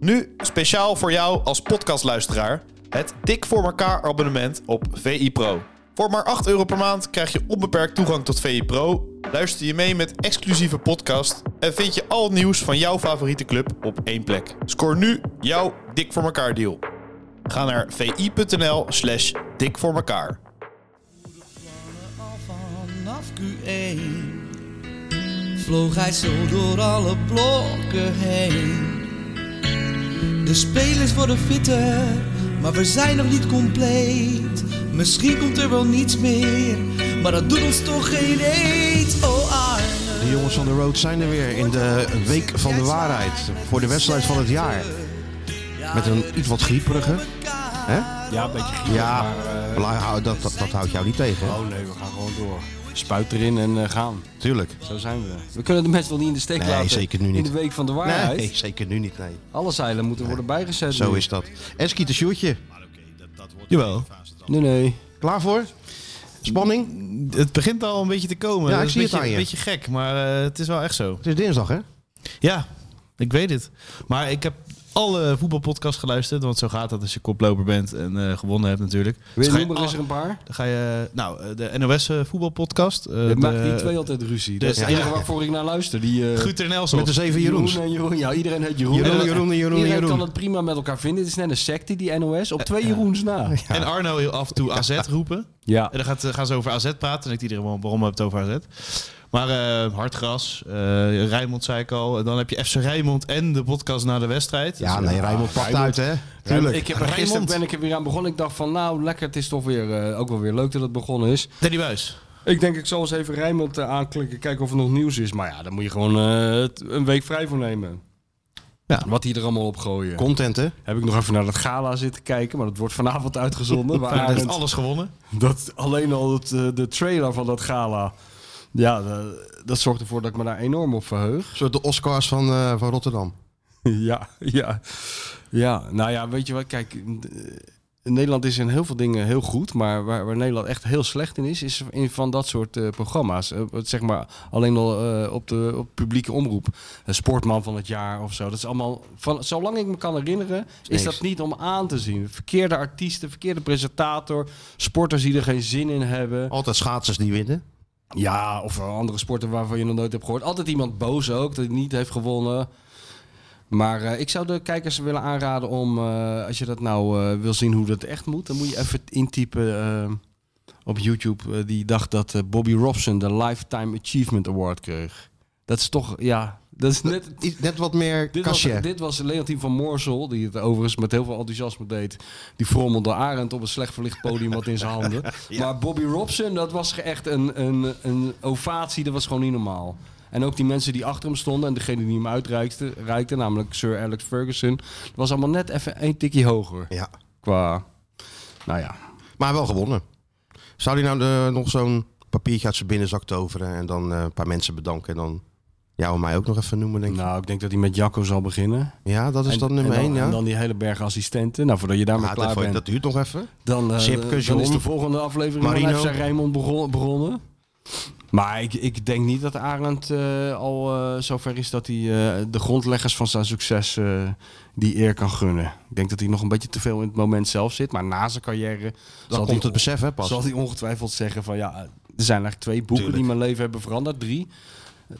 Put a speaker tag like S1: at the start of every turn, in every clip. S1: Nu speciaal voor jou als podcastluisteraar het Dik voor elkaar abonnement op VI Pro. Voor maar 8 euro per maand krijg je onbeperkt toegang tot VI Pro, luister je mee met exclusieve podcast en vind je al het nieuws van jouw favoriete club op één plek. Scoor nu jouw Dik voor elkaar deal. Ga naar vi.nl slash dik voor elkaar.
S2: Al vanaf Q1 vloog hij zo door alle blokken heen. De spelers worden fitter, maar we zijn nog niet compleet. Misschien komt er wel niets meer, maar dat doet ons toch geen eet. Oh Arne,
S3: De jongens van de road zijn er weer in de Week van de Waarheid. Voor de wedstrijd van het jaar. Met een iets wat grieperige. Hè?
S4: Ja, een beetje gieten,
S3: Ja,
S4: maar... eh,
S3: la- hou- dat, dat, dat houdt jou niet tegen. hè?
S4: oh nee, we gaan gewoon door. Spuit erin en eh, gaan.
S3: Tuurlijk.
S4: Zo zijn we. We kunnen de mensen wel niet in de steek
S3: Nee,
S4: laten.
S3: zeker nu niet.
S4: In de week van de waarheid.
S3: Nee, zeker nu niet. Nee.
S4: Alle zeilen moeten worden bijgezet.
S3: Zo
S4: nu.
S3: is dat. Eski de shootje.
S1: Jawel.
S4: Nee, nee.
S3: Klaar voor? Spanning?
S1: Het begint al een beetje te komen.
S3: Ja,
S1: Dat
S3: ik
S1: is
S3: zie
S1: een
S3: het
S1: beetje,
S3: aan je.
S1: een beetje gek, maar eh, het is wel echt zo.
S3: Het is dinsdag, hè?
S1: Ja, ik weet het. Maar ik heb alle voetbalpodcasts geluisterd, want zo gaat dat als je koploper bent en eh, gewonnen hebt natuurlijk. Dus
S4: Weer
S1: ga je-
S4: noemen is er een
S3: Oh.
S4: paar.
S1: Dan ga je, nou, eh, de NOS eh, voetbalpodcast. eh,
S4: Het maakt
S1: de-
S4: die twee altijd ruzie. Dat is
S1: de-
S4: het
S1: ja.
S4: enige waarvoor ik naar luister. Die, eh
S1: Guter Nelson.
S3: Met de zeven Jeroens.
S4: Jeroen en Jeroen. Ja, iedereen heet Jeroen.
S3: Jeroen,
S4: En-
S3: Jeroen, Jeroen,
S4: iedereen kan
S3: Jeroen.
S4: het prima met elkaar vinden. Het is net een secte, die NOS. Op twee Jeroens na.
S1: En Arno heel af en toe AZ roepen.
S4: Ja.
S1: En dan
S5: eh,
S1: gaat, gaan ze over AZ praten. En ik iedereen wel waarom heb je het over AZ. Maar eh Hartgras, eh Rijnmond zei ik al. En dan heb je FC Rijnmond en de podcast na de wedstrijd.
S3: Ja,
S1: Dus,
S3: nee, Rijmond pakt uit, hè? Tuurlijk.
S4: Ik heb er gisteren ben ik er weer aan begonnen. Ik dacht van nou lekker, het is toch weer, eh, ook wel weer leuk dat het begonnen is.
S1: Danny Buis.
S4: Ik denk, ik zal eens even Rijnmond eh, aanklikken, kijken of er nog nieuws is. Maar ja, daar moet je gewoon eh, het- een week vrij voor nemen.
S1: Ja.
S4: Wat die er allemaal op gooien.
S3: Content, hè?
S4: Heb ik nog even naar dat gala zitten kijken, maar dat wordt vanavond uitgezonden. Waar
S1: Hij heeft
S4: Arend-
S1: alles gewonnen.
S4: dat, alleen al het, eh, de trailer van dat gala. Ja, eh, dat zorgt ervoor dat ik me daar enorm op verheug.
S3: Een soort de Oscars van, eh, van Rotterdam.
S4: ja, ja. Ja, nou ja, weet je wat, kijk... eh, Nederland is in heel veel dingen heel goed, maar waar, waar Nederland echt heel slecht in is, is in van dat soort eh, programma's. Eh, wat zeg maar alleen al eh, op de op publieke omroep. Een sportman van het jaar of zo. Dat is allemaal, van, zolang ik me kan herinneren, is
S3: niks.
S4: dat niet om aan te zien. Verkeerde artiesten, verkeerde presentator, sporters die er geen zin in hebben.
S3: Altijd schaatsers die winnen.
S4: Ja, of andere sporten waarvan je nog nooit hebt gehoord. Altijd iemand boos ook, dat hij niet heeft gewonnen. Maar eh, ik zou de kijkers willen aanraden om, eh, als je dat nou eh, wil zien hoe dat echt moet, dan moet je even intypen eh, op YouTube eh, die dag dat eh, Bobby Robson de Lifetime Achievement Award kreeg. Dat is toch, ja, dat is net
S3: Iets- Net wat meer
S4: dit was,
S3: cachet.
S4: dit was Leontien van Moorsel, die het overigens met heel veel enthousiasme deed. Die frommelde Arend op een slecht verlicht podium wat in zijn handen. Maar Bobby Robson, dat was ge- echt een, een, een ovatie, dat was gewoon niet normaal. En ook die mensen die achter hem stonden en degene die hem uitreikte, reikte, namelijk Sir Alex Ferguson, dat was allemaal net even één tikje hoger.
S3: Ja.
S4: Qua, nou ja.
S3: Maar wel gewonnen. Zou hij nou eh, nog zo'n papiertje uit zijn binnenzak toveren en dan eh, een paar mensen bedanken en dan jou en mij ook nog even noemen, denk ik.
S4: Nou, ik denk dat hij met Jacco zal beginnen.
S3: ja, dat is
S4: en,
S3: dan nummer
S4: en
S3: één, ja.
S4: En dan die hele berg assistenten. Nou, voordat je daarmee
S3: Ja,
S4: klaar
S3: dat,
S4: bent.
S3: dat duurt nog even.
S4: Dan, eh,
S3: Sipke,
S4: dan is
S3: John,
S4: de volgende aflevering
S3: Marino.
S4: van FC Rijnmond begon- begonnen. Maar ik, ik denk niet dat Arend eh, al eh, zover is dat hij eh, de grondleggers van zijn succes eh, die eer kan gunnen. Ik denk dat hij nog een beetje te veel in het moment zelf zit. Maar na zijn carrière
S3: Dan
S4: hij
S3: komt het besef, hè, pas.
S4: zal hij ongetwijfeld zeggen van ja, er zijn eigenlijk twee boeken die mijn leven hebben veranderd. Drie.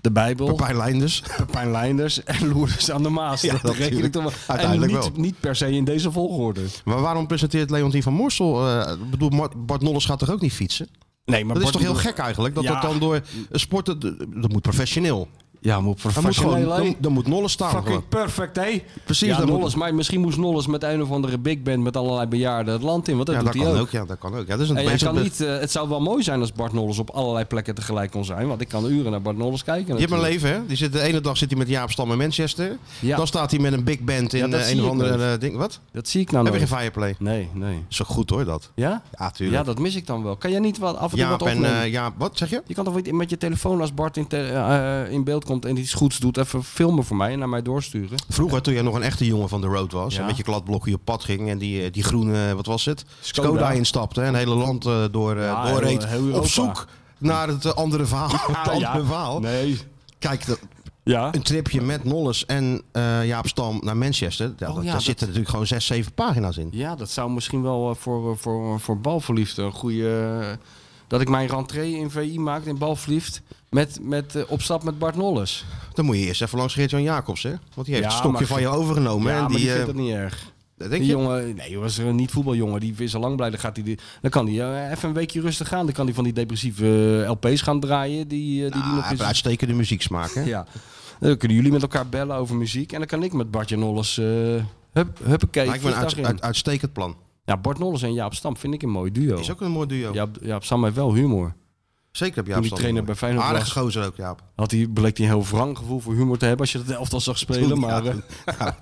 S4: De Bijbel,
S3: Pepijn Leinders.
S4: Pepijn Leinders en Loerders aan de Maas.
S3: Ja,
S4: dat reken ik
S3: natuurlijk.
S4: dan wel. En
S3: Uiteindelijk
S4: niet,
S3: wel.
S4: niet per se in deze volgorde.
S3: Maar waarom presenteert Leontien van Morsel? eh, ik bedoel, Mar- Bart Nolles gaat toch ook niet fietsen?
S4: Nee, maar
S3: dat is
S4: Bart-
S3: toch heel gek eigenlijk? Dat
S4: Ja.
S3: dat dan door een sporten... Dat moet professioneel.
S4: Ja, maar op
S3: Dan moet, gewoon,
S4: professionele-
S3: dan, dan moet Nolles staan.
S4: Fucking
S3: gewoon.
S4: perfect, hé?
S3: Precies,
S4: Ja,
S3: dat moet-
S4: Nolles, maar misschien moest Nolles met een of andere big band met allerlei bejaarden het land in. Want dat
S3: Ja,
S4: doet
S3: dat
S4: hij
S3: kan
S4: ook.
S3: ook. Ja, dat kan ook. Ja, dat is een
S4: En jij
S3: beetje-
S4: kan niet, eh, het zou wel mooi zijn als Bart Nolles op allerlei plekken tegelijk kon zijn. Want ik kan uren naar Bart Nolles kijken.
S3: Je hebt een
S4: natuurlijk.
S3: leven, hè? Die zit, de ene dag zit hij met Jaap Stam in Manchester.
S4: Ja.
S3: Dan staat hij met een big band
S4: Ja,
S3: in
S4: dat
S3: eh,
S4: zie
S3: een of
S4: ik
S3: andere
S4: nooit.
S3: eh, ding. Wat?
S4: Dat zie ik nou
S3: Heb je
S4: nooit.
S3: geen fireplay?
S4: Nee, nee.
S3: Is toch goed hoor, dat?
S4: Ja?
S3: Ja,
S4: Ja,
S3: tuurlijk.
S4: dat mis ik dan wel. Kan jij niet wat af en toe
S3: Jaap
S4: wat
S3: en...
S4: opnemen?
S3: eh, Jaap, wat zeg je?
S4: Je kan toch niet met je telefoon als Bart in, te- eh, eh, in beeld komt en iets goeds doet, even filmen voor mij en naar mij doorsturen.
S3: Vroeger, toen jij nog een echte jongen van de road was,
S4: Ja.
S3: en met je kladblokje op pad ging en die, eh, die groene, wat was het?
S4: Skoda.
S3: Skoda, instapte en het hele land eh, door, eh,
S4: Ja,
S3: doorreed.
S4: heel- heel Europa.
S3: op zoek naar het eh, andere verhaal. het andere verhaal.
S4: Nee.
S3: Kijk, dat,
S4: Ja.
S3: een tripje met Nolles en eh, Jaap Stam naar Manchester. Ja,
S4: Oh
S3: dat,
S4: ja,
S3: daar
S4: dat-
S3: zitten natuurlijk gewoon zes, zeven pagina's in.
S4: Ja, dat zou misschien wel eh, voor, eh, voor, voor balverliefden een goede. eh, dat ik mijn rentree in VI maak in balverliefd. Met, met eh, op stap met Bart Nolles.
S3: Dan moet je eerst even langs Geert-Jan Jacobs, hè? Want die heeft
S4: Ja,
S3: het stokje
S4: maar-
S3: van je overgenomen.
S4: ja,
S3: en
S4: maar
S3: die,
S4: die vindt
S3: eh,
S4: dat niet erg.
S3: denk
S4: Die
S3: je?
S4: jongen, nee, was een niet voetbaljongen. Die is al lang blij. Dan, gaat die, die- dan kan hij eh, even een weekje rustig gaan. Dan kan hij van die depressieve eh, LP's gaan draaien. Die, eh, die, die
S3: Ah, hij
S4: nog
S3: heeft
S4: eens-
S3: een uitstekende muzieksmaak, hè?
S4: Ja. Dan kunnen jullie met elkaar bellen over muziek. En dan kan ik met Bartje Nolles. eh hup, huppakee.
S3: Lijkt me een
S4: vliegtuig
S3: uit-
S4: in.
S3: uit- uitstekend plan.
S4: Ja, Bart Nolles en Jaap Stam vind ik een mooi duo.
S3: Is ook een mooi duo.
S4: Jaap, Jaap Stam heeft wel humor.
S3: Zeker heb Jaap
S4: Toen die
S3: Stam.
S4: trainer
S3: mooi.
S4: bij Feyenoord
S3: Aardige
S4: was.
S3: gozer ook, Jaap.
S4: Had hij, bleek hij een heel wrang gevoel voor humor te hebben als je dat elftal zag spelen. Maar,
S3: Ja,
S4: eh,
S3: ja.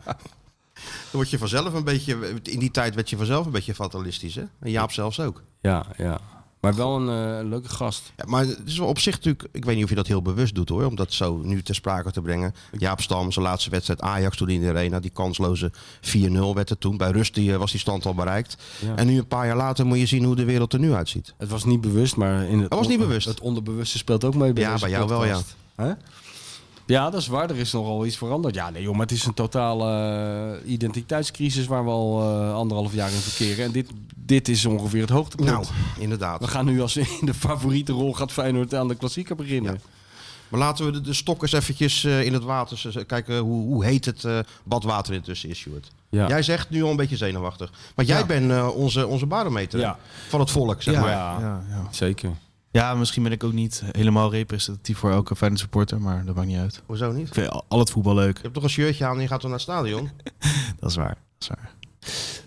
S3: Dan word je vanzelf een beetje... In die tijd werd je vanzelf een beetje fatalistisch, hè? En Jaap zelfs ook.
S4: ja, ja. Maar wel een eh, een leuke gast.
S3: Ja, maar het is wel op zich natuurlijk... Ik weet niet of je dat heel bewust doet, hoor. Om dat zo nu ter sprake te brengen. Jaap Stam, zijn laatste wedstrijd Ajax toen in de arena. Die kansloze 4-0 werd het toen. Bij rust die, eh, was die stand al bereikt.
S4: Ja.
S3: En nu een paar jaar later moet je zien hoe de wereld er nu uitziet.
S4: Het was niet bewust, maar in het,
S3: Het was niet
S4: on-
S3: bewust.
S4: het onderbewuste speelt ook mee bij
S3: Ja,
S4: deze
S3: bij jou wel,
S4: podcast. Hè? Ja, dat is waar. Er is nogal iets veranderd. Ja, nee joh, maar het is een totale eh, identiteitscrisis waar we al eh, anderhalf jaar in verkeren. En dit, dit is ongeveer het hoogtepunt.
S3: Nou, inderdaad.
S4: We gaan nu als in de favoriete rol gaat Feyenoord aan de klassieker beginnen.
S3: Ja. Maar laten we de, de stok eens eventjes eh, in het water z- z- kijken hoe, hoe heet het eh, badwater intussen is, Stuart.
S4: Ja.
S3: Jij zegt nu al een beetje zenuwachtig. Maar jij
S4: Ja.
S3: bent eh, onze, onze barometer hè?
S4: Ja.
S3: van het volk, zeg maar.
S4: Ja,
S5: Ja, ja.
S4: zeker.
S5: ja, misschien ben ik ook niet helemaal representatief voor elke Feyenoord supporter, maar dat maakt niet uit.
S3: Hoezo niet?
S5: Ik vind al, al het voetbal leuk.
S3: Je hebt toch een shirtje aan en je gaat dan naar het stadion?
S5: Dat is waar. Dat is waar.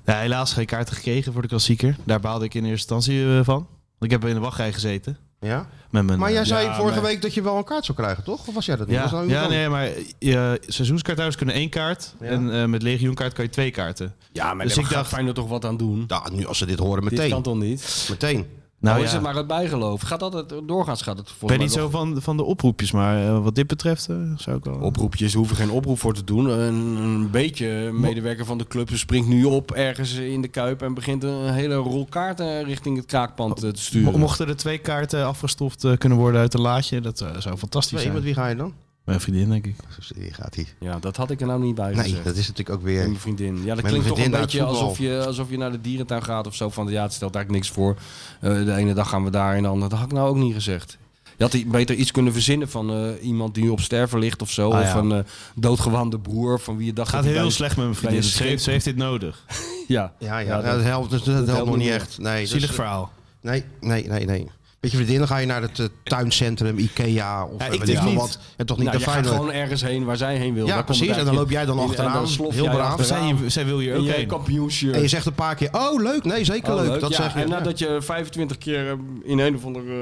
S5: Ja, helaas geen kaarten gekregen voor de klassieker. Daar baalde ik in eerste instantie eh, van. Want Ik heb in de wachtrij gezeten.
S3: Ja?
S5: Met mijn,
S3: Maar jij
S5: eh,
S3: zei
S4: ja,
S3: vorige
S4: maar-
S3: week dat je wel een kaart zou krijgen, toch? Of was jij dat niet?
S5: Ja,
S3: Was nou
S5: ja
S3: dan?
S5: nee, maar eh, seizoenskaarthouders kunnen één kaart.
S3: Ja.
S5: En eh, met legioenkaart kan je twee kaarten.
S4: Ja, maar
S5: Dus
S4: dus
S5: ik
S4: ik dacht
S5: dacht-
S4: Feyenoord toch wat aan doen.
S3: Ja, nou, nu als ze dit horen,
S4: Dit
S3: meteen.
S4: kan toch niet?
S3: Meteen.
S5: Nou
S4: Nou is
S5: ja,
S4: het maar het bijgeloof. Gaat altijd, doorgaans gaat het
S5: ik
S4: volgens
S5: ben
S4: mij
S5: niet
S4: wel
S5: zo van, van de oproepjes, maar eh, wat dit betreft eh, zou ik wel...
S4: Oproepjes, er hoeven geen oproep voor te doen. Een, een beetje medewerker van de club springt nu op ergens in de kuip en begint een hele rol kaarten richting het kraakpand eh, te
S5: Mo-
S4: sturen.
S5: Mochten er twee kaarten afgestoft eh, kunnen worden uit een laadje, dat eh, zou fantastisch
S3: Nee,
S5: zijn.
S3: met wie ga je dan?
S5: Mijn vriendin, denk ik.
S3: Hier gaat hij.
S4: Ja, dat had ik er nou niet bij
S3: Nee,
S4: gezegd.
S3: dat is natuurlijk ook
S4: Met
S3: weer...
S4: Mijn vriendin. Ja, dat
S3: mijn
S4: klinkt toch een
S3: vriendin naar
S4: beetje
S3: het voetbal.
S4: alsof je, alsof je naar de dierentuin gaat of zo. Van ja, het stelt eigenlijk niks voor. Eh, de ene dag gaan we daar en de andere. Dat had ik nou ook niet gezegd. Je had i- beter iets kunnen verzinnen van eh, iemand die op sterven ligt of zo.
S5: Ah,
S4: Of
S5: ja.
S4: van een doodgewaande broer van wie je dacht
S5: Het gaat
S4: dat hij
S5: heel
S4: bij-
S5: slecht met mijn
S4: bij
S5: vriendin. dus
S4: een
S5: Ze heeft,
S4: schip-
S5: ze heeft dit nodig.
S4: Ja,
S3: Ja, ja,
S4: Ja,
S3: ja,
S4: dat-
S3: dat helpt, dus, dat helpt
S4: helpt
S3: nog niet
S4: niet.
S3: echt. Nee, dat is-
S5: Zielig verhaal.
S3: Nee, nee, nee, nee. Weet je, vriendin, dan ga je naar het eh, tuincentrum, Ikea of
S5: Ja,
S3: eh,
S5: ik
S3: weet
S5: dus
S3: veel
S5: niet.
S3: wat. En toch niet
S4: nou,
S3: de
S4: je gaat
S3: Feyenoord.
S4: gewoon ergens heen waar zij heen wil.
S3: Ja,
S4: Daar komt het
S3: precies. En dan
S4: eigenlijk
S3: loop jij dan
S4: in. En
S3: achteraan.
S4: dan slof
S3: Heel
S4: jij
S3: braaf.
S4: achteraan.
S5: Zij, zij wil hier
S4: in
S5: ook
S4: je
S5: heen.
S4: kampioenshirt.
S3: En je zegt een paar keer, oh leuk, nee, zeker
S4: Oh,
S3: leuk. Dat
S4: ja,
S3: zeg je.
S4: En
S3: Ja.
S4: nadat je 25 keer eh, in een of ander eh,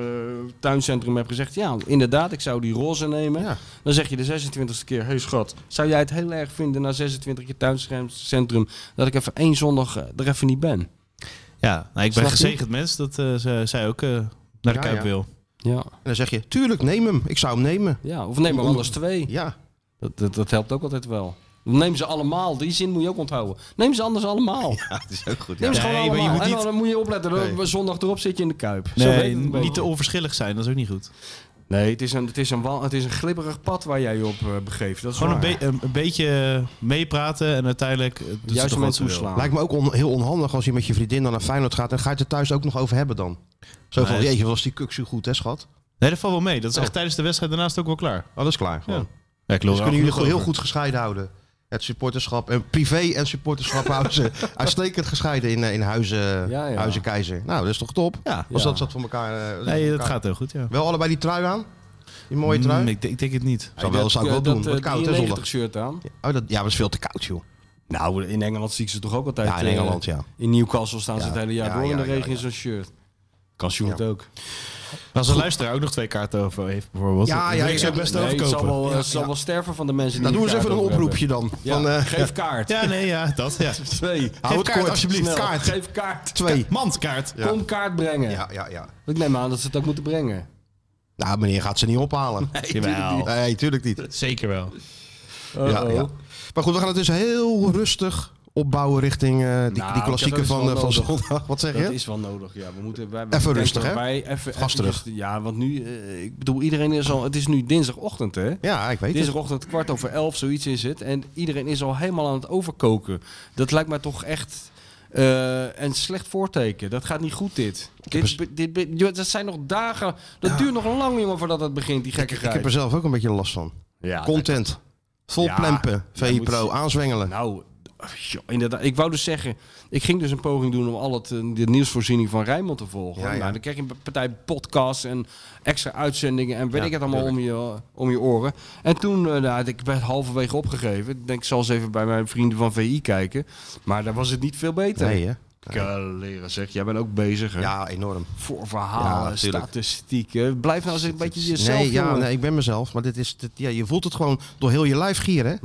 S4: tuincentrum hebt gezegd... ja, inderdaad, ik zou die roze nemen.
S3: Ja.
S4: Dan zeg je de 26e keer, hey schat... zou jij het heel erg vinden na 26 keer tuincentrum... dat ik even één zondag eh, er even niet ben?
S5: Ja, nou, ik
S4: Snap
S5: ben
S4: je?
S5: gezegend mens dat eh, ze- zij ook eh, naar de
S3: Ja,
S5: Kuip
S3: ja.
S5: wil.
S4: Ja,
S3: En dan zeg je, tuurlijk, neem hem. Ik zou hem nemen.
S4: ja. of neem maar
S3: Om-
S4: anders twee.
S3: Ja,
S4: Dat, dat, dat helpt ook altijd wel. Neem ze allemaal, die zin moet je ook onthouden. Neem ze anders allemaal.
S3: dat is ook goed.
S4: Neem ze
S5: Nee,
S4: gewoon
S5: maar je
S4: allemaal.
S5: moet
S4: En
S5: niet-
S4: dan moet je opletten,
S3: Nee.
S4: zondag erop zit je in de kuip. Zo werkt
S5: Nee,
S4: het een beetje.
S5: niet te onverschillig zijn, dat is ook niet goed.
S4: Nee, het is een, het is een, wa- het is een glibberig pad waar jij je op eh, begeeft. Dat is
S5: Gewoon een,
S4: waar.
S5: be- een, een beetje meepraten en uiteindelijk eh, doet ze
S4: Juist
S5: toch wat
S4: moment
S5: ze wil.
S4: toeslaan.
S3: Oh. Lijkt me ook on- heel onhandig als je met je vriendin dan naar Feyenoord gaat. En ga je het er thuis ook nog over hebben dan. Zo van,
S5: Nee.
S3: jeetje, was die kuksu goed, hè schat?
S5: Nee, dat valt wel mee. Dat is echt tijdens de wedstrijd daarnaast ook wel Oh, klaar.
S3: Alles klaar, gewoon.
S5: Ja. Ja,
S3: Dus
S5: ik loop er
S3: kunnen
S5: al
S3: jullie
S5: genoeg
S3: gewoon heel
S5: over.
S3: goed gescheiden houden. Het supporterschap en privé en supporterschap houden ze uitstekend gescheiden in, eh, in Huizen,
S4: Ja, ja.
S3: Huizen Keizer. Nou, dat is toch top?
S5: Ja.
S3: Als
S4: Ja.
S3: dat zat voor elkaar... eh,
S5: Nee,
S3: voor
S5: dat
S3: elkaar-
S5: gaat heel goed, ja.
S3: Wel allebei die trui aan? Die mooie
S5: Mm,
S3: trui?
S5: ik, denk- ik denk het niet.
S3: zou, wel, zou ik wel
S4: dat,
S3: doen.
S4: eh,
S3: Wat koud, hè, zondag.
S4: 93 shirt aan.
S3: Oh, dat, ja, maar het is veel te koud, joh.
S4: Nou, in Engeland zie ik ze toch ook altijd.
S3: Ja, in
S4: eh,
S3: Engeland, ja.
S4: in Newcastle staan ze
S3: Ja,
S4: het hele jaar
S3: ja,
S4: door in
S3: ja,
S4: de
S3: ja,
S4: regen in
S3: ja.
S4: zo'n shirt. Kan Sjoerd
S3: Ja.
S4: ook.
S5: Als een luisteraar ook nog twee kaarten over heeft, bijvoorbeeld.
S3: Ja,
S5: dan
S3: ja,
S5: wil
S3: ja.
S5: ik zou best
S4: Nee, het zal,
S5: overkopen.
S4: wel, eh,
S3: Ja,
S4: het zal
S3: ja.
S4: wel sterven van de mensen die
S3: Nou, doe
S4: die
S3: eens even een
S4: kaart over
S3: oproepje dan.
S4: hebben.
S3: Van,
S4: Ja,
S3: eh,
S4: geef kaart.
S5: Ja, nee, ja, dat, ja.
S4: Twee.
S3: Hou het
S5: kaart,
S3: kort,
S5: alsjeblieft.
S3: Snel.
S4: Snel,
S3: Kaart.
S4: Geef kaart.
S3: Twee.
S5: Mandkaart.
S3: Ja.
S4: Kom kaart brengen.
S3: Ja, ja, ja.
S4: Ik neem aan dat ze het ook moeten brengen.
S3: Nou, meneer gaat ze niet ophalen.
S5: Jawel.
S3: Nee, tuurlijk niet.
S5: Zeker wel.
S4: Uh-oh.
S3: ja. Maar goed, we gaan het dus heel rustig opbouwen richting eh, die,
S4: Nou,
S3: die
S4: dat
S3: klassieker
S4: is
S3: van,
S4: wel
S3: eh, van
S4: nodig.
S3: zondag? Wat zeg
S4: Dat
S3: je?
S4: is wel nodig, ja. We moeten, wij,
S3: Even rustig, hè?
S4: Wij even,
S3: Gas terug.
S4: eventjes- ja, want nu, eh, ik bedoel, iedereen is al, het is nu dinsdagochtend, hè?
S3: Ja, ik weet het.
S4: Dinsdagochtend kwart over elf, zoiets is het. En iedereen is al helemaal aan het overkoken. Dat lijkt mij toch echt eh, een slecht voorteken. Dat gaat niet goed, dit. Dit,
S3: eens-
S4: be- dit, be- joh, dat zijn nog dagen. Dat duurt nog lang, jongen, voordat het begint, die
S3: Ik,
S4: gekke
S3: ik heb er zelf ook een beetje last van.
S4: ja,
S3: Content. Vol
S4: Ja,
S3: plempen.
S4: dat
S3: VI
S4: moet-
S3: Pro. Aanzwengelen.
S4: Nou, joh, inderdaad. Ik wou dus zeggen, ik ging dus een poging doen om al het, eh, de nieuwsvoorziening van Rijnmond te volgen.
S3: Ja, ja.
S4: Nou, dan kreeg je een partij podcasts en extra uitzendingen en weet
S3: Ja,
S4: ik het allemaal om je, eh, om je oren. En toen, eh, nou, ik werd halverwege opgegeven. Ik denk, ik zal eens even bij mijn vrienden van VI kijken. Maar daar was het niet veel beter. eh,
S3: Nee, hè?
S4: Leren zeg, jij bent ook bezig hè?
S3: Ja, enorm.
S4: voor verhalen,
S3: Ja, tuurlijk.
S4: statistieken. Blijf nou eens een beetje jezelf.
S3: nee, ja,
S4: jongen.
S3: nee, ik ben mezelf. Maar dit is, dit, ja, je voelt het gewoon door heel je lijf gieren. hè?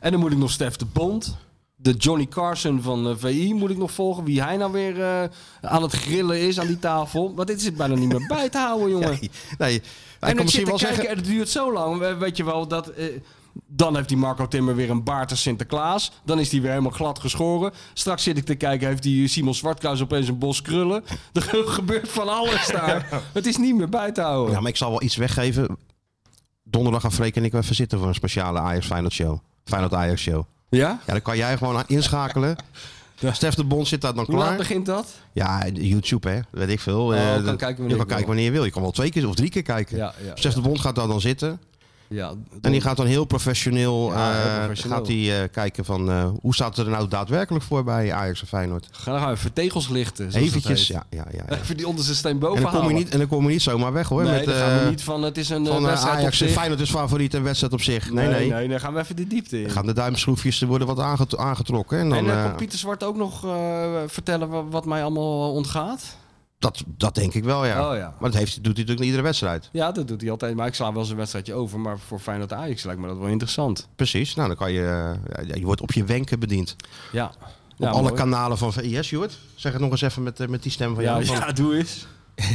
S4: En dan moet ik nog Stef de Bond. De Johnny Carson van eh, VI moet ik nog volgen. Wie hij nou weer eh, aan het grillen is aan die tafel. Want dit zit bijna niet meer bij te houden, jongen.
S3: Nee, nee. Hij
S4: en
S3: kan
S4: ik zit
S3: misschien
S4: te
S3: wel
S4: kijken
S3: zeggen...
S4: en het duurt zo lang. We- Weet je wel, dat... eh, dan heeft die Marco Timmer weer een baard als Sinterklaas. Dan is hij weer helemaal glad geschoren. Straks zit ik te kijken, heeft die Simon Zwartkruis opeens een bos krullen. Er gebeurt van alles daar. Het is niet meer bij te houden.
S3: Ja, maar ik zal wel iets weggeven. Donderdag gaan Freek en ik wel even zitten voor een speciale Ajax Feyenoord show. Feyenoord Ajax show.
S4: Ja?
S3: Ja, dan kan jij gewoon aan- inschakelen. Stef de Bond zit daar dan
S4: Hoe laat
S3: klaar.
S4: begint dat?
S3: Ja, YouTube hè, weet ik veel.
S4: Oh,
S3: Eh,
S4: kan
S3: dat-
S4: kijken wanneer
S3: je
S4: ik
S3: kan
S4: wil.
S3: kijken wanneer je wil. Je kan wel twee keer of drie keer kijken.
S4: Ja, ja,
S3: Stef de Bond gaat daar dan zitten.
S4: ja.
S3: En die gaat dan heel professioneel,
S4: Ja, heel
S3: eh,
S4: professioneel.
S3: Gaat die, eh, kijken van eh, hoe staat het er nou daadwerkelijk voor bij Ajax en Feyenoord.
S4: Ga nou even tegels lichten. zoals dat
S3: Eventjes,
S4: heet.
S3: ja, ja, ja. ja.
S4: Even die onderste steen boven
S3: En dan, kom je
S4: halen.
S3: niet, en dan kom je niet zomaar weg hoor.
S4: nee,
S3: met,
S4: dan gaan
S3: eh,
S4: we niet van het is een eh,
S3: van eh,
S4: wedstrijd op
S3: Ajax en
S4: zich.
S3: Feyenoord is favoriet en wedstrijd op zich. Nee, nee.
S4: dan gaan we even de diepte in.
S3: Dan gaan de duimschroefjes, er worden wat aanget- aangetrokken. En dan,
S4: en dan
S3: eh,
S4: kan Pieter Zwart ook nog eh, vertellen wa- wat mij allemaal ontgaat.
S3: dat, dat denk ik wel, ja.
S4: Oh ja.
S3: Maar dat heeft, doet hij natuurlijk in iedere wedstrijd.
S4: Ja, dat doet hij altijd. Maar ik sla wel eens een wedstrijdje over. Maar voor Feyenoord Ajax lijkt me dat wel interessant.
S3: Precies. Nou, dan kan je... eh, ja, je wordt op je wenken bediend.
S4: Ja.
S3: Op
S4: ja,
S3: alle
S4: mooi.
S3: kanalen van VS, Jord. Zeg het nog eens even met, eh, met die stem van
S4: Ja,
S3: jou. Van-
S4: ja, doe eens.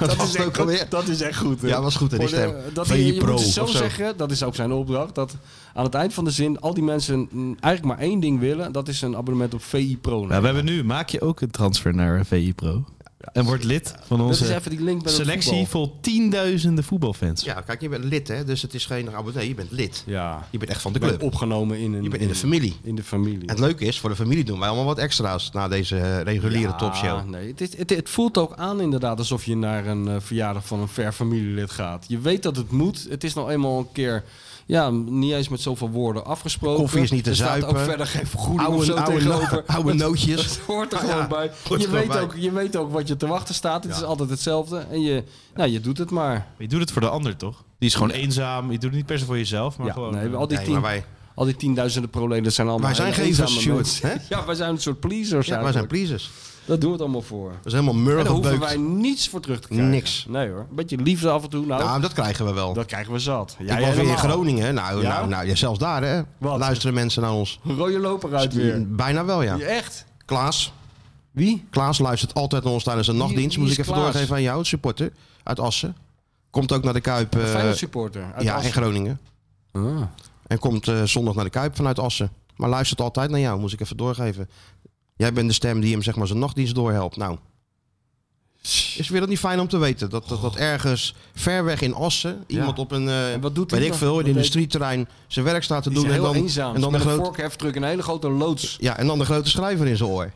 S3: dat was het ook alweer.
S4: Dat is echt goed. hè?
S3: Ja, was goed hè, die
S4: Voor de-
S3: stem.
S4: dat
S3: VI
S4: je, je
S3: Pro
S4: moet het zo,
S3: of zo.
S4: zeggen, dat is ook zijn opdracht, dat aan het eind van de zin al die mensen mm, eigenlijk maar één ding willen. Dat is een abonnement op VI Pro.
S5: Nou, we hebben nu, maak je ook een transfer naar eh, VI Pro. En word lid van
S4: dat is
S5: onze
S4: even die link bij het
S5: selectie
S4: voetbal.
S5: vol tienduizenden voetbalfans.
S3: Ja, kijk, je bent lid hè. Dus het is geen abonnee, je bent lid.
S4: Ja,
S3: Je bent echt van de
S4: ik ben
S3: club.
S4: opgenomen in een...
S3: Je bent in de familie.
S4: In de familie.
S3: En het leuke is, voor de familie doen wij allemaal wat extra's na deze eh, reguliere
S4: Ja,
S3: topshow.
S4: Nee, het, is, het, het voelt ook aan inderdaad alsof je naar een eh, verjaardag van een ver familielid gaat. Je weet dat het moet. Het is nou eenmaal een keer... Ja, niet eens met zoveel woorden afgesproken.
S3: Koffie is niet te
S4: er staat ook
S3: zuipen.
S4: verder geen vergoeding of
S3: Oude,
S4: zo
S3: oude,
S4: tegenover.
S3: no- oude nootjes. Ah,
S4: Het hoort er
S3: Ja,
S4: gewoon bij.
S3: hoort
S4: Je
S3: er gewoon
S4: weet,
S3: bij.
S4: ook, je weet ook wat je te wachten staat. Het
S3: Ja.
S4: is altijd hetzelfde. En je, nou, je doet het maar.
S5: Je doet het voor de ander, toch? Die is gewoon eenzaam. Je doet het niet per se voor jezelf, maar
S4: Ja,
S5: gewoon...
S4: nee,
S5: eh,
S4: al, die
S3: Nee,
S4: tien,
S3: maar wij,
S4: al die tienduizenden proleden zijn allemaal...
S3: wij zijn
S4: hele
S3: geen
S4: eenzame
S3: stewards.
S4: mensen.
S3: Hè?
S4: Ja, wij zijn een soort pleasers
S3: Ja, wij zijn
S4: eigenlijk.
S3: pleasers.
S4: Dat doen we het allemaal voor.
S3: Dat is helemaal
S4: En daar hoeven wij
S3: murgenbeukt.
S4: niets voor terug te krijgen.
S3: Niks.
S4: Nee hoor. Een beetje liefde af en toe. Nou,
S3: Nou, dat krijgen we wel.
S4: dat krijgen we zat.
S3: ik was weer in
S4: helemaal.
S3: Groningen. hè. Nou,
S4: Ja?
S3: nou, nou ja, zelfs daar hè.
S4: Wat?
S3: luisteren mensen naar ons.
S4: Rode loper uit weer.
S3: Bijna wel, ja.
S4: Je Echt?
S3: Klaas.
S4: Wie?
S3: Klaas luistert altijd naar ons tijdens een nachtdienst.
S4: wie
S3: Moet
S4: is
S3: ik even
S4: Klaas?
S3: doorgeven aan jou, een supporter uit Assen. Komt ook naar de Kuip. eh,
S4: Feyenoord supporter. Uit
S3: ja, in
S4: Assen.
S3: Groningen.
S4: Ah.
S3: En komt eh, zondag naar de Kuip vanuit Assen. Maar luistert altijd naar jou, moest ik even doorgeven. Jij bent de stem die hem zeg maar zijn nachtdienst doorhelpt. Nou, is weer dat niet fijn om te weten? Dat, dat, dat ergens ver weg in Assen iemand op een, eh
S4: En wat doet hij
S3: weet ik
S4: dan?
S3: veel, in
S4: Wat
S3: een
S4: deed-
S3: industrieterrein zijn werk staat te
S4: Die
S3: doen.
S4: is
S3: En
S4: heel
S3: dan,
S4: eenzaam.
S3: en, dan de
S4: met een
S3: groot,
S4: vorkheftruck en een hele grote loods.
S3: ja, en dan de grote schrijver in zijn oor.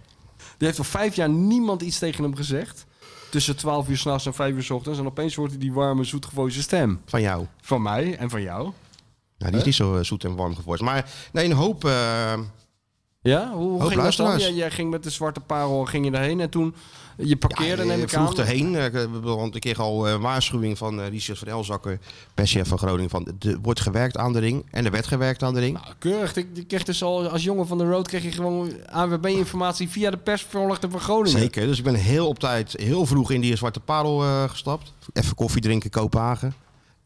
S4: Die heeft al vijf jaar niemand iets tegen hem gezegd. Tussen 12 uur s'nachts en 5 uur s ochtends. En opeens hoort hij die warme, zoetgevoelige stem.
S3: Van jou.
S4: Van mij en van jou.
S3: Nou, die is niet zo eh, zoet en warm geworden. Maar nee, een hoop... eh,
S4: Ja, hoe
S3: Hoop
S4: ging dat dan?
S3: luisteraars.
S4: Jij, jij ging met de zwarte parel ging je daarheen en toen je parkeerde
S3: ja,
S4: neem
S3: eh,
S4: ik
S3: vroeg
S4: aan.
S3: erheen. Eh, ik, eh, bedoel, Want ik kreeg al eh, waarschuwing van eh, Richard van Elzakker, perschef van Groningen, van er wordt gewerkt aan de ring. En er werd gewerkt aan de ring.
S4: Nou, keurig. Ik, ik kreeg dus al als jongen van de road kreeg je gewoon AWB-informatie via de persvoorlichter van Groningen.
S3: Zeker. Dus ik ben heel op tijd, heel vroeg in die Zwarte Parel eh, gestapt. Even koffie drinken, Kopenhagen.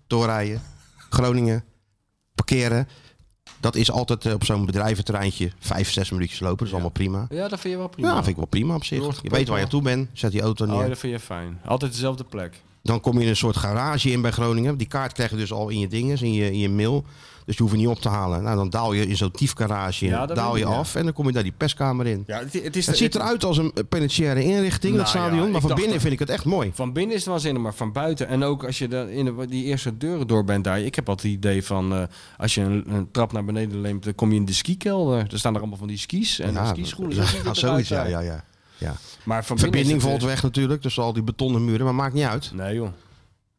S3: Doorrijden, Groningen, parkeren. Dat is altijd eh, op zo'n bedrijventerreintje vijf, zes minuutjes lopen. Dat is allemaal prima.
S4: Ja, dat vind je wel prima.
S3: Ja, vind ik wel prima op zich.
S4: Wordt
S3: Je weet waar je
S4: gepropt,
S3: toe bent, zet die auto
S4: Oh,
S3: neer.
S4: dat vind je fijn. Altijd dezelfde plek.
S3: Dan kom je in een soort garage in bij Groningen. Die kaart krijg je dus al in je dinges, in je, in je mail. Dus die hoef je niet op te halen. Nou, dan daal je in zo'n tiefgarage,
S4: Ja, dat
S3: daal
S4: weet
S3: je
S4: ik, ja.
S3: af en dan kom je daar die perskamer in.
S4: Ja, het, het is
S3: Het ziet eruit als een eh, penitentiaire inrichting, dat
S4: Nou ja,
S3: stadion.
S4: ik
S3: Maar van
S4: dacht
S3: binnen
S4: dat-
S3: vind ik het echt mooi.
S4: Van binnen is het wel zinnig, maar van buiten. En ook als je dan in de- die eerste deuren door bent daar. Ik heb altijd het idee van, eh, als je een, een trap naar beneden leemt, dan kom je in de skikelder. Er staan er allemaal van die skis en
S3: Ja,
S4: skischoenen.
S3: ja,
S4: zo ziet het
S3: zoiets, ja,
S4: eruit daar.
S3: ja, ja.
S4: Maar van binnen is
S3: Verbinding
S4: het,
S3: valt weg natuurlijk tussen al die betonnen muren, maar maakt niet uit.
S4: eh, Nee joh.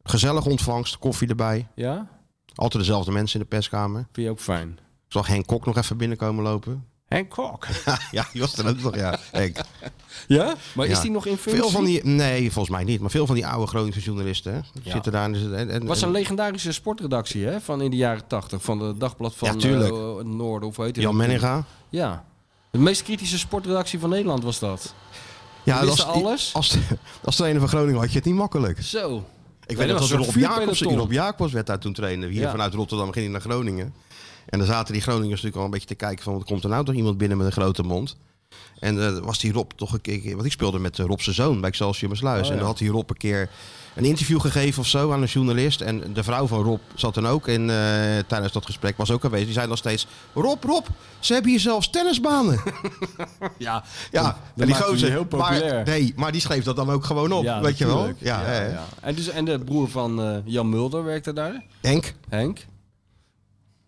S3: Gezellig ontvangst, koffie erbij.
S4: Ja?
S3: Altijd dezelfde mensen in de perskamer.
S4: Vind je ook fijn.
S3: Ik zag Henk Kok nog even binnenkomen lopen.
S4: Henk Kok.
S3: ja, Jos er ook nog, ja. Henk.
S4: Ja? Maar is
S3: Ja.
S4: die nog in functie?
S3: Veel van die, nee, volgens mij niet. Maar veel van die oude Groningse journalisten hè,
S4: Ja.
S3: zitten daar. en- En, en,
S4: Het was een legendarische sportredactie hè? Van in de jaren tachtig. Van de dagblad van
S3: Ja, tuurlijk.
S4: eh, het Noorden of hoe heet het?
S3: Jan Menninga.
S4: Ja. De meest kritische sportredactie van Nederland was dat.
S3: Ja,
S4: Die
S3: als,
S4: wisten alles.
S3: Als, als trainer van Groningen had je het niet makkelijk.
S4: Zo.
S3: Ik
S4: dat
S3: weet nog
S4: was
S3: dat
S4: een
S3: Rob
S4: vuurpeloton.
S3: Jacobs, Rob Jacobs werd daar toen trainer. Hier
S4: Ja.
S3: vanuit Rotterdam ging hij naar Groningen. En daar zaten die Groningers natuurlijk al een beetje te kijken van... wat komt er nou toch iemand binnen met een grote mond? En eh, was die Rob toch een keer... Want ik speelde met eh, Rob zijn zoon bij Excelsior Besluis.
S4: Oh,
S3: En
S4: ja.
S3: dan had die Rob een keer een interview gegeven of zo aan een journalist. En de vrouw van Rob zat dan ook. En eh, tijdens dat gesprek was ook aanwezig. Die zei nog steeds... Rob, Rob, ze hebben hier zelfs tennisbanen.
S4: Ja.
S3: ja,
S4: Dan- dan
S3: en
S4: maakt hij heel populair.
S3: Maar, nee, maar die schreef dat dan ook gewoon op.
S4: Ja,
S3: Oh, weet je wel?
S4: natuurlijk.
S3: Ja, hè.
S4: En, dus, en de broer van eh, Jan Mulder werkte daar,
S3: Henk.
S4: Henk.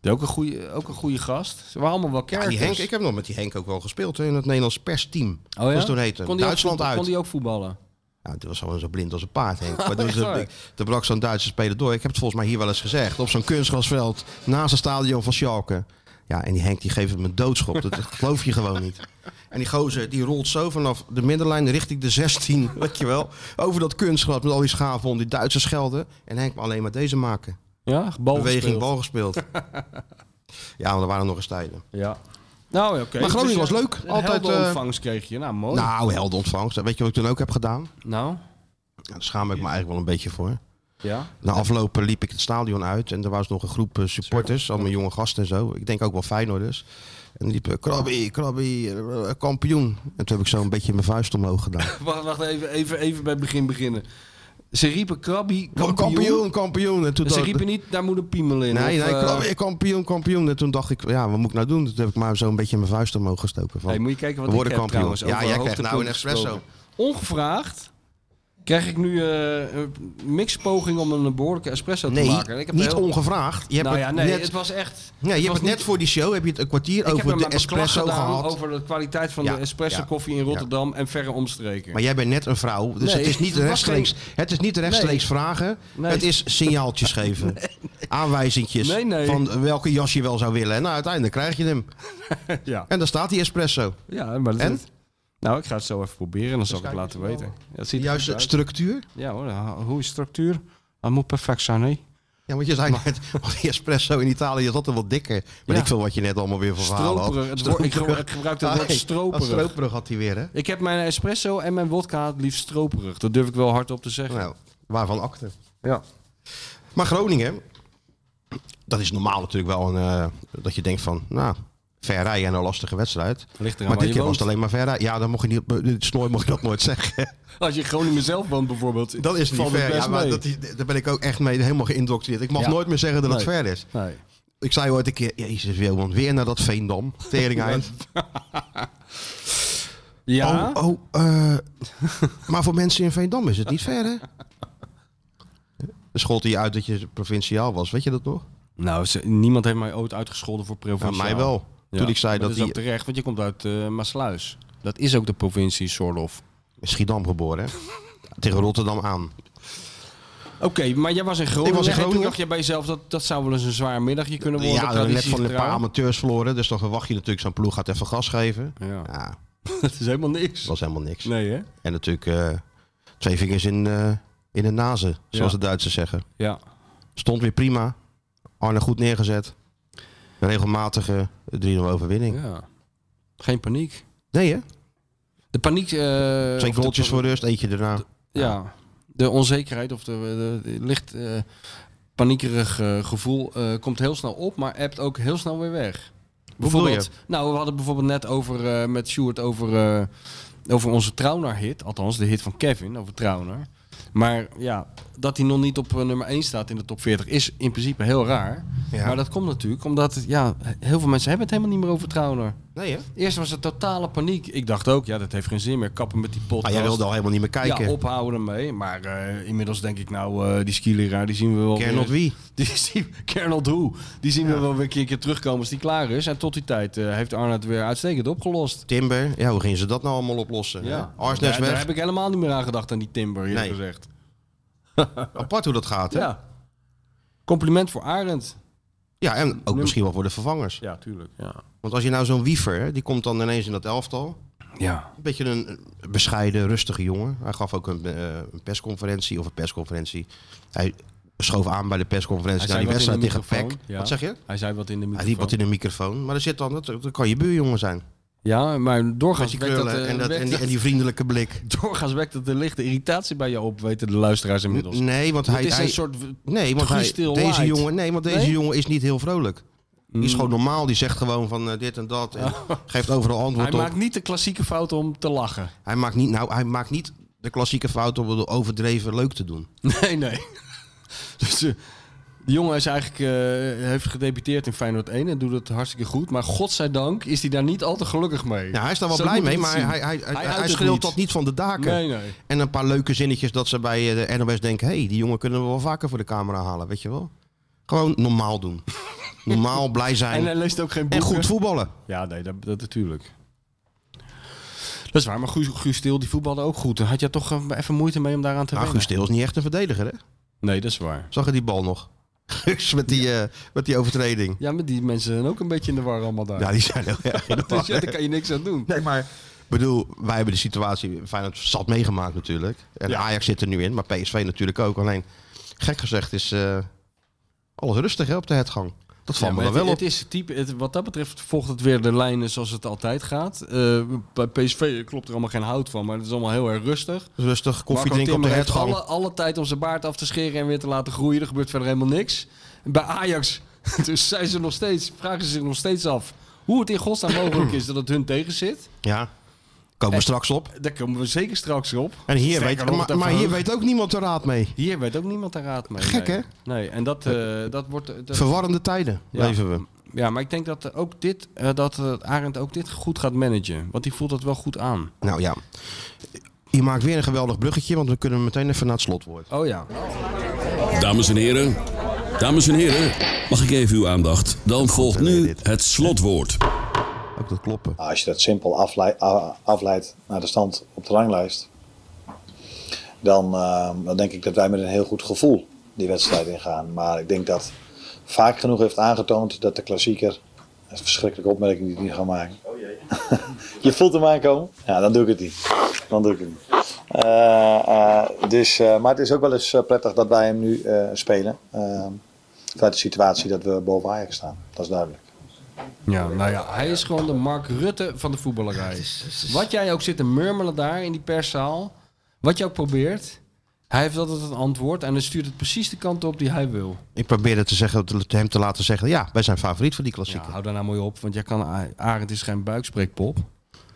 S4: Die Ook een, goede, ook een goede gast. Ze waren allemaal wel
S3: Ja,
S4: kerkers.
S3: die Henk, ik heb nog met die Henk ook wel gespeeld hè, in het Nederlands persteam.
S4: Oh ja?
S3: Dat toen heette.
S4: Kon die ook
S3: Duitsland
S4: voetbal-
S3: uit.
S4: Kon die ook voetballen?
S3: Ja, die was gewoon zo blind als een paard, Henk. Maar toen
S4: echt
S3: ze-
S4: waar?
S3: toen brak zo'n Duitse speler door. Ik heb het volgens mij hier wel eens gezegd. Op zo'n kunstgrasveld naast het stadion van Schalke. Ja, en die Henk die geeft hem een doodschop. Dat geloof je gewoon niet. En die gozer die rolt zo vanaf de middenlijn richting de 16. Weet je wel. Over dat kunstgras met al die schaven om die Duitsers schelden. En Henk maar alleen maar deze maken.
S4: Ja, bal
S3: Beweging,
S4: gespeeld.
S3: bal gespeeld. ja, maar er waren nog eens tijden.
S4: Ja. Nou, ja, oké.
S3: Maar Groningen
S4: Dus,
S3: was
S4: ja,
S3: leuk.
S4: Een
S3: Altijd,
S4: helder
S3: eh,
S4: ontvangst kreeg je. Nou, mooi. Nou.
S3: Nou, helder ontvangst. Weet je wat ik toen ook heb gedaan? Ja, daar schaam ik me eigenlijk wel een beetje voor.
S4: Ja.
S3: Na aflopen liep ik het stadion uit en er was nog een groep eh, supporters, allemaal jonge gasten en zo. Ik denk ook wel Feyenoorders. En die liepen, krabby, krabby, eh, kampioen. En toen heb ik zo een beetje mijn vuist omhoog gedaan.
S4: Wacht, wacht even, even, even bij het begin beginnen. Ze riepen krabby, kampioen.
S3: Kampioen, kampioen. En toen
S4: Dus ze
S3: dacht-
S4: riepen niet, daar moet een piemel in.
S3: Nee,
S4: of,
S3: nee,
S4: eh,
S3: krabby, kampioen, kampioen. En toen dacht ik, ja, wat moet ik nou doen? Toen heb ik maar zo een beetje mijn vuist omhoog gestoken. Van,
S4: Hey, moet je kijken wat
S3: We
S4: ik
S3: worden
S4: heb
S3: kampioen.
S4: trouwens.
S3: Ja,
S4: over
S3: jij krijgt nou
S4: hoogtepunten
S3: een espresso.
S4: gesproken. Ongevraagd krijg ik nu eh, een mixpoging om een behoorlijke espresso
S3: nee,
S4: te maken. En Ik heb
S3: niet
S4: heel-
S3: ongevraagd. Je hebt
S4: Nou ja,
S3: het
S4: nee,
S3: net,
S4: het was echt...
S3: ja, je hebt
S4: was
S3: het net
S4: niet-
S3: voor die show heb je het een kwartier
S4: Ik heb
S3: over
S4: hem
S3: de
S4: maar beklag
S3: espresso
S4: gedaan
S3: gehad.
S4: over de kwaliteit van
S3: Ja,
S4: de espresso
S3: ja,
S4: koffie in
S3: ja.
S4: Rotterdam en verre omstreken.
S3: Maar jij bent net een vrouw, dus
S4: Nee,
S3: het is niet
S4: het was
S3: rechtstreeks, het is niet rechtstreeks
S4: Nee.
S3: vragen.
S4: Nee.
S3: Het is signaaltjes geven. Aanwijzingjes
S4: Nee, nee.
S3: van welke jas je wel zou willen. En nou, uiteindelijk krijg je hem.
S4: ja.
S3: En daar staat die espresso.
S4: ja, maar dat
S3: En?
S4: Nou, ik ga het zo even proberen en dan zal ik het laten weten. Ja, het ziet
S3: De
S4: er
S3: juiste
S4: goed uit.
S3: structuur.
S4: Ja hoor, ha- hoe is structuur? Dat moet perfect zijn, hè?
S3: Ja, want je zei net, want die espresso in Italië is altijd wat dikker. Maar
S4: Ja.
S3: ik veel wat je net allemaal weer voor verhalen had.
S4: Stroperig. Het woord- ik gebruik- ik gebruik het
S3: Ah,
S4: woord
S3: nee,
S4: stroperig.
S3: dat stroperig had hij weer, hè?
S4: Ik heb mijn espresso en mijn wodka het liefst stroperig. Dat durf ik wel hardop te zeggen.
S3: Nou, waarvan akte.
S4: Ja.
S3: Maar Groningen, dat is normaal natuurlijk wel een, eh, dat je denkt van, nou, ver rijden en een lastige wedstrijd.
S4: Ligt eraan
S3: Maar
S4: waar
S3: dit
S4: je
S3: keer was
S4: woont.
S3: het alleen maar verder. Ja, dan mocht je niet op dit snooi mocht je dat nooit zeggen.
S4: Als je in Groningen zelf woont bijvoorbeeld.
S3: Dat is niet
S4: valt het
S3: ver.
S4: best
S3: Ja, maar
S4: mee.
S3: dat is, daar ben ik ook echt mee helemaal geïndoctrineerd. Ik mag
S4: Ja.
S3: nooit meer zeggen dat het
S4: Nee.
S3: ver is.
S4: Nee.
S3: Ik zei ooit een keer, jezus Wilman, weer naar dat Veendam. Tering eind.
S4: Ja,
S3: Oh, oh eh, maar voor mensen in Veendam is het niet ver, hè? Schold hij uit dat je provinciaal was, weet je dat nog?
S4: nou, ze- niemand heeft mij ooit uitgescholden voor
S3: Van
S4: provinciaal.
S3: mij wel.
S4: Ja,
S3: Toen ik zei dat
S4: maar dat is
S3: hij
S4: ook terecht, want je komt uit eh Maasluis. Dat is ook de provincie soort of.
S3: in Schiedam geboren, hè? Tegen Rotterdam aan.
S4: Oké, maar jij was in Groningen.
S3: was in
S4: en toen
S3: Groningen.
S4: dacht je bij jezelf, dat, dat zou wel eens een zwaar middagje kunnen worden.
S3: Ja, nou, net van een paar
S4: traditiegetrouw.
S3: amateurs verloren. Dus dan verwacht je natuurlijk zo'n ploeg gaat even gas geven.
S4: Ja,
S3: Ja,
S4: dat is helemaal
S3: dat
S4: niks.
S3: was helemaal niks.
S4: Nee, hè?
S3: En natuurlijk eh, twee vingers in, eh, in de nazen, zoals
S4: Ja.
S3: de Duitsers zeggen.
S4: Ja.
S3: Stond weer prima. Arne goed neergezet. Een regelmatige 3-0 overwinning.
S4: ja. Geen paniek.
S3: Nee hè?
S4: De paniek... eh,
S3: Twee
S4: of de-
S3: goaltjes voor rust, eentje daarna.
S4: Ja, de onzekerheid of de, de- de licht eh, paniekerig eh, gevoel eh, komt heel snel op, maar appt ook heel snel weer weg. Bijvoorbeeld, nou, we hadden bijvoorbeeld net over eh, met Stuart over, eh, over onze Trauner hit, althans de hit van Kevin over Trauner. Maar ja, dat hij nog niet op eh, nummer 1 staat in de top 40 is in principe heel raar.
S3: Ja.
S4: Maar dat komt natuurlijk omdat ja, heel veel mensen hebben het helemaal niet meer over Trouwner.
S3: Nee, hè?
S4: Eerst was het totale paniek. Ik dacht ook, ja, dat heeft geen zin meer. Kappen met die
S3: Ah,
S4: podcast.
S3: jij wilde al helemaal niet meer kijken.
S4: Ja, ophouden ermee. Maar eh, inmiddels denk ik nou, eh, die skileraar, die zien we wel
S3: Kernot
S4: weer.
S3: wie?
S4: Die zien, Kernel Doe. Die zien we wel weer een keer, keer terugkomen als die klaar is. En tot die tijd eh, heeft Arne het weer uitstekend opgelost.
S3: Timber. Ja, hoe gingen ze dat nou allemaal oplossen?
S4: Ja.
S3: Ja. Arsnes
S4: Ja, Daar
S3: weg.
S4: heb ik helemaal niet meer aan gedacht aan die timber, eerlijk
S3: Nee.
S4: gezegd.
S3: Apart hoe dat gaat, hè? Ja,
S4: Ja. Compliment voor Arend.
S3: en ook misschien wel voor de vervangers.
S4: Ja, tuurlijk. Ja.
S3: Want als je nou zo'n wiever, hè, die komt dan ineens in dat elftal.
S4: ja.
S3: Een beetje een eh, bescheiden, rustige jongen. Hij gaf ook een, eh, een persconferentie of een persconferentie. Hij schoof aan bij de persconferentie
S4: Hij
S3: naar die
S4: zei wat
S3: wedstrijd
S4: in de
S3: tegen PEC.
S4: microfoon, ja.
S3: Wat zeg je?
S4: Hij zei wat in de
S3: Hij
S4: microfoon.
S3: liep wat in de microfoon. Maar er zit dan, dat, dat kan je buurjongen zijn.
S4: Ja, maar
S3: Met
S4: doorgaans
S3: die
S4: wekt
S3: krullen
S4: dat, eh,
S3: en, dat,
S4: wekt
S3: en, die,
S4: dat-
S3: en die vriendelijke blik.
S4: Doorgaans wekt dat de lichte irritatie bij je op, weten de luisteraars inmiddels.
S3: Nee, want hij...
S4: het is
S3: hij-
S4: een soort...
S3: Nee, want hij,
S4: Guus Til
S3: deze,
S4: Light.
S3: jongen, nee, want deze
S4: Nee? Mm.
S3: jongen is niet heel vrolijk. Die is gewoon normaal, die zegt gewoon van eh, dit en dat. En Geeft overal antwoord
S4: Hij
S3: op.
S4: maakt niet de klassieke fout om te lachen.
S3: Hij, maakt niet, nou, hij maakt niet de klassieke fout om het overdreven leuk te doen.
S4: Nee, nee. Dus eh, die jongen is eigenlijk, eh, heeft gedebuteerd in Feyenoord 1 en doet het hartstikke goed. Maar godzijdank is hij daar niet al te gelukkig mee.
S3: Ja, Nou, hij is daar wel
S4: Zo
S3: blij
S4: moet je
S3: mee,
S4: het
S3: maar hij,
S4: zien.
S3: hij, hij, hij,
S4: uit het
S3: schreeuwt
S4: niet.
S3: dat niet van de daken.
S4: Nee, nee.
S3: En een paar leuke zinnetjes dat ze bij eh, de NOS denken... hé, hey, die jongen kunnen we wel vaker voor de camera halen, weet je wel. Gewoon normaal doen. normaal, blij
S4: En eh,
S3: zijn
S4: hij
S3: en,
S4: leest ook geen boeken.
S3: goed voetballen.
S4: Ja, nee, dat, dat natuurlijk. Dat is waar, maar Guus, Guus Til, die voetbalde ook goed. Had jij toch eh, even moeite mee om daaraan te
S3: Nou,
S4: wennen?
S3: Guus Til is niet echt een verdediger, hè?
S4: Nee, dat is waar.
S3: Zag je die bal nog? Guus met die, eh, met die overtreding.
S4: Ja, maar die mensen zijn ook een beetje in de war allemaal daar.
S3: Ja, die zijn heel erg in de war.
S4: dus ja, daar kan je niks aan doen.
S3: Nee, maar... Ik bedoel, wij hebben de situatie, Feyenoord zat meegemaakt natuurlijk. En
S4: Ja.
S3: Ajax zit er nu in, maar PSV natuurlijk ook. Alleen, gek gezegd is eh, alles rustig hè, op de headgang. Dat valt
S4: Ja,
S3: me
S4: maar
S3: dan
S4: het,
S3: wel op.
S4: het is type, het- wat dat betreft volgt het weer de lijnen zoals het altijd gaat. Eh, bij PSV klopt er allemaal geen hout van, maar het is allemaal heel erg rustig.
S3: Rustig, koffie
S4: Marco
S3: drinken op de
S4: Timmer heeft
S3: headgang.
S4: Alle, alle tijd om zijn baard af te scheren en weer te laten groeien. Er gebeurt verder helemaal niks. En bij Ajax dus zijn ze nog steeds, vragen ze zich nog steeds af hoe het in godsnaam mogelijk is dat het hun tegen zit.
S3: Ja, komen we straks op.
S4: Daar komen we zeker straks op.
S3: En hier
S4: Sterker
S3: weet,
S4: nog,
S3: maar,
S4: daar
S3: maar hier
S4: verheug-
S3: weet ook niemand de raad mee.
S4: Hier weet ook niemand daar raad mee.
S3: Gek,
S4: nee.
S3: hè?
S4: Nee, en dat, eh, dat wordt... dat-
S3: Verwarrende tijden
S4: Ja.
S3: leven we.
S4: Ja, maar ik denk dat eh, ook dit, eh, dat eh, Arend ook dit goed gaat managen. Want die voelt dat wel goed aan.
S3: Nou ja, je maakt weer een geweldig bruggetje, want we kunnen meteen even naar het slotwoord.
S4: Oh ja.
S6: Dames en heren, dames en heren, mag ik even uw aandacht? Dan volgt nu het slotwoord.
S3: Ook dat kloppen.
S7: Nou, als je dat simpel aflei- a- afleidt naar de stand op de ranglijst, dan, eh, dan denk ik dat wij met een heel goed gevoel die wedstrijd ingaan. Maar ik denk dat vaak genoeg heeft aangetoond dat de klassieker, dat is een verschrikkelijke opmerking die ik nu ga maken. je voelt hem aankomen? Ja, dan doe ik het niet. Dan doe ik het niet. Eh, eh, dus, eh, maar het is ook wel eens eh, prettig dat wij hem nu eh, spelen. eh, vanuit de situatie dat we boven Ajax staan. Dat is duidelijk.
S4: ja. Nou ja, hij is gewoon de Mark Rutte van de voetballerij. Wat jij ook zit te murmelen daar in die perszaal. Wat je ook probeert. Hij heeft altijd een antwoord en hij stuurt het precies de kant op die hij wil.
S3: Ik probeerde te zeggen, te- hem te laten zeggen, ja, wij zijn favoriet van die
S4: Ja,
S3: klassieker.
S4: hou daar nou mooi op, want jij kan, Arend is geen buikspreekpop.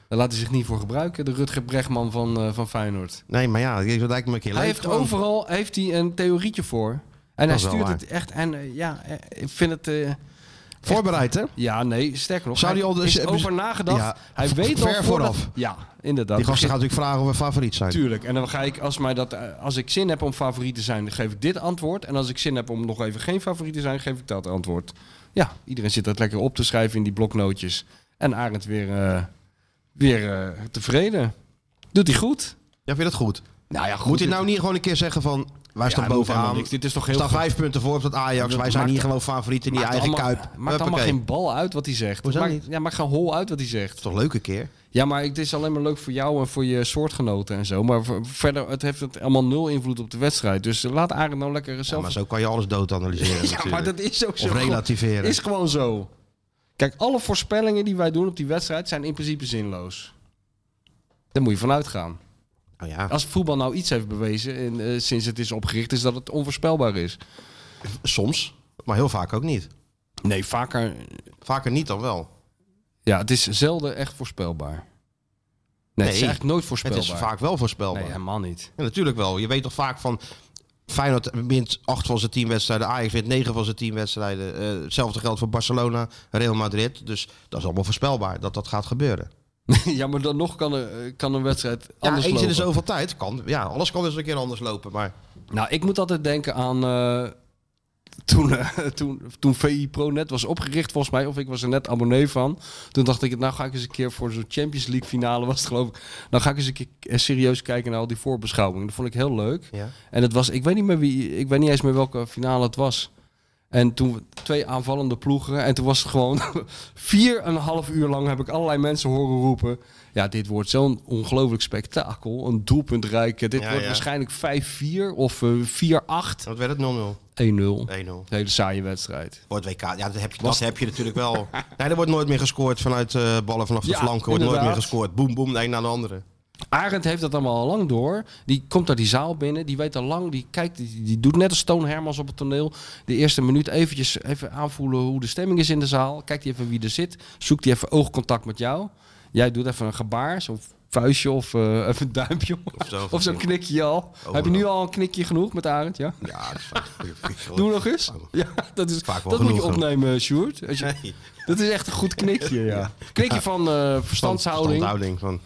S4: Daar laat hij zich niet voor gebruiken, de Rutger Bregman van, eh, van Feyenoord.
S3: Nee, maar ja, dat lijkt me een keer
S4: Hij
S3: leuk
S4: heeft
S3: gewoon.
S4: overal heeft hij een theorietje voor. En hij
S3: is wel
S4: stuurt
S3: waar.
S4: het echt. En eh, ja, eh, ik vind het. eh,
S3: Voorbereid, hè?
S4: ja, nee, sterker nog.
S3: Zou
S4: hij
S3: die al de-
S4: is
S3: hebben ze-
S4: over nagedacht.
S3: Ja,
S4: hij
S3: v-
S4: weet al
S3: ver
S4: voordat-
S3: vooraf.
S4: Ja, inderdaad.
S3: Die gasten gaan natuurlijk vragen of we favoriet zijn.
S4: Tuurlijk. En dan ga ik, als, mij dat, eh, als ik zin heb om favoriet te zijn, dan geef ik dit antwoord. En als ik zin heb om nog even geen favoriet te zijn, geef ik dat antwoord. Ja, iedereen zit dat lekker op te schrijven in die bloknootjes. En Arend weer, eh, weer eh, tevreden. Doet hij goed?
S3: Ja, vind je dat goed?
S4: Nou ja, goed.
S3: Moet hij nou niet gewoon een keer zeggen van, wij staan
S4: hij moet helemaal
S3: bovenaan.
S4: niks. Dit is toch heel
S3: We staan
S4: goed.
S3: vijf punten voor op dat Ajax.
S4: Dat
S3: Wij zijn
S4: maakt-
S3: hier gewoon favoriet in die
S4: Maakt
S3: eigen
S4: allemaal-
S3: kuip.
S4: Maakt allemaal
S3: Huppakee.
S4: geen bal uit wat hij zegt.
S3: Hoezo
S4: Maakt-
S3: niet?
S4: Ja, maakt geen hol uit wat hij zegt.
S3: Toch leuk een keer?
S4: Ja, maar het is alleen maar leuk voor jou en voor je soortgenoten en zo. Maar ver- verder, het heeft het allemaal nul invloed op de wedstrijd. Dus laat Arend nou lekker
S3: Ja,
S4: zelf...
S3: maar zo kan je alles dood analyseren
S4: Ja, maar dat is ook zo.
S3: Of relativeren.
S4: Is gewoon zo. Kijk, alle voorspellingen die wij doen op die wedstrijd zijn in principe zinloos. Daar moet je vanuit gaan.
S3: Oh ja,
S4: Als voetbal nou iets heeft bewezen en, eh, sinds het is opgericht, is dat het onvoorspelbaar is.
S3: soms. Maar heel vaak ook niet.
S4: Nee, vaker
S3: Vaker niet dan wel.
S4: Ja, het is zelden echt voorspelbaar. Nee, het is eigenlijk nooit
S3: Het
S4: voorspelbaar.
S3: is vaak wel voorspelbaar.
S4: Nee, helemaal niet.
S3: Ja, natuurlijk wel. Je weet toch vaak van... Feyenoord wint acht van zijn tien wedstrijden. Ajax wint negen van zijn tien wedstrijden. Eh, hetzelfde geldt voor Barcelona, Real Madrid. Dus dat is allemaal voorspelbaar dat dat gaat gebeuren.
S4: ja, maar dan nog kan, er, eh, kan een wedstrijd
S3: Ja,
S4: anders
S3: eens in
S4: lopen.
S3: de zoveel tijd kan... Ja, alles kan dus een keer anders lopen. Maar
S4: Nou, ik moet altijd denken aan eh, toen, eh, toen, toen VI Pro net was opgericht volgens mij, of ik was er net abonnee van. Toen dacht ik, nou ga ik eens een keer voor zo'n Champions League finale was het geloof ik. Nou ga ik eens een keer eh, serieus kijken naar al die voorbeschouwingen. Dat vond ik heel leuk.
S3: ja.
S4: En het was, ik weet niet meer wie, ik weet niet eens meer welke finale het was. En toen twee aanvallende ploegen. En toen was het gewoon vier en een half uur lang heb ik allerlei mensen horen roepen. Ja, dit wordt zo'n ongelooflijk spektakel. Een doelpuntrijk. Dit
S3: Ja,
S4: wordt
S3: ja.
S4: waarschijnlijk 5-4 of eh, 4-8. 1-0.
S3: Wat werd het? 0-0.
S4: Een
S3: 1-0.
S4: hele saaie wedstrijd.
S3: Wordt WK. Ja, dat heb je, dat heb je natuurlijk wel. Nee, er wordt nooit meer gescoord vanuit eh, ballen vanaf de
S4: Ja,
S3: flanken. Wordt nooit meer
S4: inderdaad.
S3: gescoord. Boom, boom, de een naar de andere.
S4: Arend heeft dat allemaal al lang door. Die komt uit die zaal binnen. Die weet al lang. Die kijkt. Die, die doet net als Toon Hermans op het toneel. De eerste minuut eventjes even aanvoelen hoe de stemming is in de zaal. Kijkt hij even wie er zit. Zoekt hij even oogcontact met jou. Jij doet even een gebaar. Zo'n vuistje of eh, even een duimpje.
S3: Of zo. Oh,
S4: Of zo'n knikje al. Heb je nu al een knikje genoeg met Arend? Ja.
S3: Ja, dat is vaak.
S4: Doe nog eens. Ja, dat is,
S3: Vaak wel
S4: dat moet je
S3: genoeg, hoor.
S4: opnemen, Sjoerd. Als je, Dat is echt een goed knikje, ja. Knikje van eh, verstandshouding.
S3: Standhouding. Van,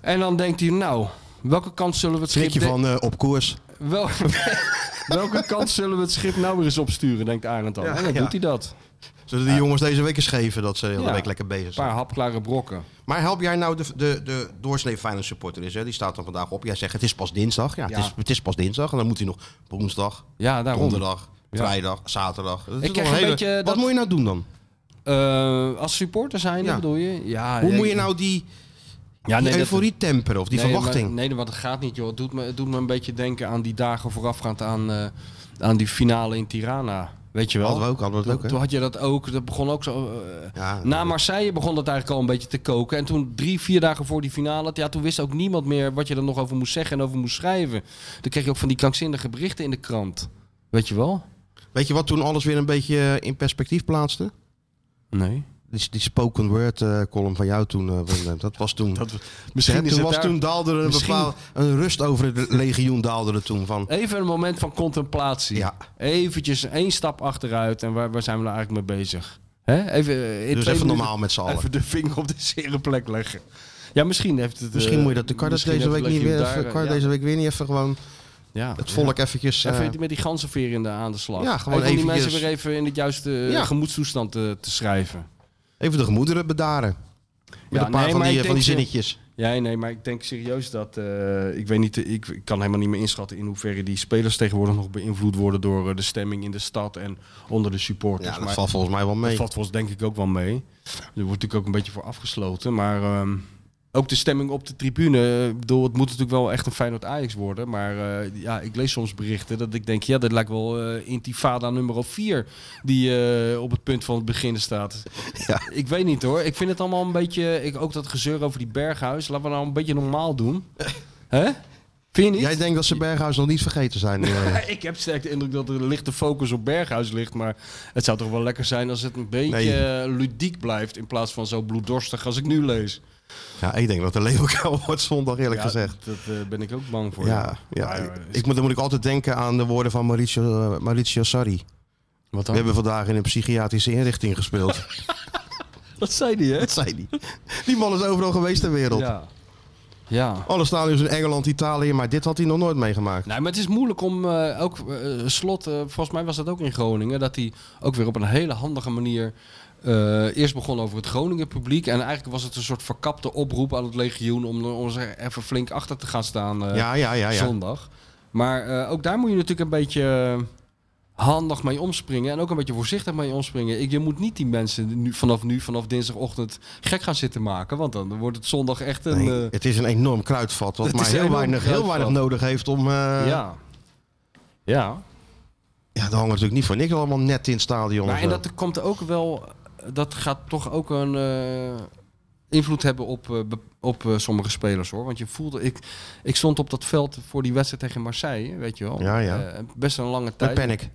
S4: En dan denkt hij, nou, welke kant zullen we het schip...
S3: Schrik je
S4: de-
S3: van eh, op koers.
S4: Wel, welke kant zullen we het schip nou weer eens opsturen, denkt Arend dan. en dan
S3: ja.
S4: doet hij dat.
S3: Zullen die jongens deze week eens geven dat ze de hele
S4: Ja.
S3: week lekker bezig
S4: Een
S3: zijn?
S4: paar hapklare brokken.
S3: Maar help jij nou de, de, de doorsnee Finance supporter is, hè? die staat dan vandaag op. Jij zegt het is pas dinsdag. Ja,
S4: Ja.
S3: Het, is, het is pas dinsdag. En dan moet hij nog woensdag,
S4: Ja, daarom.
S3: donderdag,
S4: Ja.
S3: vrijdag, zaterdag. Dat is
S4: Ik
S3: toch
S4: krijg een beetje
S3: Wat
S4: dat-
S3: moet je nou doen dan?
S4: Eh, als supporter zijn,
S3: Ja.
S4: bedoel je? Ja,
S3: Hoe
S4: ja,
S3: moet je
S4: ik-
S3: nou die, die
S4: Ja, nee, dat-
S3: euforie temperen of die
S4: nee,
S3: verwachting?
S4: maar- nee, want het gaat niet, joh. Het doet me, het doet me een beetje denken aan die dagen voorafgaand aan, eh, aan die finale in Tirana. Weet je wel?
S3: Hadden we ook, hadden we het ook, hè?
S4: Toen had je dat ook. Dat begon ook zo... eh,
S3: Ja,
S4: Na Marseille begon dat eigenlijk al een beetje te koken. En toen drie, vier dagen voor die finale, ja, toen wist ook niemand meer wat je er nog over moest zeggen en over moest schrijven. Dan kreeg je ook van die krankzinnige berichten in de krant. Weet je wel?
S3: Weet je wat toen alles weer een beetje eh, in perspectief plaatste?
S4: Nee.
S3: Die, die spoken word eh, column van jou toen, eh, Willem, dat was toen. Dat,
S4: Misschien is
S3: toen,
S4: het
S3: was,
S4: daar-
S3: toen daalde er een,
S4: Misschien-
S3: bepaal, een rust over het legioen daalde er toen van.
S4: Even een moment van contemplatie.
S3: Ja.
S4: Eventjes één stap achteruit en waar, waar zijn we nou eigenlijk mee bezig? Hè? Even, eh, in twee
S3: Dus even
S4: minuten
S3: normaal met z'n allen.
S4: Even de vinger op de zere plek leggen. Ja, misschien heeft het... eh,
S3: Misschien moet je dat de Cardas
S4: misschien
S3: deze
S4: heeft
S3: week
S4: het
S3: niet weer,
S4: legioen
S3: even,
S4: daar, eh,
S3: kan je
S4: ja.
S3: deze week weer niet even gewoon
S4: Ja.
S3: het volk eventjes. eh,
S4: Even met die ganzenveer in de, aan de slag.
S3: Ja, gewoon
S4: even om die
S3: eventjes-
S4: mensen weer even in het juiste eh,
S3: Ja.
S4: gemoedstoestand eh, te schrijven.
S3: Even de gemoederen bedaren. Met
S4: Ja,
S3: een paar
S4: nee,
S3: van,
S4: maar
S3: die, eh,
S4: ik
S3: van die
S4: denk ze-
S3: zinnetjes.
S4: Ja, nee, maar ik denk serieus dat... eh, ik weet niet, eh, ik, ik kan helemaal niet meer inschatten in hoeverre die spelers tegenwoordig nog beïnvloed worden door eh, de stemming in de stad en onder de supporters.
S3: Ja, dat
S4: maar
S3: valt volgens mij wel
S4: dat
S3: mee.
S4: valt volgens denk ik ook wel mee. Er wordt natuurlijk ook een beetje voor afgesloten, maar... ehm, ook de stemming op de tribune. eh, Ik bedoel, het moet natuurlijk wel echt een Feyenoord Ajax worden. Maar eh, ja, ik lees soms berichten dat ik denk... ja, dat lijkt wel eh, intifada nummer 4... die eh, op het punt van het beginnen staat.
S3: Ja.
S4: Ik weet niet hoor. Ik vind het allemaal een beetje... Ik, ook dat gezeur over die Berghuis. Laten we nou een beetje normaal doen. Hè? Vind je niet?
S3: Jij denkt dat ze Berghuis nog niet vergeten zijn. eh.
S4: Ik heb sterk de indruk dat er een lichte focus op Berghuis ligt. Maar het zou toch wel lekker zijn als het een beetje eh, ludiek blijft... in plaats van zo bloeddorstig als ik nu lees.
S3: ja, ik denk dat de Leeuwenkuil wordt zondag eerlijk
S4: Ja,
S3: gezegd.
S4: Dat eh, ben ik ook bang voor.
S3: Ja, ja.
S4: Maar,
S3: Ik,
S4: eh,
S3: ik moet, dan moet ik altijd denken aan de woorden van Mauricio, eh, Mauricio Sarri.
S4: Wat
S3: We hebben vandaag in een psychiatrische inrichting gespeeld.
S4: Dat zei die, hè?
S3: dat zei die. Die man is overal geweest ter wereld.
S4: Ja. Ja.
S3: Alle stadions in Engeland, Italië, maar dit had hij nog nooit meegemaakt.
S4: Nee, maar het is moeilijk om eh, ook eh, slot. eh, volgens mij was dat ook in Groningen. Dat hij ook weer op een hele handige manier. eh, eerst begon over het Groningen publiek. En eigenlijk was het een soort verkapte oproep aan het legioen. om, er- om er even flink achter te gaan staan eh,
S3: Ja, ja, ja, ja.
S4: zondag. Maar eh, ook daar moet je natuurlijk een beetje. eh, Handig mee omspringen en ook een beetje voorzichtig mee omspringen. Ik, je moet niet die mensen nu, vanaf nu, vanaf dinsdagochtend, gek gaan zitten maken. Want dan wordt het zondag echt een.
S3: Nee,
S4: eh,
S3: het is een enorm kruidvat, wat
S4: het
S3: maar
S4: is een
S3: heel
S4: enorm
S3: weinig, heel
S4: kruidvat.
S3: weinig nodig heeft om... eh, ja.
S4: ja. Ja.
S3: daar hangen natuurlijk niet voor niks allemaal net in het stadion.
S4: Maar
S3: of
S4: en
S3: zo.
S4: dat komt ook wel. Dat gaat toch ook een eh, invloed hebben op, eh, be- op eh, sommige spelers hoor. Want je voelde. Ik, ik stond op dat veld voor die wedstrijd tegen Marseille, weet je wel.
S3: Ja, ja.
S4: Eh, best een lange
S3: Met
S4: tijd.
S3: Panic.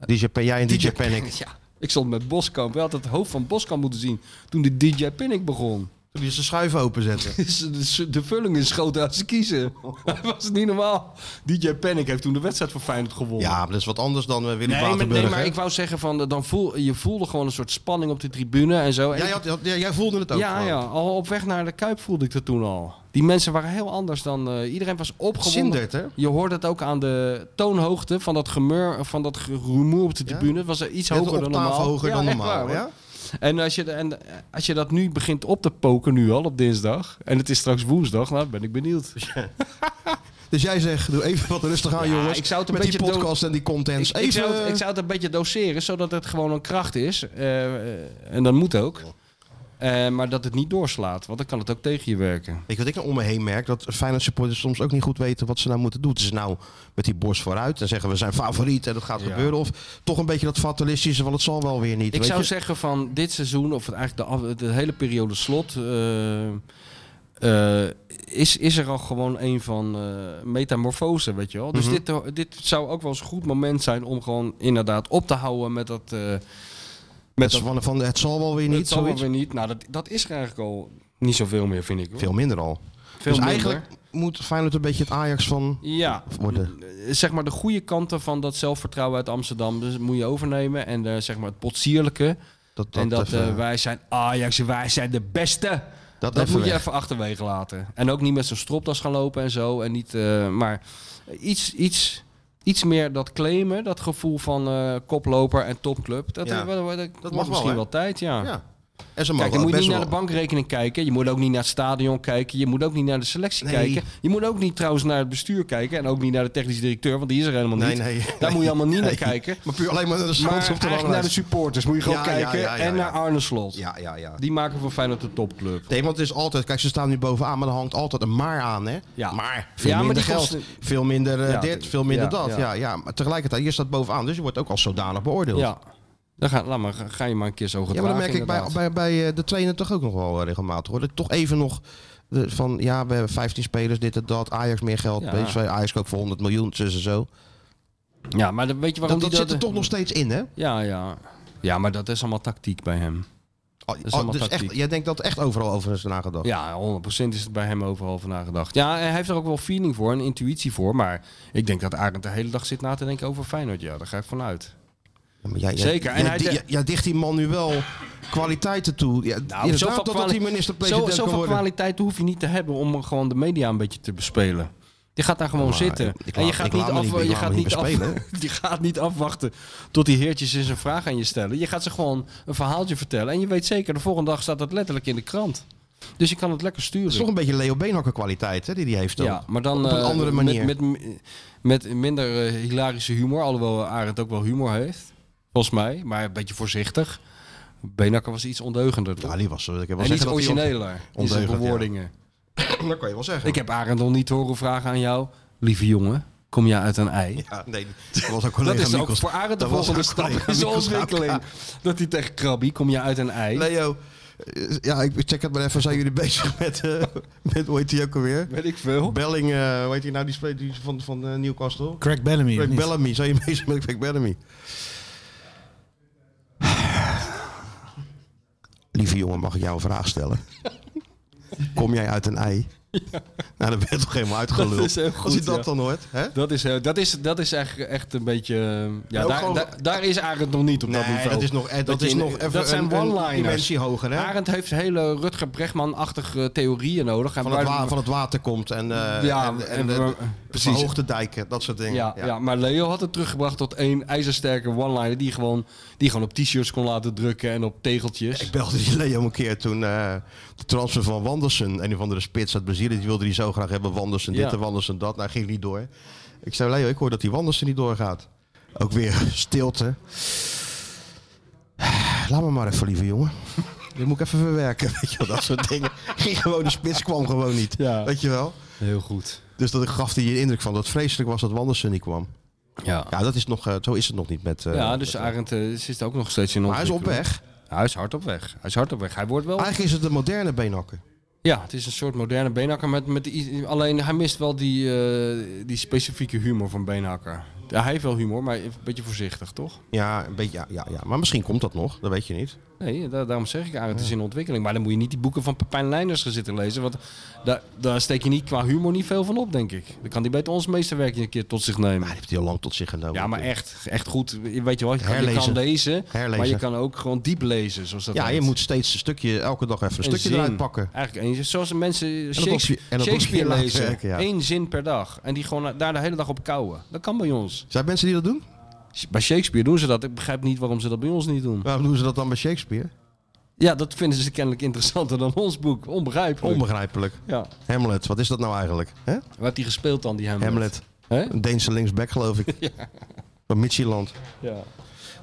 S3: DJ, Pa- jij en DJ, Panic.
S4: Ja. Ik stond met Boskamp. Je had het hoofd van Boskamp moeten zien toen de DJ Panic begon. Dus
S3: Toen hij zijn schuiven openzetten.
S4: De- De vulling is groter uit ze kiezen. Dat was niet normaal. DJ Panic heeft toen de wedstrijd voor Feyenoord gewonnen.
S3: Ja, maar dat is wat anders dan eh, Willy
S4: Nee, maar,
S3: Waterburg.
S4: nee, maar ik wou zeggen van, eh, dan voel, je voelde gewoon een soort spanning op de tribune en zo. En
S3: jij,
S4: ik-
S3: had, had- ja, jij voelde het ook
S4: ja,
S3: gewoon.
S4: ja, al op weg naar de Kuip voelde ik dat toen al. Die mensen waren heel anders dan, eh, iedereen was opgewonden.
S3: Zindert, hè?
S4: Je hoorde het ook aan de toonhoogte van dat gemur, van dat gerumoer op de
S3: Ja.
S4: tribune. Het was er iets
S3: Net een
S4: hoger dan
S3: octaaf
S4: normaal.
S3: hoger
S4: Ja,
S3: dan
S4: echt
S3: normaal.
S4: waar, hoor.
S3: ja?
S4: En als, je, de- en eh, als je dat nu begint op te poken, nu al op dinsdag, en het is straks woensdag, nou ben ik benieuwd.
S3: Dus jij zegt, doe even wat rustig aan,
S4: Ja,
S3: jongens.
S4: ik zou het een
S3: met die
S4: beetje
S3: podcast en die contents.
S4: Ik,
S3: dus even...
S4: ik, zou het, ik zou het een beetje doseren, zodat het gewoon een kracht is. eh, eh, en dat moet ook. Eh, maar dat het niet doorslaat, want dan kan het ook tegen je werken.
S3: Weet je wat ik nou om me heen merk? Dat Feyenoord supporters soms ook niet goed weten wat ze nou moeten doen. Het is nou met die borst vooruit en zeggen we zijn favoriet en dat gaat
S4: Ja.
S3: gebeuren. Of toch een beetje dat fatalistische van het zal wel weer niet.
S4: Ik
S3: weet
S4: zou
S3: je?
S4: zeggen van dit seizoen, of het eigenlijk de, af- de hele periode slot, eh, eh, is, is er al gewoon een van eh, metamorfose, weet je wel.
S3: Mhm.
S4: Dus dit, dit zou ook wel eens een goed moment zijn om gewoon inderdaad op te houden met dat... eh, met
S3: het, is van, van, het zal wel weer niet,
S4: dat zal wel
S3: zoiets.
S4: weer niet. Nou, dat, dat is er eigenlijk al niet zoveel meer, vind ik. Hoor.
S3: Veel minder al.
S4: Veel
S3: dus
S4: minder.
S3: eigenlijk moet Feyenoord een beetje het Ajax van
S4: Ja,
S3: worden.
S4: zeg maar de goede kanten van dat zelfvertrouwen uit Amsterdam dus moet je overnemen. En eh, zeg maar het potsierlijke.
S3: Dat,
S4: en dat
S3: even-
S4: eh, wij zijn Ajax en wij zijn de beste.
S3: dat
S4: Dat,
S3: even
S4: moet je
S3: weg.
S4: even achterwege laten. En ook niet met zo'n stropdas gaan lopen en zo. En niet, eh, maar iets, iets, iets meer dat claimen. Dat gevoel van eh, koploper en topclub. Dat,
S3: Ja.
S4: eh, wel- wel- dat
S3: mag
S4: wordt
S3: wel,
S4: misschien
S3: hè?
S4: wel, tijd, ja.
S3: Ja. En ze mogen
S4: Kijk, je
S3: ook
S4: moet
S3: best
S4: niet naar
S3: wel-
S4: de bankrekening kijken. Je moet ook niet naar het stadion kijken. Je moet ook niet naar de selectie
S3: Nee.
S4: kijken. Je moet ook niet trouwens naar het bestuur kijken. En ook niet naar de technisch directeur, want die is er helemaal
S3: Nee,
S4: niet.
S3: nee.
S4: Daar moet je allemaal niet
S3: Nee.
S4: naar kijken.
S3: Maar puur alleen maar naar de
S4: Maar
S3: schans op de
S4: eigenlijk naar de
S3: ranglijst.
S4: supporters moet je gewoon
S3: Ja, ja,
S4: kijken.
S3: ja, ja,
S4: en
S3: ja.
S4: naar Arne Slot.
S3: Ja, ja, ja.
S4: Die maken voor Feyenoord de topclub.
S3: Nee, want het is altijd, kijk, ze staan nu bovenaan, maar er hangt altijd een maar aan, hè?
S4: Ja.
S3: Maar veel
S4: Ja, maar
S3: minder
S4: die
S3: geld,
S4: kosten-
S3: veel minder eh,
S4: Ja,
S3: dit, veel minder
S4: ja,
S3: dat. Ja.
S4: ja.
S3: Ja, maar tegelijkertijd, je staat bovenaan, dus je wordt ook als zodanig beoordeeld.
S4: Ja. Dan ga, laat maar, ga je maar een keer zo
S3: Ja,
S4: gedragen.
S3: maar dat merk ik bij, bij,
S4: inderdaad.
S3: bij eh, de trainer toch ook nog wel eh, regelmatig hoor. Dat ik toch even nog eh, van ja, we hebben 15 spelers, dit en dat. Ajax meer geld.
S4: Ja.
S3: PSV, Ajax ook voor 100 miljoen, tussen zo.
S4: Ja, maar dan weet je waarom
S3: Dat, dat
S4: die
S3: zit er toch nog steeds in, hè?
S4: Ja, ja. Ja, maar dat is allemaal tactiek bij hem.
S3: Oh,
S4: is
S3: oh,
S4: allemaal
S3: dus echt,
S4: tactiek.
S3: jij denkt dat echt overal over is nagedacht.
S4: Ja, 100% is het bij hem overal van nagedacht. Ja, hij heeft er ook wel feeling voor en intuïtie voor. Maar ik denk dat Arend de hele dag zit na te denken over Feyenoord. Ja, daar ga ik vanuit.
S3: Ja, maar jij,
S4: Zeker,
S3: Jij,
S4: en
S3: jij
S4: hij
S3: di-
S4: de-
S3: jij- jij dicht die man nu wel kwaliteiten toe. Ja, inderdaad,
S4: Nou, zoveel
S3: totdat
S4: kwali-
S3: hij
S4: Zo,
S3: minister-president kan
S4: zoveel
S3: worden.
S4: kwaliteit hoef je niet te hebben om gewoon de media een beetje te bespelen. Je gaat daar gewoon
S3: Maar
S4: zitten.
S3: Ah, ik- ik
S4: en je
S3: laat- ik laat
S4: gaat niet,
S3: me
S4: af,
S3: niet- ik
S4: je
S3: laat
S4: gaat
S3: me niet
S4: niet af,
S3: bespelen.
S4: je gaat niet afwachten tot die heertjes eens een vraag aan je stellen. Je gaat ze gewoon een verhaaltje vertellen. En je weet zeker, de volgende dag staat dat letterlijk in de krant. Dus je kan het lekker sturen.
S3: Dat is toch een beetje Leo Beenhakker kwaliteit hè, die hij heeft. Dan.
S4: Ja, maar dan
S3: op een
S4: eh,
S3: andere manier.
S4: Met, met, met minder eh, hilarische humor, alhoewel Arend ook wel humor heeft, volgens mij, maar een beetje voorzichtig. Benakker was iets ondeugender. toch?
S3: ja, die was. eh, Ik heb wel
S4: en iets
S3: zeggen dat hij
S4: origineler in zijn
S3: ondeugend, ja.
S4: bewoordingen.
S3: ook- Dat kan je wel zeggen.
S4: Ik heb Arend nog niet horen vragen aan jou, lieve jongen, kom jij uit een ei?
S3: Ja, nee, dat was ook
S4: Dat
S3: collega
S4: is ook
S3: Mikkels.
S4: voor Arend de
S3: Dat was
S4: volgende
S3: ook
S4: stap
S3: collega
S4: in zijn
S3: Mikkels.
S4: ontwikkeling. Dat hij tegen Krabby, kom je uit een ei?
S3: Leo, eh, ja, ik check het maar even. Zijn jullie bezig met, eh met hoe heet die ook alweer?
S4: Weet ik veel.
S3: Belling, eh hoe heet die nou? Die speelt die van, van eh, Newcastle.
S5: Craig Bellamy.
S3: Craig Bellamy. Zijn jullie bezig met Craig Bellamy? Lieve jongen, mag ik jou een vraag stellen? Kom jij uit een ei? Nou, dan ben je toch helemaal uitgeluld.
S4: Dat is heel goed,
S3: Als je dat
S4: ja.
S3: dan hoort, hè?
S4: Dat is, eh, dat is, dat is echt, echt een beetje... eh, Ja,
S3: ook
S4: daar,
S3: gewoon-
S4: daar, daar is Arend nog niet op dat
S3: Nee,
S4: niveau.
S3: dat is nog, eh, dat
S4: Dat je
S3: is
S4: in-
S3: nog even
S4: dat zijn
S3: een, een
S4: one-liners.
S3: dimensie hoger, hè?
S4: Arend heeft hele Rutger Bregman-achtige theorieën nodig. En
S3: van, het
S4: waar-
S3: wa- van het water komt en, eh
S4: Ja,
S3: en, en,
S4: en
S3: de-
S4: we-
S3: de
S4: precies.
S3: verhoogde dijken, dat soort dingen.
S4: ja, ja. maar Leo had het teruggebracht tot één ijzersterke one-liner... die gewoon, die gewoon op t-shirts kon laten drukken en op tegeltjes.
S3: Ik belde die Leo een keer toen eh, de transfer van Wandersen, een of andere spits uit Brazilië, die wilde die zo graag hebben. Wandersen dit
S4: Ja.
S3: en Wandersen dat. Nou, ging niet door. Ik zei, Leo, ik hoor dat die Wandersen niet doorgaat. Ook weer stilte. Laat me maar even, lieve jongen. Dit moet ik even verwerken, weet je wel, dat soort dingen. Ging gewoon, de spits kwam gewoon niet,
S4: Ja.
S3: weet je wel.
S4: Heel goed.
S3: Dus dat gaf hij je indruk van dat het vreselijk was dat Wandersen niet kwam.
S4: Ja,
S3: Ja, dat is nog, eh, zo is het nog niet met... eh,
S4: ja dus
S3: met-
S4: Arend eh, zit ook nog steeds in
S3: maar hij is op
S4: ontwikkeling.
S3: weg.
S4: Hij is hard op weg. Hij is hard op weg. Hij wordt wel...
S3: Eigenlijk is het een moderne beenhakker.
S4: Ja, het is een soort moderne Beenhakker. Met, met, i- alleen hij mist wel die, eh, die specifieke humor van Beenhakker. Ja, hij heeft wel humor, maar een beetje voorzichtig, toch?
S3: Ja, een beetje, ja, ja, ja, maar misschien komt dat nog, dat weet je niet.
S4: Nee, da- daarom zeg ik eigenlijk, het is in ontwikkeling. Maar dan moet je niet die boeken van Pepijn Leijners gaan zitten lezen. Want daar, daar steek je niet qua humor niet veel van op, denk ik. Dan kan die beter ons meesterwerk een keer tot zich
S3: Maar
S4: nemen.
S3: die heeft hij al lang tot zich genomen.
S4: Ja, maar echt, echt goed. Je Weet je wat, je kan, je
S3: Herlezen.
S4: kan lezen, maar je
S3: Herlezen.
S4: kan ook gewoon diep lezen. Zoals dat
S3: Ja, je
S4: heet.
S3: moet steeds een stukje, elke dag even een
S4: Een
S3: stukje
S4: zin.
S3: eruit pakken.
S4: Eigenlijk één zin. Zoals de mensen
S3: dat
S4: Shakespeare,
S3: op je- en dat op je
S4: Shakespeare
S3: laten
S4: lezen.
S3: werken, ja.
S4: Eén zin per dag. En die gewoon daar de hele dag op kouwen. Dat kan bij ons.
S3: Zijn er mensen die dat doen?
S4: Bij Shakespeare doen ze dat. Ik begrijp niet waarom ze dat bij ons niet doen.
S3: Waarom doen ze dat dan bij Shakespeare?
S4: Ja, dat vinden ze kennelijk interessanter dan ons boek. Onbegrijpelijk.
S3: Onbegrijpelijk.
S4: ja.
S3: Hamlet, wat is dat nou eigenlijk? hè?
S4: Waar heeft hij gespeeld dan, die Hamlet?
S3: Hamlet,
S4: Hè?
S3: een Deense linksback geloof ik. Van Midtjylland.
S4: Ja.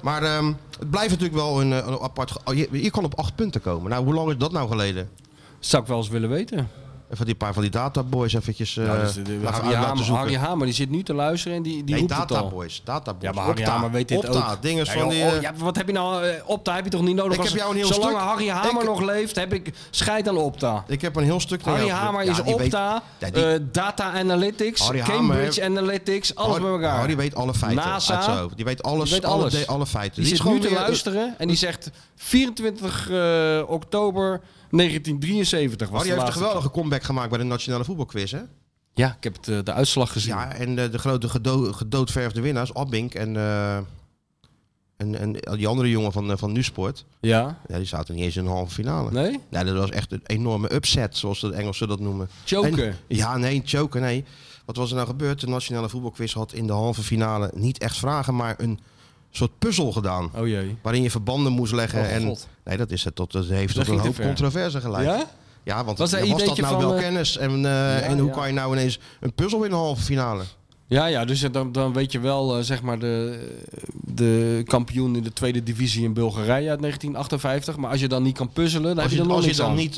S3: Maar ehm, het blijft natuurlijk wel een, eh, een apart... ge- Oh, je, je kan op acht punten komen. Nou, hoe lang is dat nou geleden?
S4: Zou ik wel eens willen weten.
S3: Even die paar van die databoys eventjes eh
S4: nou, dus de- de-
S3: laten- uit
S4: Harry,
S3: laten
S4: Hamer,
S3: zoeken.
S4: Harry Hamer, die zit nu te luisteren en die, die
S3: nee,
S4: roept het al.
S3: databoys. Databoys.
S4: Ja, maar Harry
S3: Opta.
S4: Hamer weet dit
S3: Opta,
S4: ook.
S3: Dinges
S4: Ja,
S3: van
S4: joh,
S3: die...
S4: oh,
S3: eh,
S4: ja, wat heb je nou... eh, Opta heb je toch niet nodig?
S3: Ik heb jou een heel
S4: Zolang
S3: stuk-
S4: Harry Hamer
S3: Ik-
S4: nog leeft, heb ik scheid aan Opta.
S3: Ik heb een heel stuk... naar
S4: Harry
S3: jou
S4: Hamer
S3: gestuurd.
S4: is
S3: Ja, die weet-
S4: Opta,
S3: Ja, die-
S4: eh, Data Analytics,
S3: Harry
S4: Cambridge
S3: Hamer-
S4: Analytics, alles
S3: Harry-
S4: bij elkaar.
S3: Harry weet alle feiten.
S4: NASA.
S3: uit zijn hoofd. Die weet alles.
S4: Die weet
S3: alle
S4: alles.
S3: de- Alle, feiten.
S4: Die
S3: is
S4: zit
S3: gewoon
S4: nu te
S3: weer-
S4: luisteren en die zegt 24 eh, oktober 1973 was
S3: Harry
S4: de
S3: heeft een
S4: laatste.
S3: geweldige comeback gemaakt bij de Nationale Voetbalquiz, hè?
S4: Ja, ik heb het, eh, de uitslag gezien.
S3: Ja, en eh, de grote gedo gedoodverfde winnaars, Abbink en, eh, en, en die andere jongen van, eh, van NuSport,
S4: Ja?
S3: ja, die zaten niet eens in de halve finale.
S4: Nee?
S3: Ja, dat was echt een enorme upset, zoals de Engelsen dat noemen.
S4: Choken.
S3: En- ja, nee, choken, nee. Wat was er nou gebeurd? De Nationale Voetbalquiz had in de halve finale niet echt vragen, maar een soort puzzel gedaan.
S4: Oh jee.
S3: Waarin je verbanden moest leggen.
S4: Oh,
S3: en,
S4: God.
S3: nee, dat, is het, tot, dat heeft
S4: Dat
S3: tot een
S4: ging te
S3: hoop
S4: ver.
S3: controverse geleid.
S4: Ja?
S3: Ja, want
S4: Was
S3: was,
S4: er
S3: was dat
S4: ideetje
S3: nou
S4: van,
S3: wel
S4: eh,
S3: kennis? En, eh, en hoe
S4: ja.
S3: kan je nou ineens een puzzel in de halve finale?
S4: Ja, ja, dus dan, dan weet je wel, eh, zeg maar, de, de kampioen in de tweede divisie in Bulgarije uit 1958. Maar als je dan niet kan puzzelen, dan
S3: als
S4: heb
S3: je,
S4: je er nog
S3: als je
S4: niks
S3: dan
S4: aan.
S3: niet,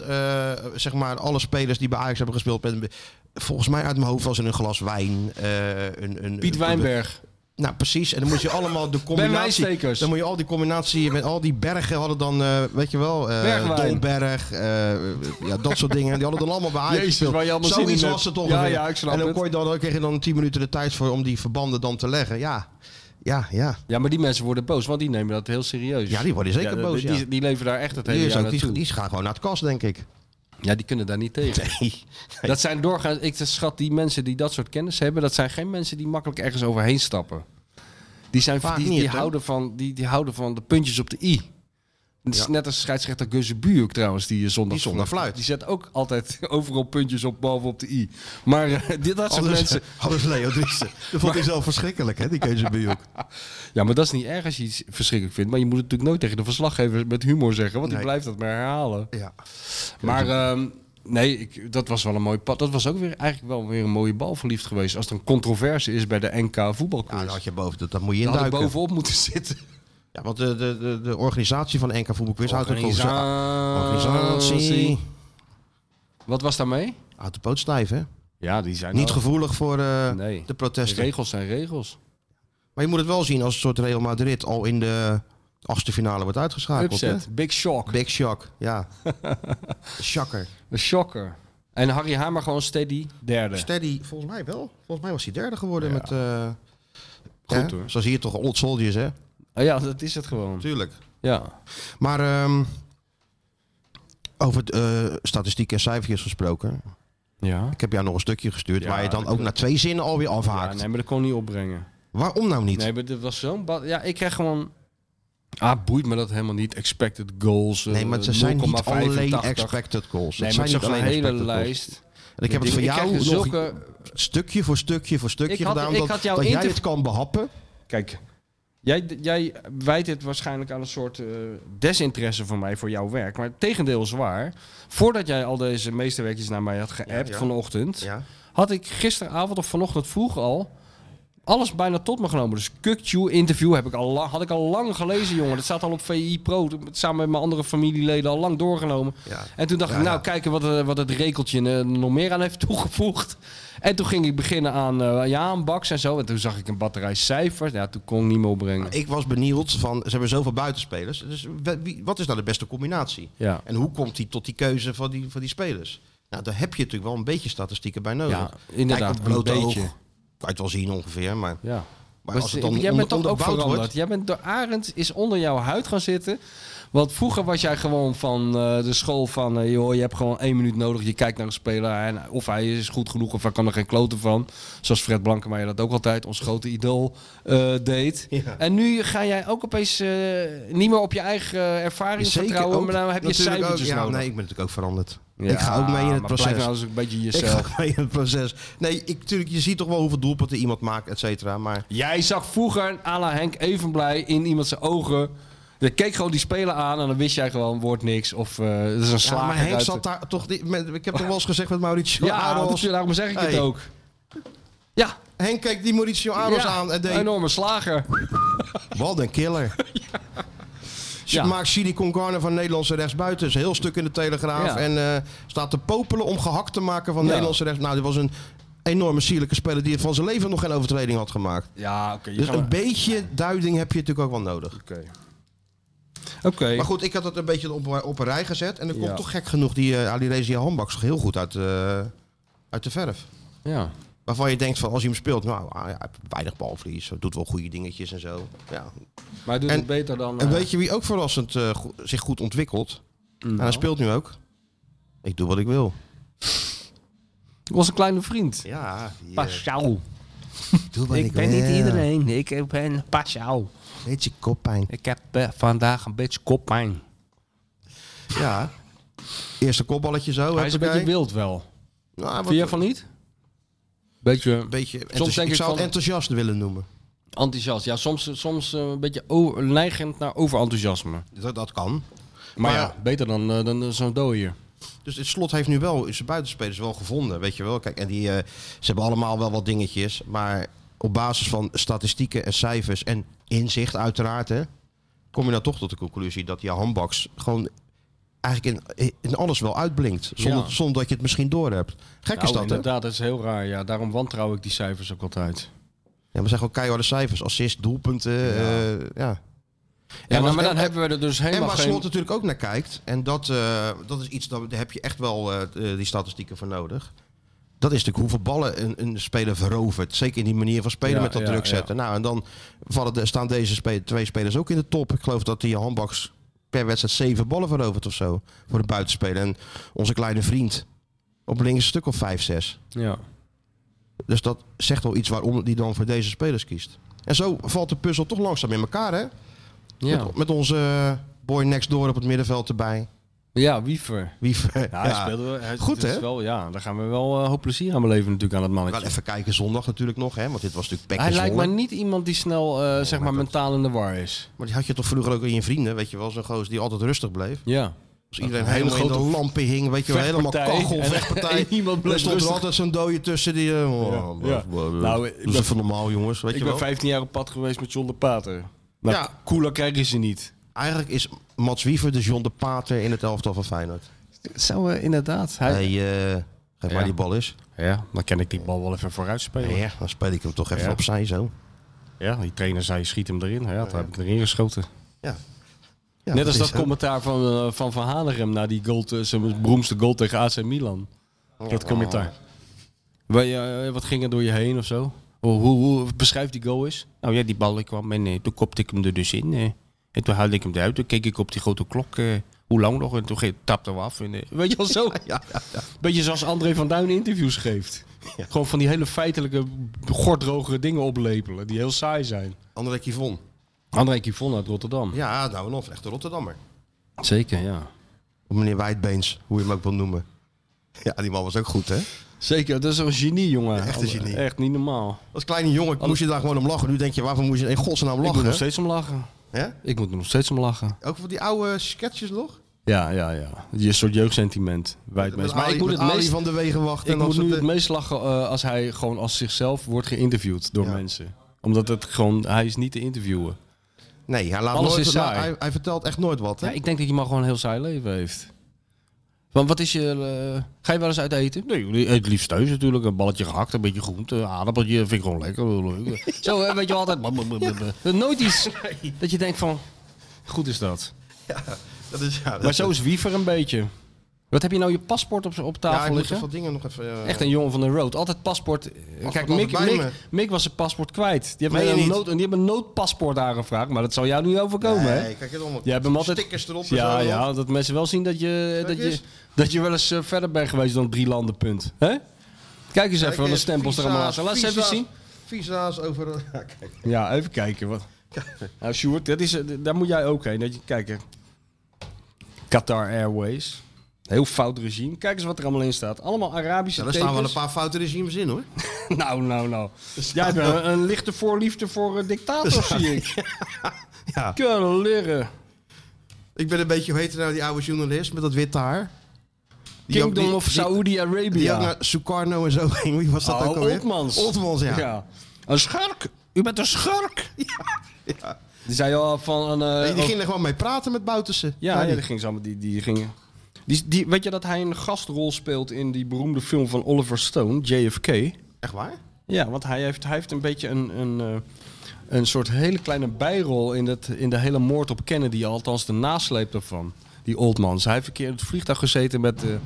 S3: eh, zeg maar, alle spelers die bij Ajax hebben gespeeld... Met, volgens mij uit mijn hoofd was er een glas wijn. eh, een, een,
S4: Piet
S3: een-
S4: Wijnberg.
S3: Nou, precies. En dan moet je allemaal de combinatie...
S4: Wijnstekers.
S3: Dus dan moet je al die combinatie met al die bergen hadden dan, eh, weet je wel... eh
S4: Bergwijn.
S3: Dolberg, eh, ja, dat soort dingen. Die hadden dan allemaal bij Ajax
S4: Jezus,
S3: gespeeld.
S4: waar je allemaal zin
S3: Zoiets
S4: in
S3: was
S4: hebt.
S3: het toch
S4: Ja,
S3: ongeveer.
S4: ja, ik snap
S3: En dan,
S4: het.
S3: kon je dan, dan kreeg je dan 10 minuten de tijd voor om die verbanden dan te leggen. Ja, ja, ja.
S4: Ja, maar die mensen worden boos, want die nemen dat heel serieus.
S3: Ja, die worden zeker
S4: dat-
S3: boos, ja.
S4: Die, die leven daar echt het hele
S3: Die, is
S4: jaar
S3: ook, die,
S4: naartoe.
S3: die gaan gewoon naar het kast, denk ik.
S4: Ja, die kunnen daar niet tegen. Dat zijn doorgaans, ik schat, die mensen die dat soort kennis hebben, dat zijn geen mensen die makkelijk ergens overheen stappen. Die, zijn,
S3: Vaak
S4: die,
S3: niet,
S4: die,
S3: hè?
S4: houden, van, die, die houden van de puntjes op de i. Het is net als scheidsrechter Geuze Buurk trouwens, die eh, zondag,
S3: Die zondag fluit.
S4: Die zet ook altijd overal puntjes op, behalve op de i. Maar eh, dit dat soort
S3: Anders,
S4: mensen...
S3: anders Leo Driessen. Dat vond hij zelf verschrikkelijk, hè, die Keuze Bioek.
S4: Ja, maar dat is niet erg als je iets verschrikkelijk vindt. Maar je moet het natuurlijk nooit tegen de verslaggever met humor zeggen, want
S3: Nee.
S4: die blijft dat maar herhalen.
S3: Ja.
S4: Maar ehm, nee, ik, dat was wel een mooi pad. Dat was ook weer eigenlijk wel weer een mooie balverliefd geweest. Als er een controverse is bij de NK
S3: ja,
S4: voetbalkoers.
S3: dan had je boven, dat, dat moet je
S4: dan had ik
S3: induiken.
S4: bovenop moeten zitten.
S3: Ja, want de, de, de, de organisatie van NK Voetbalquiz houdt ook volgens mij-
S4: Organisatie.
S3: organisatie
S4: Wat was daarmee?
S3: houdt de poot stijf, hè?
S4: Ja, die zijn
S3: Niet
S4: wel-
S3: gevoelig voor eh,
S4: Nee.
S3: de protesten.
S4: Regels zijn regels.
S3: Maar je moet het wel zien als een soort Real Madrid al in de achtste finale wordt uitgeschakeld. Hè?
S4: Upset. Big shock.
S3: Big shock, ja. Shocker.
S4: Een shocker. En Harry Hamer gewoon steady derde.
S3: Steady, volgens mij wel. Volgens mij was hij derde geworden
S4: Ja.
S3: met... eh,
S4: Goed,
S3: hè?
S4: hoor.
S3: Zo zie je toch old soldiers, hè?
S4: Oh ja, dat is het gewoon.
S3: Tuurlijk.
S4: Ja.
S3: Maar ehm, over eh statistiek en cijfertjes gesproken.
S4: Ja.
S3: Ik heb jou nog een stukje gestuurd
S4: Ja,
S3: waar je dan
S4: dat
S3: ook na twee zinnen alweer afhaakt.
S4: ja nee, maar dat kon ik niet opbrengen.
S3: Waarom nou niet?
S4: Nee, maar dit was zo'n... ba- Ja, ik kreeg gewoon... Ah, boeit me dat helemaal niet. Expected goals. eh,
S3: Nee, maar ze zijn niet
S4: 0,85.
S3: alleen expected goals.
S4: Nee,
S3: het
S4: maar
S3: zijn
S4: ik
S3: niet
S4: zag
S3: alleen
S4: een hele
S3: expected goals.
S4: lijst.
S3: En ik heb het voor
S4: krijg
S3: jou
S4: er
S3: nog
S4: zulke-
S3: stukje voor stukje voor stukje
S4: Ik had-
S3: gedaan.
S4: ik
S3: dat
S4: had jou
S3: dat jij
S4: interv-
S3: het kan behappen.
S4: Kijk, jij, jij wijt het waarschijnlijk aan een soort eh, desinteresse van mij voor jouw werk. Maar het tegendeel is waar. Voordat jij al deze meesterwerkjes naar mij had geappt
S3: Ja, ja.
S4: vanochtend...
S3: Ja.
S4: had ik gisteravond of vanochtend vroeg al... Alles bijna tot me genomen. Dus Kukju interview heb ik al lang, had ik al lang gelezen, jongen. Dat staat al op VI Pro. Samen met mijn andere familieleden al lang doorgenomen.
S3: Ja.
S4: En toen dacht
S3: Ja,
S4: ik, nou,
S3: ja.
S4: kijken wat, eh, wat het rekeltje eh, nog meer aan heeft toegevoegd. En toen ging ik beginnen aan eh ja, aan Baks en zo. En toen zag ik een batterij cijfers. Ja, toen kon ik niet meer opbrengen.
S3: Ik was benieuwd van, ze hebben zoveel buitenspelers. Dus we- wie- wat is nou de beste combinatie?
S4: Ja.
S3: En hoe komt die tot die keuze van die, van die spelers? Nou, daar heb je natuurlijk wel een beetje statistieken bij nodig.
S4: Ja, inderdaad,
S3: Kijk, op blote
S4: een beetje.
S3: oog kan je het wel zien ongeveer, maar
S4: Ja.
S3: Maar
S4: Maar
S3: als
S4: ze-
S3: het dan
S4: jij
S3: onder-
S4: bent toch ook
S3: onderbouwd
S4: veranderd.
S3: wordt...
S4: Jij bent door Arend is onder jouw huid gaan zitten. Want vroeger was jij gewoon van eh, de school van... eh, joh, je hebt gewoon één minuut nodig. Je kijkt naar een speler. En of hij is goed genoeg of hij kan er geen kloten van. Zoals Fred Blankenmeijer dat ook altijd. Ons grote idool eh, deed. En nu ga jij ook opeens eh, niet meer op je eigen eh, ervaring vertrouwen.
S3: ook.
S4: maar nou heb je
S3: Natuurlijk ook.
S4: cijfertjes
S3: ja,
S4: nodig.
S3: Nee, ik ben natuurlijk ook veranderd. ik ga ook mee in
S4: maar
S3: het proces.
S4: Blijf nou eens een beetje
S3: ik
S4: jezelf.
S3: ga ook mee in het proces. Nee, ik, tuurlijk, je ziet toch wel hoeveel doelpunten iemand maakt, et cetera. Maar
S4: Jij zag vroeger à la Henk Evenblij in iemand zijn ogen. Je keek gewoon die speler aan en dan wist jij gewoon, wordt niks. Of eh het is een slager.
S3: Ja, maar Henk
S4: uit
S3: zat
S4: de-
S3: daar toch... niet- met- Ik heb toch wel eens gezegd met Mauricio
S4: Ja, dat
S3: Aros.
S4: is- daarom zeg ik het
S3: Hey.
S4: ook. Ja,
S3: Henk keek die Mauricio Aros
S4: ja,
S3: aan en deed...
S4: enorme slager.
S3: Wat een killer.
S4: Ja.
S3: Maakt Sidi Concarne van Nederlandse rechtsbuiten. Is een heel stuk in de Telegraaf.
S4: Ja.
S3: En eh, staat te popelen om gehakt te maken van
S4: Ja.
S3: Nederlandse rechts. Nou, dit was een enorme sierlijke speler die het van zijn leven nog geen overtreding had gemaakt.
S4: Ja, oké.
S3: Dus een beetje duiding heb je natuurlijk ook wel nodig.
S4: Oké.
S3: Maar goed, ik had dat een beetje op, op een rij gezet. En er komt
S4: Ja.
S3: toch gek genoeg die eh Alireza Handbaks heel goed uit, eh, uit de verf.
S4: Ja.
S3: Waarvan je denkt van als hij hem speelt, nou ah, ja, hij heeft weinig balverlies, doet wel goede dingetjes en zo. Ja.
S4: Maar hij doet
S3: En-
S4: het beter dan...
S3: En
S4: eh,
S3: weet je wie ook verrassend eh, go- zich goed ontwikkelt?
S4: nou.
S3: En hij speelt nu ook. Ik doe wat ik wil.
S4: was een kleine vriend.
S3: Ja,
S4: Pascal.
S3: doe
S4: Ik ben niet iedereen. Ik ben Pascal.
S3: Beetje koppijn.
S4: Ik heb eh, vandaag een beetje koppijn.
S3: Ja. Eerste kopballetje zo.
S4: Hij is een beetje wild wel.
S3: Nou,
S4: Vind jij van niet? Beetje
S3: beetje enthousi-
S4: denk
S3: ik
S4: ik
S3: zou het
S4: van-
S3: enthousiast willen noemen.
S4: enthousiast. Ja, soms, soms eh, een beetje o- neigend naar overenthousiasme. Maar,
S3: Dat, dat kan.
S4: ja, beter dan, eh, dan eh, zo'n dooier.
S3: Dus het slot heeft nu wel zijn buitenspelers wel gevonden. Weet je wel. Kijk, en die, eh, ze hebben allemaal wel wat dingetjes. Maar op basis van statistieken en cijfers en inzicht uiteraard. Hè, kom je nou toch tot de conclusie dat die handbaks gewoon eigenlijk in, in alles wel uitblinkt. Zonder,
S4: Ja.
S3: zonder dat je het misschien doorhebt. Gek is dat,
S4: Nou,
S3: hè?
S4: inderdaad, dat is heel raar. Ja, daarom wantrouw ik die cijfers ook altijd.
S3: Ja, maar zijn gewoon keiharde cijfers. Assist, doelpunten, ja. ja.
S4: Ja,
S3: en
S4: maar,
S3: wat-
S4: maar dan
S3: en-
S4: hebben we er dus
S3: En
S4: helemaal
S3: waar Slot
S4: geen...
S3: natuurlijk ook naar kijkt, en dat, eh, dat is iets, dat- daar heb je echt wel eh, die statistieken voor nodig. Dat is natuurlijk hoeveel ballen een, een speler verovert. Zeker in die manier van spelen
S4: Ja,
S3: met dat
S4: ja,
S3: druk
S4: ja.
S3: zetten. Nou, en dan vallen de, staan deze spe- twee spelers ook in de top. Ik geloof dat die handbaks per wedstrijd zeven ballen verovert of zo. Voor de buitenspeler. En onze kleine vriend op links een stuk of vijf, zes.
S4: Ja.
S3: Dus dat zegt wel iets waarom die dan voor deze spelers kiest. En zo valt de puzzel toch langzaam in elkaar, hè?
S4: Ja.
S3: Met, met onze eh, boy next door op het middenveld erbij.
S4: ja, Wiever.
S3: Wie
S4: Ja, hij speelde wel- hij-
S3: Goed,
S4: het is
S3: hè?
S4: Wel, ja, daar gaan we wel eh, een hoop plezier aan beleven natuurlijk aan het mannetje.
S3: Wel even kijken zondag natuurlijk nog, hè? Want dit was natuurlijk
S4: hij
S3: pekje
S4: lijkt
S3: zondag.
S4: me niet iemand die snel eh, zeg maar mentaal in de war is.
S3: Maar die had je toch vroeger ook in je vrienden, weet je wel? Zo'n goos die altijd rustig bleef.
S4: Ja.
S3: Als iedereen
S4: Een hele
S3: helemaal in de
S4: grote
S3: lampen hing, weet je wel? Helemaal
S4: vechtpartij.
S3: kachel,
S4: En-
S3: vechtpartij.
S4: en iemand
S3: Er
S4: bleef
S3: stond er
S4: rustig.
S3: altijd zo'n dode tussen die... eh, oh,
S4: Ja,
S3: blah,
S4: ja.
S3: blah, blah.
S4: Nou, ik
S3: Doe eens
S4: ben-
S3: even normaal, jongens, weet
S4: Ik
S3: je
S4: ben
S3: wel?
S4: 15 jaar op pad geweest met John de Pater. Nou,
S3: Ja.
S4: cooler krijgen ze niet.
S3: Eigenlijk is Mats Wiever de John de Pater in het elftal van Feyenoord.
S4: Zo inderdaad.
S3: Hij, eh, geef maar
S4: Ja.
S3: die bal is.
S4: Ja, dan kan ik die bal wel even vooruit spelen. Ja,
S3: Ja, dan speel ik hem toch even
S4: Ja.
S3: opzij zo.
S4: die trainer zei, schiet hem erin. Ja, toen heb ik erin geschoten.
S3: Ja.
S4: Net als
S3: is
S4: dat
S3: zo.
S4: commentaar van eh, Van, van Hanegem na die goal, te- zijn beroemdste goal tegen AC Milan. Dat commentaar. Wij, eh, wat ging er door je heen of zo? Hoe, hoe, hoe beschrijf die goal eens? Nou ja, die bal die kwam en eh, toen kopte ik hem er dus in. eh. en toen haalde ik hem eruit. Toen keek ik op die grote klok. eh, hoe lang nog? En toen ge- tapte we af. En, eh, weet je wel zo? Beetje zoals André van Duin interviews geeft. Gewoon van die hele feitelijke, gordroge dingen oplepelen. Die heel saai zijn.
S3: André Kivon.
S4: André Kivon uit Rotterdam.
S3: Ja, nou en of. Echte Rotterdammer.
S4: Zeker, ja.
S3: Of meneer Wijdbeens, hoe je hem ook wil noemen. Ja, die man was ook goed, hè?
S4: Zeker, dat is een genie, jongen.
S3: echt een genie.
S4: Echt niet normaal.
S3: Als kleine jongen moest je daar gewoon om lachen. Nu denk je, waarvoor moest je in godsnaam
S4: Ik moet er nog
S3: lachen?
S4: steeds om lachen.
S3: hè?
S4: Ik moet er nog steeds om lachen.
S3: Ook voor die oude sketches nog?
S4: Ja, ja, ja. Je soort jeugdsentiment. Wijd
S3: Met
S4: meest. Maar
S3: Ali-
S4: ik moet
S3: met
S4: het
S3: Ali
S4: meest,
S3: van de Wegen wachten.
S4: ik moet nu
S3: soort,
S4: het
S3: eh,
S4: meest lachen eh, als hij gewoon als zichzelf wordt geïnterviewd door
S3: Ja.
S4: mensen. Omdat het gewoon, hij is niet te interviewen.
S3: Nee, hij, laat
S4: Alles
S3: nooit, nou,
S4: is saai.
S3: Hij, hij vertelt echt nooit wat, hè?
S4: Ja, ik denk dat je maar gewoon een heel saai leven heeft. Want wat is je... eh, ga je wel eens uit eten? Nee, het liefst thuis natuurlijk. Een balletje gehakt, een beetje groente, een aardappeltje. Vind ik gewoon lekker. Zo, hè, weet je wel, altijd... Nooit iets dat je denkt van... Goed is dat.
S3: Dat is, ja, dat-
S4: Maar zo is Wiever een beetje. Wat heb je nou je paspoort op, op
S3: Ja,
S4: tafel
S3: ik moet
S4: liggen?
S3: even wat dingen nog even... eh,
S4: Echt een jongen van de road. Altijd paspoort. Eh, Kijk,
S3: altijd
S4: Mick,
S3: bij me.
S4: Mick, Mick was zijn paspoort kwijt. Die
S3: Meen
S4: hebben,
S3: je
S4: een,
S3: niet?
S4: nood, die hebben een noodpaspoort aangevraagd, maar dat zal jou niet overkomen, hè?
S3: Nee, kijk, het allemaal
S4: Jij hebt hem altijd-
S3: stickers erop en
S4: Ja,
S3: zo.
S4: ja, dat mensen wel zien dat je, dat je,
S3: eens.
S4: dat je wel eens eh, verder bent geweest dan drie landenpunt. hè? Kijk eens even wat de stempels er allemaal aan staan. Laat eens even zien.
S3: eh, Visa's over... Ja, kijk.
S4: Ja, even kijken. Wat. Nou, Sjoerd, dat is, eh, d- daar moet jij ook heen. Dat je, kijk, hè. Qatar Airways. Heel fout regime. Kijk eens wat er allemaal in staat. Allemaal Arabische
S3: Ja, daar staan wel een
S4: tekens.
S3: paar foute regimes in, hoor.
S4: Nou, nou, nou. Jij hebt een, een lichte voorliefde voor eh, dictators, zie ik.
S3: Ja.
S4: Kunnen leren.
S3: Ik ben een beetje, hoe heet het nou, die oude journalist met dat witte haar? Die ook-
S4: Kingdom
S3: die-
S4: of
S3: die- Die ook
S4: Saoedi-Arabia.
S3: naar Sukarno en zo ging. Wie was dat
S4: Oh,
S3: ook alweer?
S4: Oltmans.
S3: Oltmans, ja.
S4: Een schurk. U bent een schurk. Die zei al van... Een, eh,
S3: Die, die
S4: oh-
S3: ging er gewoon mee praten met Boutersen.
S4: Ja,
S3: Nou,
S4: ja,
S3: die-
S4: die ging ze allemaal. Die, die gingen. Die, die, weet je dat hij een gastrol speelt in die beroemde film van Oliver Stone, JFK?
S3: Echt waar?
S4: Ja, want hij heeft, hij heeft een beetje een, een, eh, een soort hele kleine bijrol in, dat, in de hele moord op Kennedy, althans de nasleep daarvan. Die Oldmans. Hij heeft een keer in het vliegtuig gezeten met de,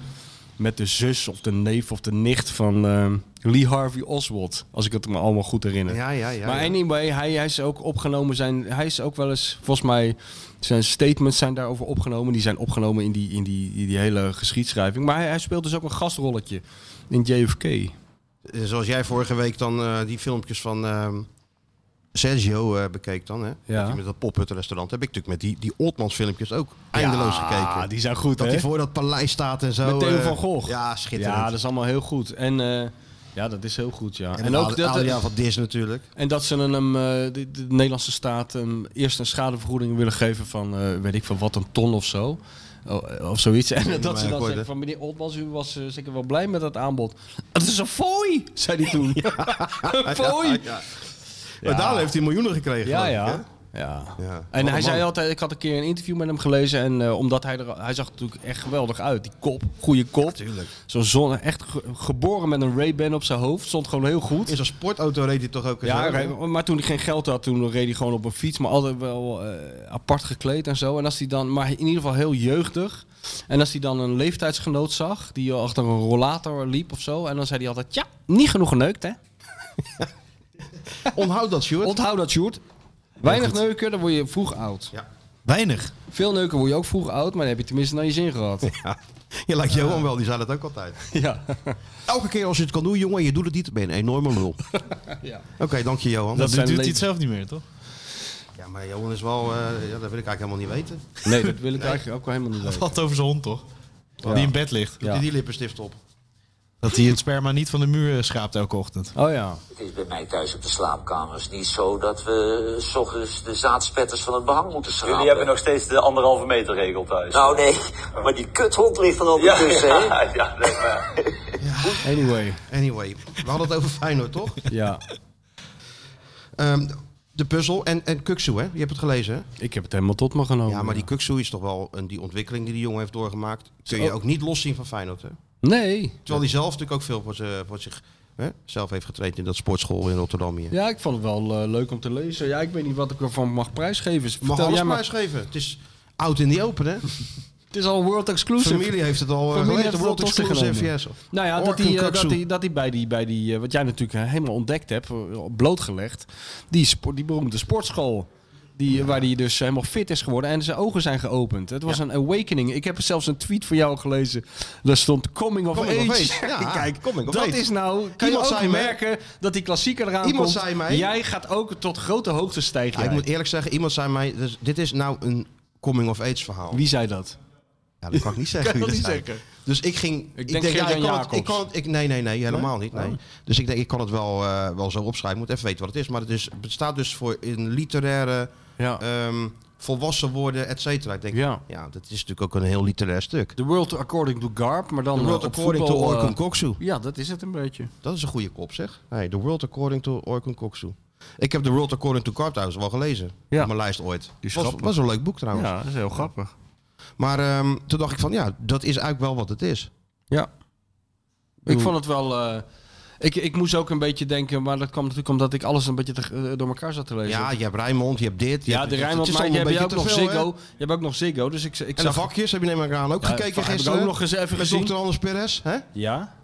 S4: met de zus of de neef of de nicht van eh, Lee Harvey Oswald. Als ik het me allemaal goed herinner.
S3: Ja, ja, ja.
S4: maar
S3: ja.
S4: anyway, hij, hij is ook opgenomen. Zijn, hij is ook wel eens, volgens mij, zijn statements zijn daarover opgenomen. Die zijn opgenomen in die, in die, in die hele geschiedschrijving. Maar hij, hij speelt dus ook een gastrolletje in JFK.
S3: Eh, Zoals jij vorige week dan eh, die filmpjes van ehm, Sergio eh, bekeek dan, hè?
S4: Ja.
S3: Dat hij met dat pop-up-restaurant. Heb ik natuurlijk met die, die Oltmans filmpjes ook eindeloos gekeken.
S4: die zijn goed,
S3: dat hij voor dat paleis staat en zo.
S4: Met Theo
S3: eh,
S4: van Gogh.
S3: Ja, schitterend.
S4: Ja, dat is allemaal heel goed. En eh, ja, dat is heel goed, ja.
S3: en,
S4: En,
S3: ook
S4: ook dat,
S3: Adriaan van Dis natuurlijk.
S4: en dat ze hem, eh, de, de Nederlandse staat hem eerst een schadevergoeding willen geven van, eh, weet ik van wat, een ton of zo. O- Of zoiets. En
S3: maar
S4: dat ze dan
S3: akkoord, hè?
S4: zeggen van meneer Oldmans, u was eh, zeker wel blij met dat aanbod. Het is een fooi, zei hij toen. een fooi.
S3: Ja, ja. Maar daar heeft hij miljoenen gekregen.
S4: Ja,
S3: geloof ik,
S4: ja. ja.
S3: hè? Ja.
S4: En
S3: Wat
S4: hij
S3: een
S4: zei
S3: man.
S4: altijd, ik had een keer een interview met hem gelezen. En eh, omdat hij er, hij zag er natuurlijk echt geweldig uit. Die kop, goede kop.
S3: Tuurlijk.
S4: Zo'n zon, echt ge- geboren met een Ray-Ban op zijn hoofd. Stond gewoon heel goed.
S3: In zo'n sportauto reed hij toch ook eens
S4: Ja,
S3: over?
S4: oké, maar toen hij geen geld had, toen reed hij gewoon op een fiets. Maar altijd wel eh, apart gekleed en zo. En als hij dan, maar in ieder geval heel jeugdig. En als hij dan een leeftijdsgenoot zag, die achter een rollator liep of zo. En dan zei hij altijd, ja, niet genoeg geneukt hè.
S3: Onthoud dat, Sjoerd.
S4: Onthoud dat, Sjoerd. Weinig neuken, dan word je vroeg oud.
S5: Weinig.
S4: Veel neuken word je ook vroeg oud, maar dan heb je tenminste naar je zin gehad.
S3: Ja. Je lijkt Johan wel, die zei dat ook altijd.
S4: ja.
S3: Elke keer als je het kan doen, jongen, en je doet het niet, ben je een enorme lul.
S4: Ja.
S3: Oké, dank je Johan.
S4: Dat
S5: Dat,
S4: zijn
S5: doet hij
S4: le-
S5: het zelf niet meer, toch?
S3: Ja, maar Johan is wel, eh, ja, dat wil ik eigenlijk helemaal niet weten.
S4: Nee, dat wil ik eigenlijk ook wel helemaal niet
S5: Het
S4: weten.
S5: had over zijn hond, toch? Die in bed ligt.
S3: Doet
S4: Ja.
S3: hij die lippenstift op?
S5: Dat hij het sperma niet van de muur eh, schraapt elke ochtend.
S4: Oh ja.
S8: Het is bij mij thuis op de slaapkamer is niet zo dat we eh, s ochtends de zaadspetters van het behang moeten schrapen.
S9: Jullie hebben nog steeds de anderhalve meter regel thuis.
S8: Nou nee, maar die kuthond ligt er
S9: ja,
S8: altijd tussen, hè?
S9: ja, ja, nee, maar-
S4: Anyway.
S3: Anyway, we hadden het over Feyenoord, toch?
S4: Ja.
S3: Ehm, de puzzel en, en Kuksu, hè? Je hebt het gelezen, hè?
S4: Ik heb het helemaal tot me genomen.
S3: Oh, Ja, maar die Kuksu is toch wel een, die ontwikkeling die die jongen heeft doorgemaakt. Kun je ook niet loszien van Feyenoord, hè?
S4: Nee.
S3: Terwijl hij zelf natuurlijk ook veel voor, ze- voor zich hè, zelf heeft getraind in dat sportschool in Rotterdam hier.
S4: Ja, ik vond het wel eh, leuk om te lezen. Ja, ik weet niet wat ik ervan mag prijsgeven.
S3: Mag
S4: Vertel
S3: alles
S4: jij maar.
S3: prijsgeven. Het is oud in die open, hè?
S4: Het is al world exclusive.
S3: Familie heeft het al eh,
S4: Familie
S3: gelezen.
S4: heeft
S3: World
S4: het al tot zich
S3: Exclusive,
S4: genomen.
S3: yes.
S4: Nou ja, dat
S3: Orkun
S4: hij, eh, dat
S3: Kaksoe.
S4: hij, dat hij bij die, bij die eh, wat jij natuurlijk eh, helemaal ontdekt hebt, eh, blootgelegd, die, spo- die beroemde sportschool. Die, Waar hij dus helemaal fit is geworden en zijn ogen zijn geopend. Het was een awakening. Ik heb zelfs een tweet van jou gelezen. Daar stond Coming of
S3: Coming of
S4: Age.
S3: age, ja.
S4: Kijk,
S3: Coming of
S4: dat
S3: age.
S4: is nou. Kan
S3: Iemand
S4: je ook
S3: zei mij-
S4: merken dat die klassieker eraan
S3: Iemand
S4: komt.
S3: zei mij-
S4: Jij gaat ook tot grote hoogte stijgen.
S3: Ja, ik
S4: jij.
S3: moet eerlijk zeggen, iemand zei mij, dus dit is nou een coming-of-age verhaal.
S4: Wie zei dat?
S3: Ja, dat kan ik niet zeggen.
S4: Kan
S3: wie
S4: dat
S3: dat
S4: niet
S3: zei.
S4: zeggen.
S3: Dus ik ging...
S4: denk Gert-Jan
S3: ik kan het,
S4: Jacobs.
S3: ik kan het, ik, nee, nee, nee, helemaal niet.
S4: Oh.
S3: Nee. Dus ik denk, ik kan het wel, eh, wel zo opschrijven. Ik moet even weten wat het is. Maar het, is, het staat dus voor een literaire,
S4: Ja.
S3: ehm, volwassen worden, et cetera. Ik denk,
S4: Ja.
S3: ja. dat is natuurlijk ook een heel literair stuk.
S4: The World According to Garp, maar dan
S3: The
S4: eh,
S3: World
S4: op
S3: According to
S4: voetbal,
S3: Orkun
S4: eh,
S3: Koksu.
S4: Ja, dat is het een beetje.
S3: Dat is een goede kop, zeg. Hey, the World According to Orkun Koksu. Ik heb The World According to Carp trouwens wel gelezen.
S4: Ja.
S3: Op mijn lijst ooit.
S4: is
S3: was,
S4: grappig.
S3: was een leuk boek trouwens.
S4: Ja, dat is heel grappig.
S3: Maar ehm, toen dacht ik van, ja, dat is eigenlijk wel wat het is.
S4: Ja. Ik vond het wel. eh, Ik, ik moest ook een beetje denken, maar dat kwam natuurlijk omdat ik alles een beetje te- eh, door elkaar zat te lezen.
S3: Ja, je hebt Rijnmond, je hebt dit. je
S4: Ja,
S3: hebt-
S4: de
S3: het- het
S4: Rijnmond,
S3: is
S4: maar je
S3: allemaal
S4: hebt
S3: een
S4: ook
S3: beetje
S4: nog
S3: te veel, hè?
S4: Ziggo. Je hebt ook nog Ziggo, dus ik, ik
S3: En de
S4: zag...
S3: vakjes heb je neem ik aan ook
S4: Ja,
S3: gekeken
S4: heb ik
S3: gisteren.
S4: ook nog eens even
S3: met
S4: gezien. Oh
S3: dokter Anders Perez. Hè?
S4: Ja.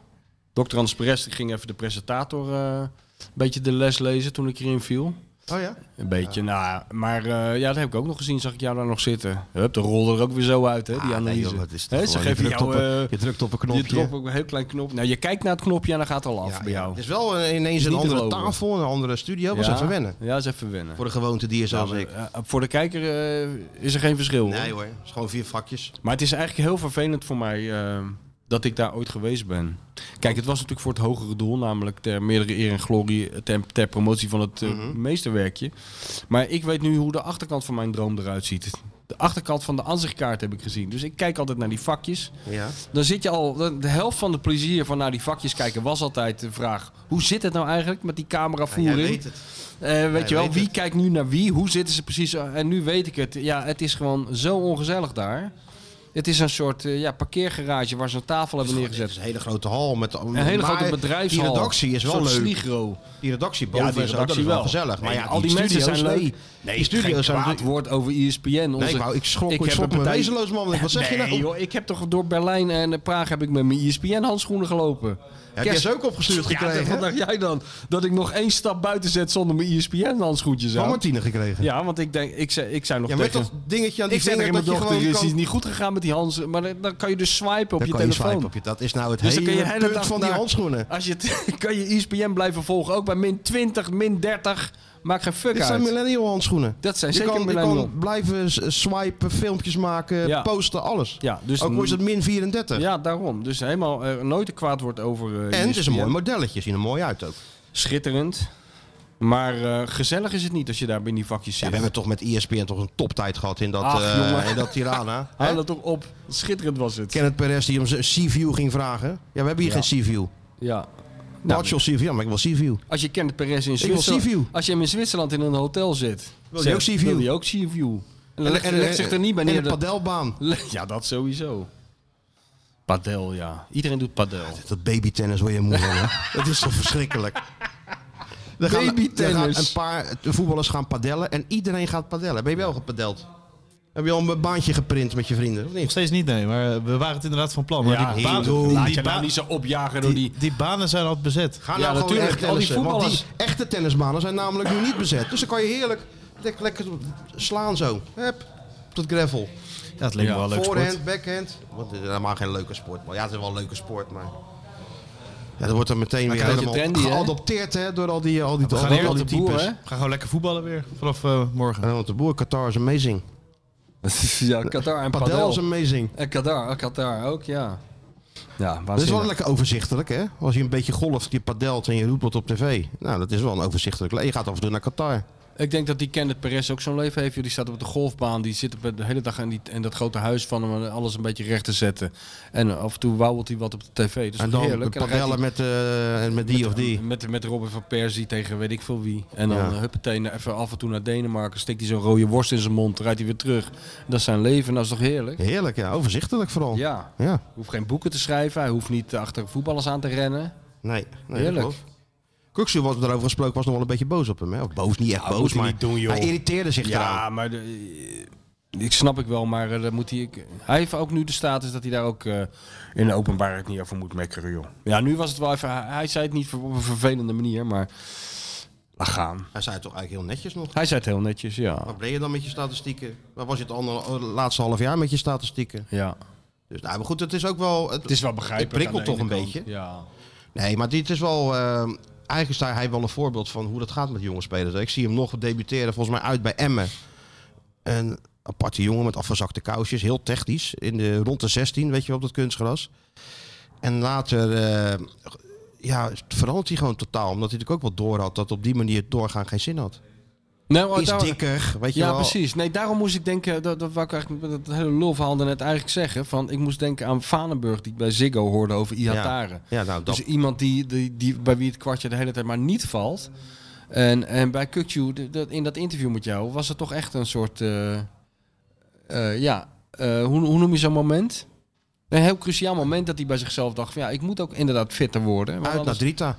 S4: Dr. Hans Perez die ging even de presentator eh, een beetje de les lezen toen ik hierin viel.
S3: Oh ja?
S4: Een beetje, nou, maar eh, ja, dat heb ik ook nog gezien. Zag ik jou daar nog zitten. Hup, de rolde er ook weer zo uit, hè, die
S3: Ah, nee,
S4: analyse.
S3: joh, dat is toch
S4: Hè, ze
S3: gewoon-
S4: geven
S3: je drukt
S4: jou
S3: op een-
S4: eh,
S3: je drukt op een
S4: je
S3: knopje.
S4: drukt op een heel klein knopje. Nou, je kijkt naar het knopje en dan gaat het al af bij jou.
S3: Het is wel eh, ineens een
S4: Niet
S3: andere
S4: geloven.
S3: tafel, een andere studio. Was even wennen.
S4: Ja, is even wennen.
S3: Voor de gewoonte die is zoals ik.
S4: Ja, voor de kijker eh, is er geen verschil. hoor.
S3: Nee hoor, het is gewoon vier vakjes.
S4: Maar het is eigenlijk heel vervelend voor mij eh, dat ik daar ooit geweest ben. Kijk, het was natuurlijk voor het hogere doel, namelijk ter meerdere eer en glorie, eh, ter, ter promotie van het eh,
S3: Mhm.
S4: meesterwerkje. Maar ik weet nu hoe de achterkant van mijn droom eruit ziet. De achterkant van de aanzichtkaart heb ik gezien. Dus ik kijk altijd naar die vakjes.
S3: Ja.
S4: Dan zit je al, de- de helft van de plezier van naar die vakjes kijken was altijd de vraag: hoe zit het nou eigenlijk met die
S3: jij
S4: cameravoering?
S3: weet het.
S4: Eh, weet je wel,
S3: weet
S4: wie
S3: het.
S4: kijkt nu naar wie? Hoe zitten ze precies? En nu weet ik het. Ja, het is gewoon zo ongezellig daar. Het is een soort eh, ja, parkeergarage waar ze een tafel hebben
S3: Het is
S4: neergezet.
S3: een hele grote hal met
S4: Een hele
S3: maar
S4: grote bedrijfshal.
S3: Die redactie is wel
S4: Een soort
S3: leuk.
S4: sligro.
S3: Die redactie boven
S4: Ja, die
S3: is ook- dat
S4: redactie
S3: is wel
S4: wel.
S3: gezellig. Maar
S4: Nee,
S3: ja,
S4: al die mensen
S3: studio's,
S4: zijn leuk.
S3: Nee,
S4: Nee,
S3: die studio's zijn
S4: kwaad woord over E ESPN. Onze...
S3: Nee, ik, wou, ik schrok, ik
S4: heb
S3: schrok
S4: een
S3: me
S4: partij-
S3: wezenloos man. Wat zeg je
S4: Nee,
S3: nou?
S4: joh, ik heb toch door Berlijn en eh, Praag heb ik met mijn ESPN-handschoenen gelopen.
S3: Heb jij ze ook opgestuurd
S4: Ja, dat-
S3: gekregen?
S4: wat dacht jij dan? Dat ik nog één stap buiten zet zonder mijn E ESPN-handschoentjes
S3: Van
S4: aan?
S3: Martine gekregen.
S4: Ja, want ik denk, ik zei, ik zei nog
S3: Ja, met
S4: tegen...
S3: dat dingetje aan die
S4: ik zei
S3: vinger
S4: tegen mijn
S3: dat je
S4: dochter,
S3: gewoon
S4: is iets
S3: kan...
S4: niet goed gegaan met die handschoenen. Maar dan, dan kan je dus swipen op
S3: Dan
S4: je
S3: kan je
S4: telefoon.
S3: swipen op je. Dat is nou het
S4: Dus dan kun je
S3: hele
S4: de hele
S3: punt
S4: dag
S3: van die
S4: naar-
S3: handschoenen.
S4: Als je het, kan je E ESPN blijven volgen, ook bij min 20, min 30. Maakt geen fuck
S3: Dit zijn
S4: uit.
S3: millennial handschoenen.
S4: Dat zijn
S3: Je
S4: zeker
S3: kan, je
S4: millennial.
S3: kan blijven s- swipen, filmpjes maken,
S4: Ja.
S3: posten, alles.
S4: Ja, dus
S3: Ook al is het min 34.
S4: ja, daarom. Dus helemaal eh, nooit een kwaad woord over eh,
S3: En het is een
S4: ESPN.
S3: mooi modelletje, zien er mooi uit ook.
S4: Schitterend. Maar eh, gezellig is het niet als je daar in die vakjes
S3: Ja,
S4: zit.
S3: we hebben toch met E ESPN toch een toptijd gehad in dat,
S4: Ach,
S3: eh,
S4: jongen.
S3: in dat Tirana. Hè?
S4: Haal dat toch op. Schitterend was het.
S3: Kenneth Perez die om zijn C-view ging vragen. Ja, we hebben hier geen C-view.
S4: Ja. Nou,
S3: Partial C-view, ja, maar ik wil C-view.
S4: Als je Kenneth Perez
S3: wil
S4: in Zwitserland...
S3: Seaview.
S4: Als je hem in Zwitserland in een hotel zit...
S3: Wil je
S4: zegt-
S3: ook Seaview?
S4: Wil je ook Seaview? En dan legt
S3: en-
S4: legt zich er niet bij
S3: En
S4: neer.
S3: de
S4: dat-
S3: padelbaan.
S4: Le- Ja, dat sowieso. Padel, ja. Iedereen doet padel.
S3: Dat babytennis word je moe van, hè? Dat is toch verschrikkelijk. Er gaan- er
S4: Babytennis.
S3: gaan Een paar voetballers gaan padellen en iedereen gaat padellen. Ben je wel gepadeld? Heb je al een baantje geprint met je vrienden? Of
S5: Nog
S3: niet?
S5: steeds niet, nee. Maar eh, we waren het inderdaad van plan. Maar
S4: Ja,
S5: die,
S4: heel
S5: banen,
S3: goed.
S5: die,
S4: Laat je
S5: ba-
S4: nou niet zo opjagen door die...
S5: die, die banen zijn al bezet.
S3: Ga
S4: Ja,
S3: nou gewoon
S4: natuurlijk.
S3: echt
S4: Al die
S3: tennissen. want
S4: voetballers.
S3: die echte tennisbanen zijn namelijk nu niet bezet. Dus dan kan je heerlijk lekker, lekker slaan zo. Hup, op dat gravel.
S5: Ja, dat leek me
S4: Ja.
S5: wel een leuk
S3: Voorhand,
S5: sport.
S3: backhand. Want het is helemaal geen leuke sport. Maar ja, het is wel een leuke sport, maar... Ja, dat wordt dan meteen weer
S4: krijg je
S3: helemaal
S4: trendy, hè?
S3: geadopteerd hè? door al die, al die, al
S5: gaan
S3: die, al die
S5: weer
S4: de boer,
S3: types.
S4: hè?
S5: Ga gewoon lekker voetballen weer vanaf eh, morgen.
S3: Ja, want de boer Qatar is amazing.
S4: ja, Qatar en
S3: Padel,
S4: padel.
S3: is amazing.
S4: En Qatar, eh, Qatar ook, ja. Ja,
S3: Dat is wel
S4: waanzinnig.
S3: lekker overzichtelijk, hè? Als je een beetje golft, je padelt en je roept wat op tv. Nou, dat is wel een overzichtelijk. le- Je gaat af en toe naar Qatar.
S4: Ik denk dat die Kenneth Perez ook zo'n leven heeft. joh. Die staat op de golfbaan, die zit op de hele dag in, die, in dat grote huis van hem... en alles een beetje recht te zetten. En af en toe wauwelt hij wat op de tv. dus Dat is
S3: en
S4: toch
S3: dan
S4: heerlijk. En dan rijdt hij-
S3: padellen met, eh, en met die of die.
S4: Met, met Robin van Persie tegen weet ik veel wie. En dan
S3: Ja.
S4: eh, huppatee, naar- even af en toe naar Denemarken. Steekt hij zo'n rode worst in zijn mond. Rijdt hij weer terug. Dat is zijn leven. Dat is toch heerlijk?
S3: Heerlijk, ja. Overzichtelijk vooral. Ja.
S4: Ja. Hij hoeft geen boeken te schrijven. Hij hoeft niet achter voetballers aan te rennen.
S3: Nee. nee
S4: Heerlijk.
S3: Kuksu, wat we daarover gesproken, was nog wel een beetje boos op hem. Hè? Of boos, niet echt
S4: Ja, Nou, moet
S3: boos,
S4: hij
S3: maar
S4: niet doen, joh.
S3: hij irriteerde zich
S4: Ja,
S3: eraan.
S4: maar de- eh, ik snap ik wel. Maar eh, dat moet hij, ik- hij heeft ook nu de status dat hij daar ook eh, in de openbaarheid niet over moet mekkeren, joh. Ja, nu was het wel even... Hij, hij zei het niet op een vervelende manier, maar... Laat gaan.
S3: Hij zei het toch eigenlijk heel netjes nog.
S4: Hij zei het heel netjes, ja.
S3: Wat ben je dan met je statistieken? Waar was je het ander- laatste half jaar met je statistieken?
S4: Ja.
S3: Dus nou, maar goed, het is ook wel...
S4: Het is wel begrijpelijk.
S3: Het prikkelt
S4: aan
S3: toch
S4: de
S3: een
S4: ene kant.
S3: beetje?
S4: Ja.
S3: Nee, maar dit is wel... eh, eigenlijk is daar hij wel een voorbeeld van hoe dat gaat met jonge spelers. Ik zie hem nog debuteren, volgens mij uit bij Emmen. Een aparte jongen met afgezakte kousjes. Heel technisch. In de, rond de 16, weet je wel, op dat kunstgras. En later... eh, ja, verandert hij gewoon totaal. Omdat hij natuurlijk ook wel door had dat op die manier doorgaan geen zin had.
S4: Nee, maar
S3: Is
S4: Oh, daar-
S3: dikker, weet je
S4: Ja,
S3: wel.
S4: precies. Nee, daarom moest ik denken, dat, dat wou ik eigenlijk met dat hele lulverhaal net eigenlijk zeggen. Van, ik moest denken aan Vanenburg, die ik bij Ziggo hoorde over Iatare.
S3: Ja, nou, dat,
S4: Dus iemand die, die, die, bij wie het kwartje de hele tijd maar niet valt. En, en bij Kukju, de- dat- in dat interview met jou, was het toch echt een soort... eh, eh, ja, eh, hoe, hoe noem je zo'n moment? Een heel cruciaal moment dat hij bij zichzelf dacht van... Ja, ik moet ook inderdaad fitter worden. want
S3: uit naar
S4: anders-
S3: Drita.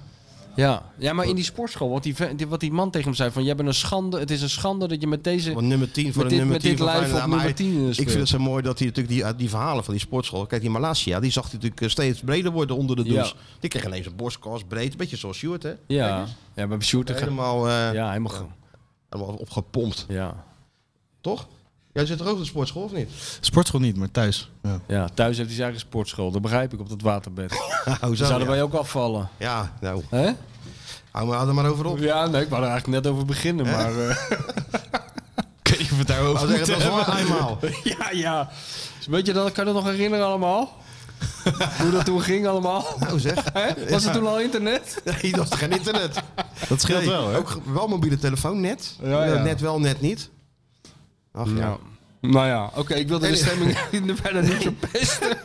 S4: Ja. ja, maar in die sportschool, wat die, ve- die- wat die man tegen hem zei: van jij bent een schande, het is een schande dat je met deze.
S3: Want nummer 10 voor
S4: Met
S3: de
S4: dit-
S3: nummer eh,
S4: met
S3: 10
S4: dit
S3: van
S4: lijf
S3: Feyenoord.
S4: op
S3: Maar
S4: nummer 10
S3: Ik
S4: speelt.
S3: vind het zo mooi dat hij natuurlijk die, die verhalen van die sportschool... Kijk, die Malasia, die zag hij natuurlijk eh, steeds breder worden onder de douche.
S4: Ja.
S3: Die kreeg ineens een borstkas, breed. Een beetje zoals Stuart, hè?
S4: Ja, ja bij Shooter. gaat-
S3: Helemaal, eh,
S4: Ja, helemaal. ge-
S3: helemaal opgepompt,
S4: Ja.
S3: toch? Jij zit er ook op de sportschool, of niet?
S5: Sportschool niet, maar thuis. Ja.
S4: ja, thuis heeft hij zijn eigen sportschool. Dat begrijp ik op dat waterbed. Dan
S3: Nou,
S4: zouden
S3: ja.
S4: wij ook afvallen.
S3: ja, nou,
S4: Hè?
S3: hou maar, hou er maar over op.
S4: Ja, nee, ik wou er eigenlijk net over beginnen, maar... eh,
S5: Ik weet niet of we het daarover
S3: Laten we zeggen,
S5: moeten
S3: dat is
S5: hebben.
S3: waar eenmaal.
S4: ja, ja. Dus weet je, dat, kan je dat nog herinneren allemaal? Hoe dat toen ging allemaal?
S3: Nou zeg,
S4: Hè? Was er toen al internet?
S3: nee, dat is geen internet.
S5: Dat scheelt
S3: Nee,
S5: wel, hè?
S3: Ook wel mobiele telefoon, net.
S4: Ja, ja.
S3: Net wel, net niet. Ach ja.
S4: Ja. Nou ja, oké, ik wilde de stemming verder niet verpesten.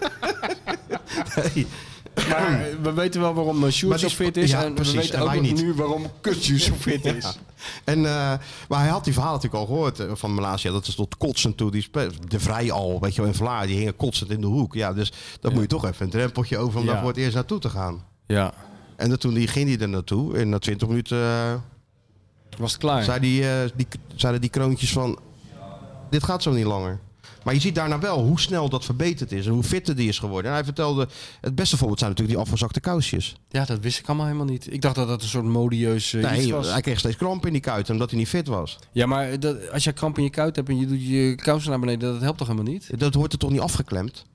S4: Maar eh, we weten wel waarom eh, Sjoerd
S3: Maar
S4: zo
S3: die-
S4: fit is.
S3: ja,
S4: en
S3: precies,
S4: we weten
S3: en
S4: ook
S3: wij
S4: nog
S3: niet.
S4: nu waarom Kutju zo fit is.
S3: En, eh, maar hij had die verhalen natuurlijk al gehoord eh, van Malaysia. Dat is tot kotsend toe. Die spe- de Vrij al, weet je wel, in Vlaar. Die hingen kotsend in de hoek. Ja, dus daar moet je toch even een drempeltje over om
S4: Ja.
S3: daar voor het eerst naartoe te gaan.
S4: Ja,
S3: En dat, toen die, ging hij er naartoe. En na 20 minuten eh,
S4: was het klaar.
S3: zei die, eh, die, zeiden die kroontjes van... Dit gaat zo niet langer. Maar je ziet daarna wel hoe snel dat verbeterd is. En hoe fitter die is geworden. En hij vertelde... Het beste voorbeeld zijn natuurlijk die afgezakte kousjes.
S4: Ja, dat wist ik allemaal helemaal niet. Ik dacht dat dat een soort modieus eh, iets
S3: Nee,
S4: was.
S3: hij kreeg steeds kramp in die kuiten omdat hij niet fit was.
S4: Ja, maar dat, als je kramp in je kuit hebt en je doet je kousen naar beneden, dat helpt toch helemaal niet?
S3: Dat wordt er toch niet afgeklemd?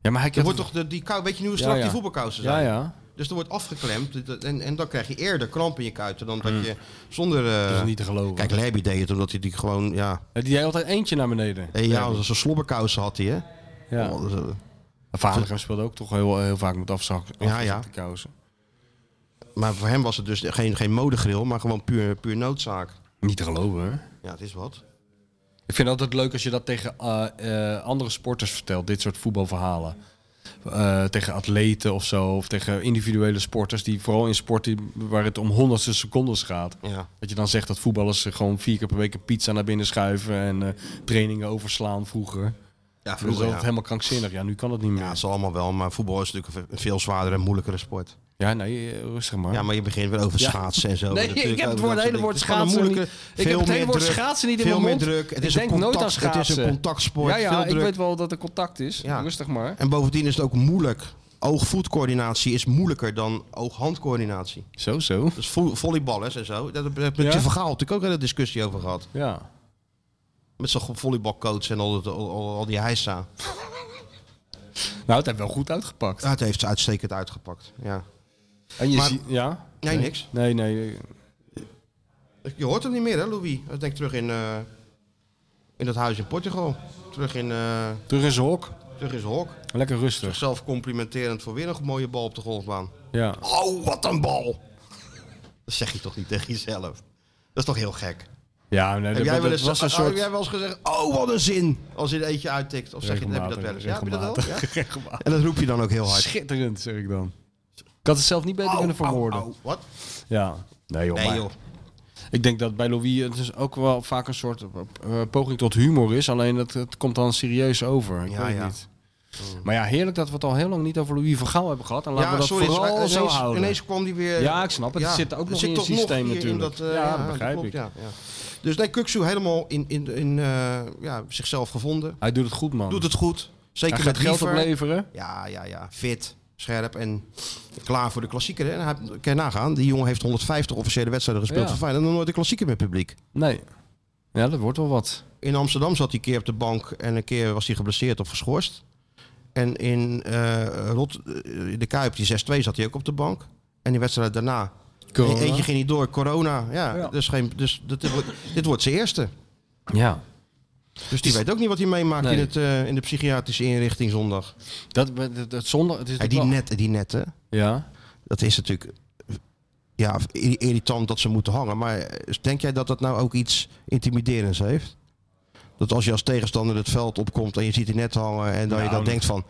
S4: Ja, maar hij
S3: Er wordt
S4: krijgt
S3: toch de, die kou, weet je nu hoe
S4: Ja,
S3: strak
S4: ja.
S3: die voetbalkousen
S4: Ja,
S3: zijn?
S4: ja.
S3: Dus er wordt afgeklemd dat- en, en dan krijg je eerder kramp in je kuiten dan dat je zonder... eh,
S4: Mm. Dat is niet te geloven.
S3: Kijk, Labby deed het omdat hij die gewoon, ja...
S4: Ja, Die deed altijd eentje naar beneden.
S3: Hey, ja, als een slobberkousen had hij, hè?
S4: Ja.
S3: Oh, dat is, eh,
S4: Vader speelde ook toch heel, heel vaak met afzakken.
S3: Ja, ja.
S4: afgezakte kousen.
S3: maar voor hem was het dus geen, geen modegril, maar gewoon puur, puur noodzaak.
S4: Niet te geloven, hè?
S3: Ja, het is wat.
S4: Ik vind het altijd leuk als je dat tegen eh, eh, andere sporters vertelt, dit soort voetbalverhalen. Eh, tegen atleten of zo, of tegen individuele sporters, die vooral in sport die, waar het om honderdste secondes gaat.
S3: Ja.
S4: Dat je dan zegt dat voetballers eh, gewoon vier keer per week een pizza naar binnen schuiven en eh, trainingen overslaan vroeger.
S3: Ja,
S4: Vroeger was
S3: vroeger,
S4: dat
S3: ja.
S4: helemaal krankzinnig. Ja, nu kan het niet
S3: Ja, het
S4: meer.
S3: is allemaal wel, maar voetbal is natuurlijk een veel zwaardere en moeilijkere sport.
S4: Ja, nee, eh, rustig maar.
S3: Ja, maar je begint weer over
S4: Ja.
S3: schaatsen en zo.
S4: Nee,
S3: Natuurlijk
S4: ik heb het
S3: over
S4: woord,
S3: dat
S4: hele
S3: soort dingen. Het
S4: woord
S3: is
S4: schaatsen
S3: gewoon
S4: niet.
S3: een veel
S4: Ik heb het hele
S3: meer
S4: woord
S3: druk,
S4: schaatsen niet in
S3: Veel
S4: mijn
S3: meer
S4: mond.
S3: druk. Het
S4: Ik
S3: is
S4: denk
S3: een
S4: nooit aan
S3: contact, Het is
S4: schaatsen.
S3: een contactsport.
S4: ja, ja,
S3: veel
S4: ik
S3: druk.
S4: weet wel dat er contact is.
S3: Ja.
S4: Rustig maar.
S3: En bovendien is het ook moeilijk. Oog-voetcoördinatie is moeilijker dan oog-handcoördinatie.
S4: Zo, zo.
S3: Dus vo- volleyballers en zo. Daar heb ik met
S4: Ja?
S3: je verhaal natuurlijk ook een hele discussie over gehad.
S4: Ja.
S3: Met zo'n volleybalcoach en al, dat- al, al- al die heisa.
S4: Nou, het heeft wel goed uitgepakt.
S3: Ja, het heeft ze uitstekend uitgepakt. Ja.
S4: En je
S3: Maar-
S4: ziet... Ja?
S3: Nee, niks.
S4: Nee, nee.
S3: Je hoort hem niet meer, hè, Louis? Ik denk terug in, eh, in dat huis in Portugal. Terug in, eh,
S4: Terug in zijn hok.
S3: terug in zijn hok.
S4: Lekker rustig.
S3: Zichzelf complimenterend voor weer een mooie bal op de golfbaan.
S4: Ja.
S3: Oh, wat een bal! Dat zeg je toch niet tegen jezelf? Dat is toch heel gek?
S4: Ja, nee,
S3: Heb
S4: dat,
S3: jij
S4: dat
S3: wel eens,
S4: was een
S3: oh,
S4: soort...
S3: heb jij wel eens gezegd, oh wat een zin, als je er eentje uittikt? Of zeg je, heb je dat
S4: Regelmatig,
S3: wel eens? Ja, heb je dat wel? Ja?
S4: regelmatig, regelmatig.
S3: En dat roep je dan ook heel hard.
S4: Schitterend, zeg ik dan. Ik had het zelf niet beter kunnen verwoorden.
S3: Wat?
S4: Ja. Nee joh,
S3: Nee
S4: maar-
S3: joh.
S4: Ik denk dat bij Louis het dus ook wel vaak een soort eh, poging tot humor is. Alleen het, het komt dan serieus over. Ik
S3: Ja,
S4: weet het
S3: ja. Mm.
S4: niet. Maar ja, heerlijk dat we het al heel lang niet over Louis van Gaal hebben gehad. En laten we dat vooral
S3: ineens,
S4: zo houden.
S3: ineens kwam die weer...
S4: Ja, ik snap het. Het zit ook nog in
S3: toch
S4: het systeem
S3: hier in
S4: natuurlijk.
S3: dat, eh,
S4: Ja, dat begrijp
S3: klopt,
S4: ik.
S3: Ja, ja. Dus nee, Kuksu helemaal in, in, in eh, ja, zichzelf gevonden.
S4: Hij doet het goed, man.
S3: Doet het goed. Zeker
S4: Oh. Hij gaat
S3: met
S4: geld
S3: Riever.
S4: opleveren.
S3: Ja, ja, ja. Fit, scherp en klaar voor de klassieker. hè. En hij, kan je nagaan, die jongen heeft 150 officiële wedstrijden gespeeld
S4: Ja.
S3: voor Feyenoord en nog nooit een klassieker met publiek.
S4: Nee. Ja, dat wordt wel wat.
S3: In Amsterdam zat hij een keer op de bank en een keer was hij geblesseerd of geschorst. En in eh, Rot, eh, de Kuip, die 6-2, zat hij ook op de bank. En die wedstrijd daarna. E- Eentje ging niet door, corona. Ja,
S4: Ja.
S3: Dus, geen, dus dit, dit wordt, dit wordt zijn eerste.
S4: Ja.
S3: Dus die weet ook niet wat hij meemaakt
S4: Nee.
S3: in, het, eh, in de psychiatrische inrichting zondag.
S4: Dat, dat, dat zonde, het is
S3: Hey,
S4: natuurlijk
S3: die,
S4: wel-
S3: net, die net, hè?
S4: Ja.
S3: dat is natuurlijk ja, irri- irritant dat ze moeten hangen. Maar denk jij dat dat nou ook iets intimiderends heeft? Dat als je als tegenstander het veld opkomt en je ziet die net
S4: Nou,
S3: hangen en dat je dan denkt van...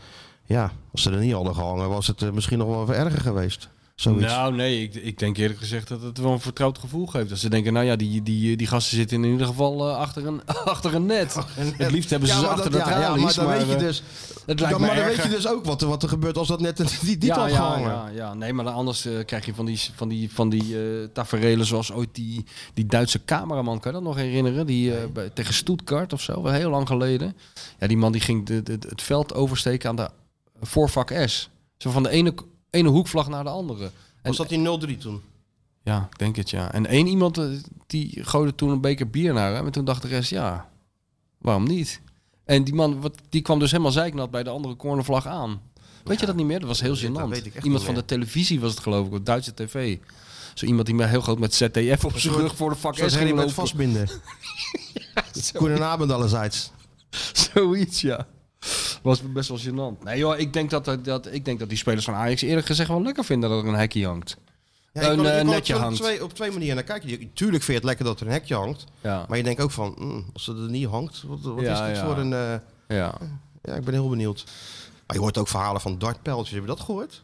S3: Ja, als ze er niet hadden gehangen was het eh, misschien nog wel even erger geweest. Zoiets.
S4: Nou, nee, ik, ik denk eerlijk gezegd dat het wel een vertrouwd gevoel geeft. Dat ze denken, nou ja, die, die, die gasten zitten in ieder geval eh, achter, een, achter een net. Het liefst hebben ze
S3: Ja,
S4: ze
S3: maar
S4: achter
S3: dat-
S4: de
S3: ja, ja,
S4: tralies.
S3: maar dan weet je
S4: eh,
S3: dus,
S4: het lijkt
S3: dan,
S4: me
S3: maar dan weet
S4: erger.
S3: je dus ook wat, er- wat er gebeurt als dat net die, die
S4: ja,
S3: had
S4: ja,
S3: gehangen.
S4: ja, ja, nee, maar dan anders eh, krijg je van die, van die, van die eh, taferelen zoals ooit die, die Duitse cameraman, kan je dat nog herinneren? Die, eh, bij, tegen Stuttgart of zo, wel heel lang geleden. Ja, die man die ging de, de- het veld oversteken aan de voorvak S. Zo van de ene, ene hoekvlag naar de andere. En,
S3: Was dat die 0-3 toen?
S4: Ja, ik denk het ja. En één iemand eh, die gooide toen een beker bier naar hem. En toen dacht de rest, ja, waarom niet? En die man, wat, die kwam dus helemaal zeiknat bij de andere cornervlag aan. Weet je dat niet meer? Dat was heel
S3: dat
S4: gênant.
S3: weet ik echt
S4: iemand
S3: niet
S4: van de
S3: meer.
S4: televisie was het geloof ik, op Duitse tv. Zo iemand die me heel groot met ZTF op zijn
S3: soort-
S4: rug voor de vak
S3: Zo ging
S4: S ging
S3: hij met
S4: lopen.
S3: vastbinden. Koen en Abend allerzijds.
S4: Zoiets, ja. Was best wel gênant. Nee joh, ik denk dat, dat- dat, ik denk dat die spelers van Ajax eerlijk gezegd wel lekker vinden dat er een hekje hangt.
S3: Ja,
S4: Een, eh,
S3: er
S4: netje
S3: op,
S4: hangt.
S3: twee, op twee manieren naar kijken. Je- Tuurlijk vind je het lekker dat er een hekje hangt.
S4: Ja,
S3: Maar je denkt ook van, mm, als ze er niet hangt, wat, wat
S4: Ah. Ja,
S3: is dit
S4: ja.
S3: voor een... eh,
S4: ja.
S3: ja, ik ben heel benieuwd. Maar je hoort ook verhalen van dartpijltjes. Heb je dat gehoord?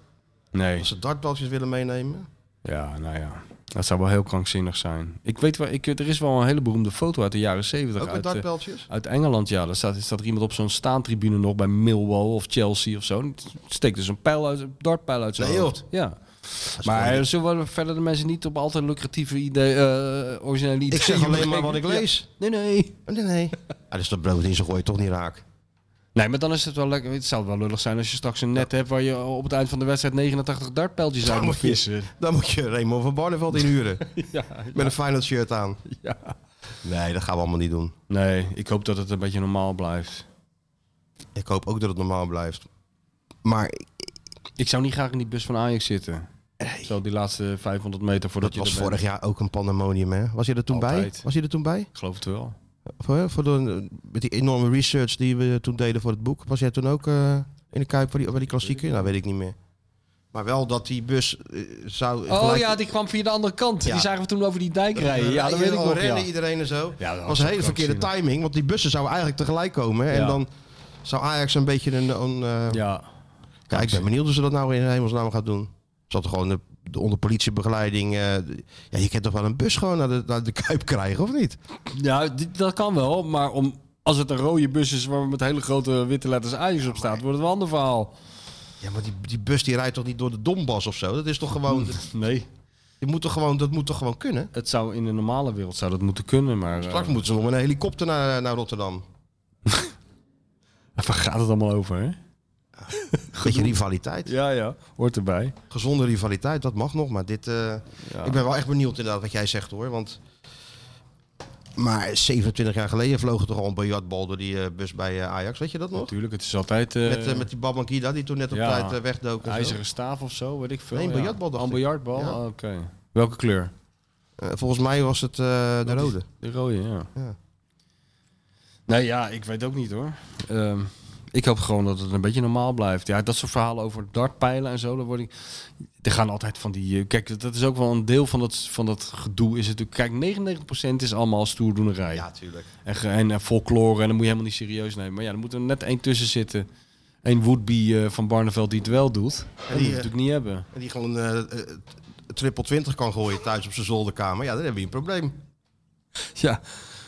S4: Nee.
S3: Als ze dartpijltjes willen meenemen.
S4: Ja, nou ja. Dat zou wel heel krankzinnig zijn. Ik weet wel, ik, er is wel een hele beroemde foto uit de jaren zeventig.
S3: Ook met
S4: Uit, eh,
S3: dartpijltjes?
S4: uit Engeland, ja. Daar staat, staat er iemand op zo'n staantribune nog bij Millwall of Chelsea of zo. En Steekt dus een pijl uit, een dartpijl uit zijn
S3: Nee, joh.
S4: hoofd. Ja.
S3: gewoon
S4: Maar eh, zullen we verder de mensen niet op altijd lucratieve idee, eh originele ideeën
S3: Ik zeg alleen maar
S4: brengen?
S3: wat ik
S4: Ja.
S3: lees.
S4: Nee, nee.
S3: Nee, nee. Ah, dus dat brood in zijn gooi toch niet raak.
S4: Nee, maar dan is het wel lekker. Het zou wel lullig zijn als je straks een net hebt waar je op het eind van de wedstrijd 89 dartpijltjes uit
S3: Dan
S4: moet
S3: moet je-
S4: vissen.
S3: Dan moet je Raymond van Barneveld inhuren.
S4: Ja,
S3: Met een Feyenoord shirt aan.
S4: ja.
S3: Nee, dat gaan we allemaal niet doen.
S4: Nee, ik hoop dat het een beetje normaal blijft.
S3: Ik hoop ook dat het normaal blijft. Maar
S4: Ik zou niet graag in die bus van Ajax zitten. Zo die laatste 500 meter voordat
S3: dat
S4: je
S3: was
S4: er bent.
S3: vorig jaar ook een pandemonium, hè? Was je er toen
S4: Altijd.
S3: bij? Was je er toen bij?
S4: Ik geloof het wel.
S3: Voor, voor de, met die enorme research die we toen deden voor het boek. Was jij toen ook eh, in de Kuip bij die, bij die klassieker? Nou, weet ik niet meer. Maar wel dat die bus eh, zou...
S4: Oh ja, die kwam via de andere kant.
S3: Ja.
S4: Die zagen we toen over die dijk rijden. Ja, dat weet ik
S3: al
S4: nog.
S3: rennen
S4: Ja.
S3: iedereen en zo.
S4: Ja, dat
S3: was
S4: was
S3: een
S4: ook
S3: hele verkeerde
S4: krankzinnig.
S3: timing. Want die bussen zouden eigenlijk tegelijk komen. hè, En
S4: Ja.
S3: dan zou Ajax een beetje een... een eh,
S4: Ja.
S3: Kijk, ik ben benieuwd hoe ze dat nou in hemelsnaam gaat doen. Ze hadden gewoon de, de onder politiebegeleiding. eh, de- ja, je kent toch wel een bus gewoon naar de, naar de Kuip krijgen, of niet?
S4: ja, dit- dat kan wel. Maar om, als het een rode bus is waar met hele grote witte letters Ajax op staat, wordt het wel een ander verhaal.
S3: Ja, maar die, die bus die rijdt toch niet door de Donbass of zo? Dat is toch gewoon...
S4: Nee.
S3: Je moet toch gewoon dat moet toch gewoon kunnen?
S4: Het zou in de normale wereld zou dat moeten kunnen, maar eh,
S3: Straks moeten ze nog met een helikopter naar, naar Rotterdam.
S4: eh, waar gaat het allemaal over, hè?
S3: Beetje rivaliteit.
S4: Ja, ja. Hoort erbij.
S3: Gezonde rivaliteit, dat mag nog. Maar dit... eh,
S4: Ja.
S3: Ik ben wel echt benieuwd inderdaad wat jij zegt, hoor. Want... Maar 27 jaar geleden vloog er toch al een biljartbal door die eh, bus bij eh, Ajax. Weet je dat nog?
S4: Natuurlijk, het is altijd... eh,
S3: Met, eh, met die Babangida die toen net op
S4: ja.
S3: tijd eh, wegdook. en zo.
S4: IJzeren staaf of zo, weet ik veel.
S3: Nee, een biljartbal,
S4: Ja.
S3: dacht
S4: Een
S3: ik.
S4: biljartbal,
S3: Ja.
S4: Ah, oké. Welke kleur?
S3: Eh, volgens mij was het eh, de rode.
S4: De rode, ja.
S3: Ja.
S4: Nou ja, ik weet ook niet hoor. Ehm, ik hoop gewoon dat het een beetje normaal blijft. Ja, dat soort verhalen over dartpijlen en zo, daar word ik... Er gaan altijd van die... eh, Kijk, dat is ook wel een deel van dat, van dat gedoe. Is het, natuurlijk- kijk, 99% is allemaal stoerdoenerij.
S3: tuurlijk.
S4: En, ge- en, eh, folklore, en dan moet je helemaal niet serieus nemen. Maar ja, er moet er net één tussen zitten. Eén would-be eh, van Barneveld die het wel doet. Dat moet je
S3: eh,
S4: natuurlijk niet hebben.
S3: En die gewoon eh eh, triple 20 kan gooien thuis op zijn zolderkamer. Ja, dan hebben we een probleem.
S4: Ja,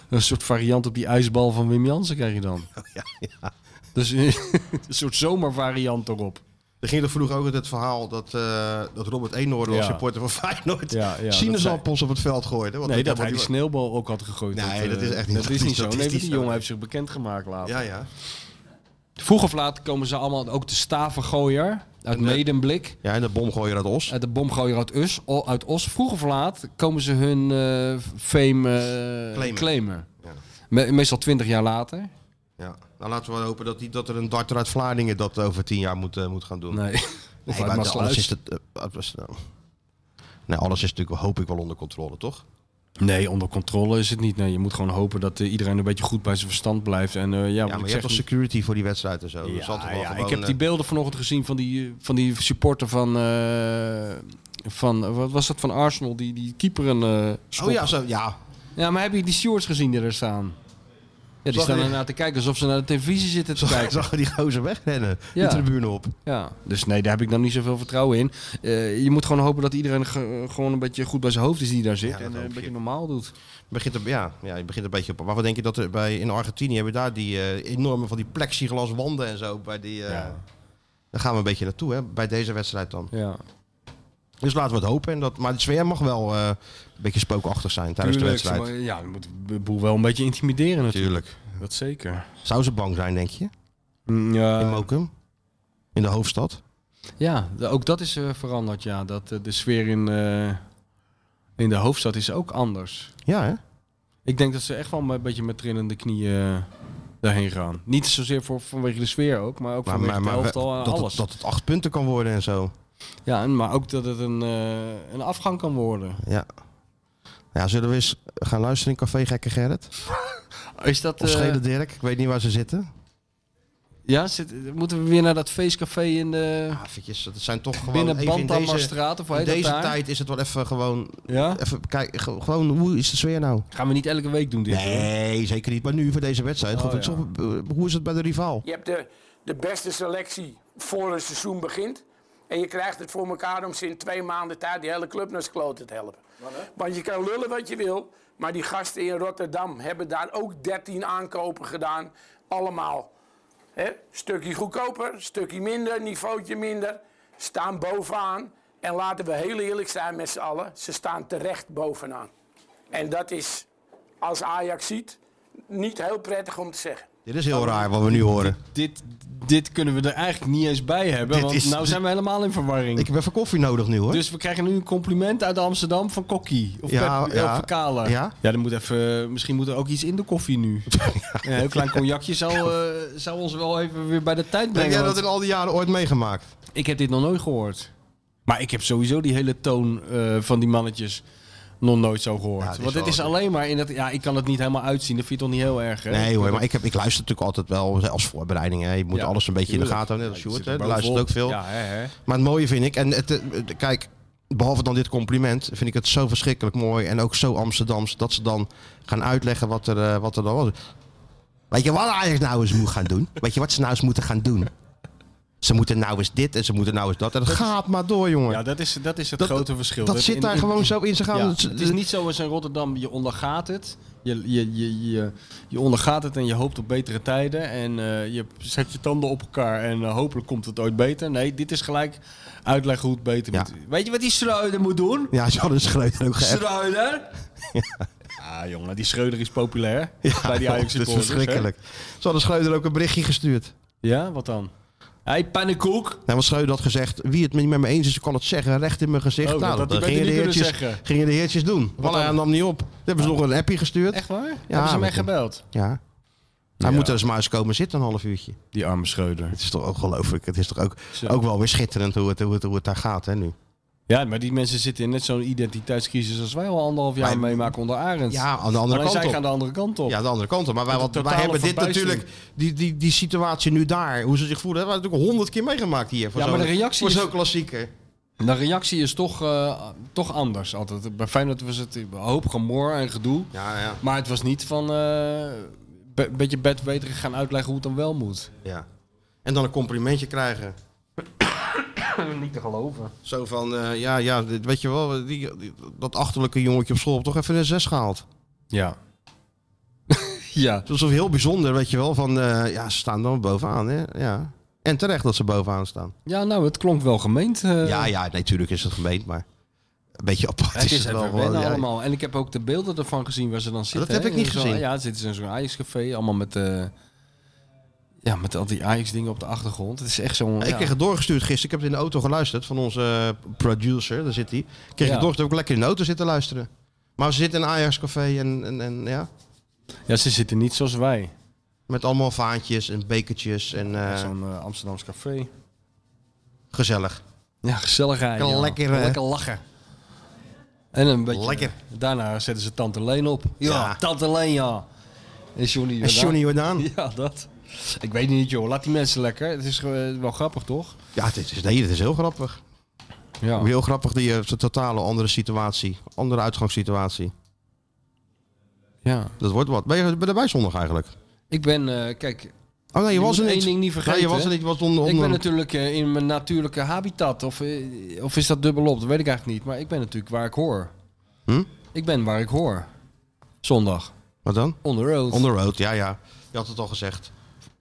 S4: een soort variant op die ijsbal van Wim Jansen krijg je dan.
S3: Oh, ja,
S4: Dus eh, een soort zomervariant erop.
S3: Er ging er vroeger ook het verhaal dat, eh, dat Robert Eenhoorn
S4: Ja.
S3: als supporter van Feyenoord
S4: Ja, ja, dat
S3: sinaasappels op het veld gooide. Want
S4: Nee, dat hij
S3: wordt
S4: die
S3: niet-
S4: sneeuwbal ook had gegooid.
S3: Nee,
S4: eh,
S3: dat is echt niet-
S4: Dat is niet zo.
S3: dat is
S4: nee,
S3: niet
S4: die
S3: zo.
S4: jongen heeft zich bekendgemaakt later.
S3: Ja, ja.
S4: Vroeg of laat komen ze allemaal, ook de stavengooier uit Medemblik.
S3: Ja, en de bomgooier uit Os.
S4: Uit de bomgooier uit Us, o- uit Os. Vroeg of laat komen ze hun eh, fame eh,
S3: Claimen.
S4: claimen.
S3: Ja.
S4: Me- meestal twintig jaar later.
S3: Ja. Nou, laten we wel hopen dat, die, dat er een darter uit Vlaardingen dat over tien jaar moet, eh, moet gaan doen.
S4: Nee.
S3: Nee,
S4: Of uit
S3: maar alles
S4: Maasluis.
S3: is, het, eh, uit Maas- nou. nee, alles is natuurlijk, hoop ik wel, onder controle, toch?
S4: Nee, onder controle is het niet. Nee, je moet gewoon hopen dat eh, iedereen een beetje goed bij zijn verstand blijft. En eh, ja, wat
S3: Ja, maar je
S4: ik zeg,
S3: hebt toch security voor die wedstrijd en zo. dus zal toch wel
S4: ja,
S3: gewoon,
S4: ik heb
S3: eh,
S4: die beelden vanochtend gezien van die, eh, van die supporter van, eh, van eh, wat was dat van Arsenal, die, die keeper een eh, schop.
S3: Oh ja, zo, ja.
S4: ja, maar heb je die stewards gezien die er staan? Ja,
S3: Zag
S4: die staan
S3: je-
S4: ernaar te kijken alsof ze naar de televisie zitten te
S3: Zag,
S4: kijken.
S3: zag je die gozer wegrennen,
S4: Ja.
S3: de tribune op.
S4: Ja, dus nee, daar heb ik dan niet zoveel vertrouwen in. Eh, je moet gewoon hopen dat iedereen ge- gewoon een beetje goed bij zijn hoofd is die daar zit.
S3: dat
S4: en eh,
S3: hoop
S4: een
S3: je.
S4: beetje normaal doet.
S3: Begint er, ja, ja, je begint een beetje op. Maar wat denk je dat er bij, in Argentinië hebben daar die eh, enorme van die plexiglas wanden en zo. Bij die, eh, Daar gaan we een beetje naartoe, hè, bij deze wedstrijd dan.
S4: Ja.
S3: Dus laten we het hopen. En dat, maar de sfeer mag wel eh, een beetje spookachtig zijn tijdens
S4: Tuurlijk,
S3: de wedstrijd.
S4: maar ja, dan moet de boel wel een beetje intimideren natuurlijk.
S3: Tuurlijk.
S4: Dat zeker.
S3: Zou ze bang zijn, denk je? In
S4: Ja,
S3: Mokum? In de hoofdstad?
S4: ja d- ook dat is eh, veranderd. Ja, dat eh, de sfeer in, eh, in de hoofdstad is ook anders.
S3: Ja, hè?
S4: Ik denk dat ze echt wel een beetje met trillende knieën eh, daarheen gaan. Niet zozeer voor, vanwege de sfeer ook, maar ook
S3: Maar,
S4: vanwege
S3: maar, maar
S4: het
S3: we-
S4: elftal en
S3: dat,
S4: alles.
S3: het, dat het acht punten kan worden en zo.
S4: Ja, en, maar ook dat het een, eh, een afgang kan worden.
S3: Ja. Ja, zullen we eens gaan luisteren in Café Gekke Gerrit?
S4: Is dat...
S3: Of
S4: eh,
S3: Schede Dirk? Ik weet niet waar ze zitten.
S4: ja, zit, moeten we weer naar dat feestcafé in de...
S3: Ah, Eventjes, dat zijn toch gewoon
S4: binnen
S3: even in deze,
S4: Bantammerstraat of hoe
S3: in
S4: heet dat
S3: deze
S4: daar?
S3: tijd is het wel even gewoon...
S4: Ja?
S3: Even kijken, ge- gewoon hoe is de sfeer nou?
S4: Gaan we niet elke week doen dit. hoor.
S3: Nee, zeker niet. Maar nu voor deze wedstrijd.
S4: Oh,
S3: Goed, het is
S4: ja.
S3: toch- eh, hoe is het bij de rivaal?
S10: Je hebt de, de beste selectie voor een seizoen begint. En je krijgt het voor elkaar om ze in twee maanden tijd die hele club naar z'n kloten te helpen. Want je kan lullen wat je wil, maar die gasten in Rotterdam hebben daar ook 13 aankopen gedaan. Allemaal. Hè? Stukje goedkoper, stukje minder, niveautje minder. Staan bovenaan. En laten we heel eerlijk zijn met z'n allen, ze staan terecht bovenaan. En dat is, als Ajax ziet, niet heel prettig om te zeggen.
S3: Dit is heel raar wat we nu horen.
S4: Dit, dit kunnen we er eigenlijk niet eens bij hebben,
S3: Dit
S4: want
S3: is-
S4: nou zijn we helemaal in verwarring.
S3: Ik heb even koffie nodig nu hoor.
S4: Dus we krijgen nu een compliment uit Amsterdam van Kokkie. Of
S3: Ja,
S4: ja,
S3: ja.
S4: of Verkalen.
S3: Ja?
S4: dan moet even, misschien moet er ook iets in de koffie nu. Een heel klein cognacje zou, eh, zou ons wel even weer bij de tijd
S3: Heb
S4: brengen.
S3: jij dat
S4: want
S3: in al die jaren ooit meegemaakt?
S4: Ik heb dit nog nooit gehoord. Maar ik heb sowieso die hele toon eh, van die mannetjes nog nooit zo gehoord.
S3: Ja, het is
S4: Want het
S3: wel-
S4: is alleen maar in dat... Ja, ik kan het niet helemaal uitzien. Dat vind je toch niet heel erg, hè?
S3: Nee hoor, maar ik, heb, ik luister natuurlijk altijd wel als voorbereiding. Hè. Je moet
S4: Ja,
S3: alles een beetje in de
S4: tuurlijk.
S3: gaten houden. Net als
S4: Ja, je
S3: Sjoerd,
S4: zit
S3: hè,
S4: er
S3: die luistert ook
S4: bovenop.
S3: veel.
S4: Ja, hè, hè.
S3: Maar het mooie vind ik, en het, eh, eh, kijk, behalve dan dit compliment, vind ik het zo verschrikkelijk mooi en ook zo Amsterdams dat ze dan gaan uitleggen wat er, eh, wat er dan was. Weet je wat Ajax nou eens moet gaan doen? Weet je wat ze nou eens moeten gaan doen? Ze moeten nou eens dit en ze moeten nou eens dat. En dat, gaat maar door, jongen.
S4: Ja, dat is, dat is het
S3: Dat-
S4: grote verschil.
S3: dat zit
S4: in-
S3: daar
S4: in-
S3: gewoon zo in. Ze gaan.
S4: Ja,
S3: dat ze-
S4: het is niet zoals in Rotterdam, je ondergaat het. Je, je, je, je, je ondergaat het en je hoopt op betere tijden. En eh, je zet je tanden op elkaar en eh, hopelijk komt het ooit beter. Nee, dit is gelijk uitleggen hoe het beter
S3: Ja.
S4: moet. Weet je wat die Schreuder moet doen?
S3: Ja, ze hadden Schreuder ook geappt.
S4: Schreuder? Ah jongen, die Schreuder is populair bij die Ajax
S3: Dat is verschrikkelijk. Ze hadden Schreuder ook een berichtje gestuurd.
S4: Ja, wat dan? Hé, hey, pannenkoek.
S3: Nou, wat Schreuder had gezegd, wie het niet met me eens is, kan het zeggen, recht in mijn gezicht.
S4: Oh,
S3: nou,
S4: dat had
S3: dat
S4: hij
S3: gingen de,
S4: beter niet kunnen
S3: heertjes,
S4: zeggen.
S3: gingen de heertjes doen. Voilà, hij nam niet op. Dan hebben ze nog een appje gestuurd.
S4: Echt waar? Hebben ze hem
S3: met
S4: echt
S3: hem.
S4: gebeld?
S3: Ja. Nou, Hij
S4: Ja.
S3: moet er eens maar eens komen zitten, een half uurtje.
S4: Die arme Schreuder.
S3: Het is toch ook gelooflijk. Het is toch ook,
S4: Zo.
S3: ook wel weer schitterend hoe het, hoe het, hoe het daar gaat hè, nu.
S4: Ja, maar die mensen zitten in net zo'n identiteitscrisis als wij al anderhalf jaar
S3: Maar-
S4: meemaken onder Arend.
S3: Ja, aan de andere
S4: Alleen
S3: kant
S4: zij
S3: op.
S4: gaan de andere kant op.
S3: Ja, de andere kant op. Maar wij,
S4: Met
S3: wat,
S4: de
S3: wij
S4: totale
S3: hebben dit
S4: verbijstering.
S3: natuurlijk, die, die, die situatie nu daar, hoe ze zich voelen, hebben we natuurlijk honderd keer meegemaakt hier. Voor
S4: Ja, maar
S3: zo'n-
S4: de reactie
S3: Voor
S4: is-
S3: zo'n klassieker.
S4: De reactie is toch, eh, toch anders altijd. Bij Feyenoord was het een hoop gemor en gedoe.
S3: Ja, ja.
S4: Maar het was niet van eh, een beetje bedweterig gaan uitleggen hoe het dan wel moet.
S3: ja. En dan een complimentje krijgen.
S4: Niet te geloven.
S3: Zo van, eh, ja, ja, dit- weet je wel, die, die- dat achterlijke jongetje op school heeft toch even een zes gehaald.
S4: Ja. ja.
S3: Dat is wel heel bijzonder, weet je wel, van, eh, ja, ze staan dan bovenaan, hè? ja. En terecht dat ze bovenaan staan.
S4: Ja, nou, het klonk wel gemeend. eh.
S3: ja, ja, natuurlijk is het gemeend, maar een beetje apart
S4: Het is
S3: wel.
S4: even
S3: gewoon,
S4: wennen
S3: ja.
S4: allemaal. En ik heb ook de beelden ervan gezien waar ze dan zitten.
S3: heb
S4: hè.
S3: ik niet
S4: In zo'n-
S3: gezien.
S4: Ja, het zitten ze in zo'n Ajax-café. Allemaal met, eh, ja, met al die Ajax-dingen op de achtergrond. Het is echt zo'n...
S3: Ik
S4: ja.
S3: kreeg het doorgestuurd gisteren. Ik heb het in de auto geluisterd van onze eh, producer, daar zit hij. Ik kreeg
S4: Ja.
S3: het doorgestuurd, heb ik lekker in de auto zitten luisteren. Maar ze zitten in een Ajax-café en, en, en ja,
S4: ja, ze zitten niet zoals wij.
S3: met allemaal vaantjes en bekertjes en eh,
S4: zo'n eh, Amsterdams café.
S3: gezellig.
S4: Ja, gezelligheid.
S3: Lekker,
S4: joh.
S3: lekker, eh,
S4: lekker lachen. En een beetje...
S3: Lekker.
S4: Daarna zetten ze Tante Leen op. Ja,
S3: Ja.
S4: Tante Leen, ja. En Johnny
S3: En
S4: Jordaan.
S3: Johnny Jordaan.
S4: Ja, dat. Ik weet niet, joh. Laat die mensen lekker. Het is eh, wel grappig, toch?
S3: Ja, dit is, nee, dit is heel grappig.
S4: Ja.
S3: Heel grappig, die eh, totale andere situatie. Andere uitgangssituatie.
S4: ja.
S3: Dat wordt wat. Ben je, ben je erbij zondag eigenlijk?
S4: Ik ben, eh, kijk...
S3: Oh nee, je was
S4: moet
S3: er niet.
S4: één ding niet vergeten.
S3: Nee, je was er niet. Je was onder,
S4: Ik ben natuurlijk eh, in mijn natuurlijke habitat. Of, eh, of is dat dubbelop? Dat weet ik eigenlijk niet. Maar ik ben natuurlijk waar ik hoor.
S3: Hm?
S4: Ik ben waar ik hoor. Zondag.
S3: Wat dan?
S4: On the road.
S3: On the road, ja, ja. Je had het al gezegd.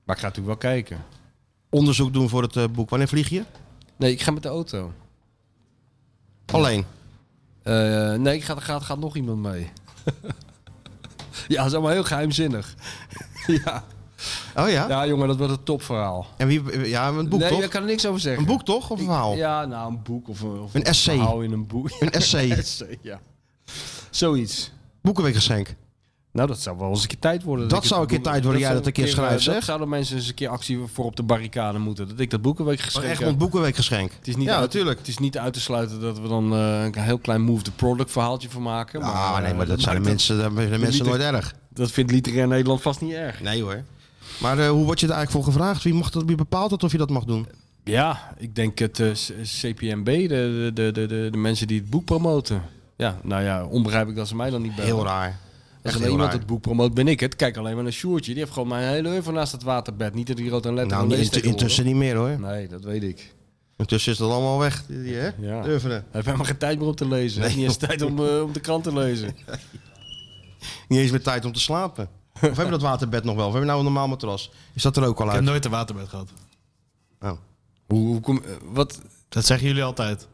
S4: Maar ik ga natuurlijk wel kijken.
S3: Onderzoek doen voor het eh, boek. Wanneer vlieg je?
S4: Nee, ik ga met de auto.
S3: Alleen.
S4: Eh, nee, ik ga, gaat, gaat nog iemand mee. ja, dat is allemaal heel geheimzinnig. ja.
S3: Oh ja?
S4: Ja, jongen, dat wordt een topverhaal.
S3: En wie, ja, een boek
S4: nee,
S3: toch?
S4: daar kan ik niks over zeggen.
S3: Een boek toch? Of een verhaal?
S4: Ja, nou, een boek of een, of
S3: Een essay.
S4: verhaal in een boek.
S3: Een essay.
S4: essay, ja. Zoiets.
S3: Boekenweekgeschenk.
S4: Nou, dat zou wel eens een keer tijd worden.
S3: Dat zou een keer tijd worden, jij dat een keer schrijft,
S4: zeg.
S3: zeg.
S4: eh, Dat zouden mensen eens een keer actie voor op de barricade moeten. Dat ik dat boekenweek
S3: Maar
S4: geschreven
S3: echt een boekenweekgeschenk.
S4: Het is niet
S3: Ja,
S4: uit,
S3: natuurlijk.
S4: Het is niet uit te sluiten dat we dan eh, een heel klein move the product verhaaltje van maken.
S3: Ah, nee, maar
S4: eh,
S3: dat zijn de
S4: maakt
S3: mensen, dat zijn de mensen
S4: niet
S3: nooit erg.
S4: Dat vindt literair Nederland vast niet erg.
S3: Nee hoor. Maar eh, hoe word je er eigenlijk voor gevraagd? Wie, mag dat, wie bepaalt dat of je dat mag doen?
S4: Ja, ik denk het eh, C- CPMB, de, de, de, de, de mensen die het boek promoten. Ja, nou ja, onbegrijpelijk dat ze mij dan niet bellen.
S3: Eh, Heel raar.
S4: Als
S3: Echt
S4: er
S3: heel
S4: iemand
S3: raar.
S4: het boek promoot, ben ik het. Kijk alleen maar naar Sjoertje. Die heeft gewoon mijn hele oeuvre naast het waterbed. Niet dat hij rood en letter
S3: Nou,
S4: van leest
S3: int- intussen niet meer hoor.
S4: Nee, dat weet ik.
S3: Intussen is dat allemaal weg. Die, die, hè?
S4: Ja. Hij
S3: Durven.
S4: heeft helemaal geen tijd meer om te lezen. Hij heeft niet eens tijd om, eh, om de krant te lezen.
S3: Niet eens meer tijd om te slapen. Of hebben we dat waterbed nog wel? Of hebben we nou een normaal matras? Is dat er ook al
S5: Ik heb
S3: uit?
S5: nooit een waterbed gehad.
S3: Oh.
S4: Hoe, hoe kom, eh, wat,
S5: Dat zeggen jullie altijd.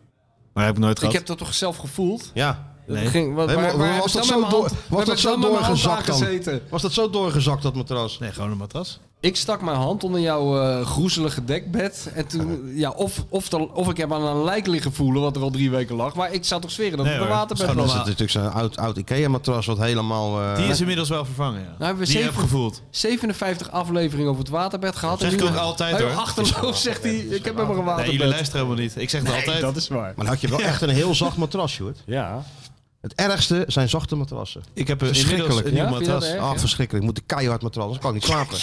S5: Maar heb ik nooit
S4: ik
S5: gehad.
S4: heb dat toch zelf gevoeld?
S3: Ja.
S4: Dat
S5: Nee.
S4: ging- wat-
S3: Helemaal-
S4: waar- waar heb
S3: was,
S4: ik dan
S3: dat
S4: met
S3: zo
S4: mijn
S3: door,
S4: hand- waar
S3: was
S4: heb
S3: dat
S4: ik
S3: zo
S4: dan met mijn hand
S3: doorgezakt dan?
S4: aangezeten?
S3: Was dat zo doorgezakt, dat matras?
S5: Nee, gewoon een matras.
S4: Ik stak mijn hand onder jouw eh, groezelige dekbed. En toen, ja, of, of, de- of ik heb aan een lijk liggen voelen, wat er al drie weken lag. Maar ik zou toch zweren dat
S5: Nee
S4: het een
S5: hoor,
S4: waterbed
S5: dat
S4: was.
S3: Dan is
S5: normaal.
S3: het natuurlijk zo'n oud, oud Ikea-matras wat helemaal... eh,
S5: Die is inmiddels wel vervangen, ja.
S4: hebben Nou, we
S5: die
S4: zeven-
S5: heb gevoeld.
S4: 57 afleveringen over het waterbed gehad.
S5: Dat
S4: en
S5: zeg
S4: nu-
S5: ik ook altijd,
S4: Heel
S5: hoor.
S4: Achterloos zegt hij, ik heb helemaal een
S5: Nee,
S4: waterbed.
S5: jullie luisteren helemaal niet. Ik zeg het altijd.
S4: dat is waar.
S3: Maar dan had je wel echt een heel zacht matras, Sjoerd.
S4: Ja.
S3: Het ergste zijn zachte matrassen.
S5: Ik heb een
S3: Verschrikkelijk.
S5: inmiddels een nieuw
S4: Ja, vind je dat
S5: matras.
S4: erg?
S3: Ah,
S4: ja.
S3: verschrikkelijk. Ik moet een keihard matras, anders kan ik niet slapen.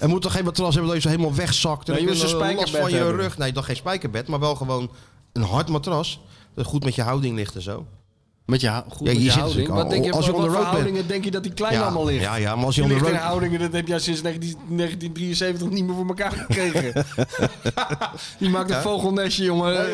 S3: Er moet toch geen matras hebben dat je zo helemaal wegzakt. En
S4: Nee,
S3: dan
S4: je
S3: heb
S4: moet
S3: je
S4: een
S3: een last van
S4: spijkerbed
S3: je
S4: hebben.
S3: rug. Nee, dan geen spijkerbed, maar wel gewoon een hard matras. Dat goed met je houding ligt en zo.
S4: Met je, hou- goed
S3: Ja,
S4: met
S3: hier
S4: je
S3: zit
S4: houding.
S3: natuurlijk
S4: Wat denk je,
S3: al- als je
S4: wat
S3: on the
S4: voor
S3: road bent.
S4: houdingen denk je dat die klein
S3: ja,
S4: allemaal ligt?
S3: Ja, ja, maar als je
S4: Die
S3: onder
S4: ligt in
S3: rood...
S4: houdingen, dat heb jij sinds 19- 1973 niet meer voor elkaar gekregen. Die maakt een vogelnestje, jongen.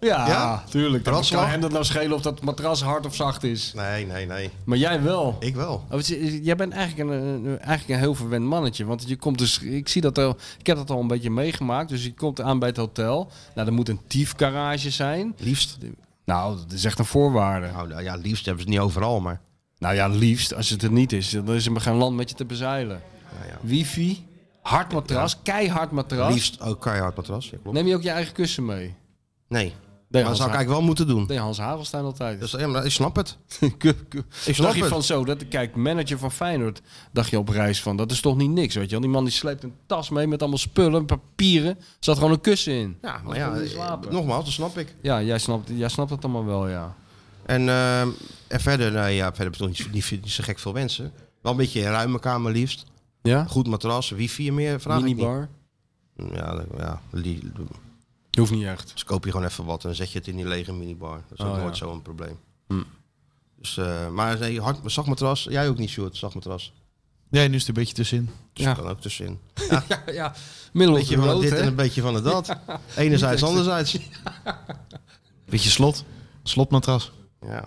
S4: Ja,
S3: Ja?
S4: tuurlijk. Dan
S3: Ratslag?
S4: kan hem dat nou schelen of dat matras hard of zacht is.
S3: Nee, nee, nee.
S4: Maar jij wel.
S3: Ik wel.
S4: Oh, het is- Jij bent eigenlijk een, een- eigenlijk een heel verwend mannetje. Want je komt dus, ik, zie dat al, ik heb dat al een beetje meegemaakt. Dus je komt aan bij het hotel. Nou, er moet een tiefgarage zijn.
S3: Liefst.
S4: Nou, dat is echt een voorwaarde.
S3: Nou, nou ja, liefst hebben ze het niet overal, maar...
S4: Nou ja, liefst als het er niet is. Dan is er maar geen land met je te bezeilen.
S3: Nou ja.
S4: Wifi, hard matras, keihard matras.
S3: Liefst ook keihard matras. Ja, klopt.
S4: Neem je ook je eigen kussen mee?
S3: Nee. Maar
S4: Nee,
S3: dat
S4: Hans,
S3: zou ik
S4: Ha-
S3: eigenlijk wel moeten doen.
S4: deed Hans Havelstein altijd.
S3: Dus, ja, maar ik snap het.
S4: Ku- ku-
S3: Ik snap
S4: dacht je
S3: het.
S4: van zo, dat, kijk, manager van Feyenoord, dacht je op reis van, dat is toch niet niks, weet je wel. Die man die sleept een tas mee met allemaal spullen, papieren, zat gewoon een kussen in.
S3: Ja, maar
S4: Anders
S3: ja,
S4: kon je niet
S3: eh,
S4: slapen.
S3: nogmaals, dat snap ik.
S4: Ja, jij snapt, jij snapt dat allemaal wel, ja.
S3: En, ehm, en verder, nou ja, verder heb ik toch niet, niet, niet zo gek veel wensen. Wel een beetje een ruime kamer liefst.
S4: Ja?
S3: Goed matras, wifi en meer vraag ik
S4: Minibar?
S3: niet. Ja, dat- ja li-
S4: Hoeft niet echt.
S3: dus koop je gewoon even wat en zet je het in die lege minibar. Dat is ook
S4: Oh, ja. Hm.
S3: nooit zo'n probleem. Dus, eh, maar nee, hard, zacht matras, jij ook niet Sjoerd, zacht matras.
S5: Nee, nu is het een beetje tussenin.
S3: Dus
S4: Ja.
S3: dat kan ook tussenin.
S4: Ja, ja. Middel
S3: Een
S4: of
S3: beetje
S4: the
S3: van het
S4: road,
S3: dit
S4: hè?
S3: en een beetje van het dat. Enerzijds, anderzijds.
S5: Beetje slot. Slotmatras.
S3: Ja.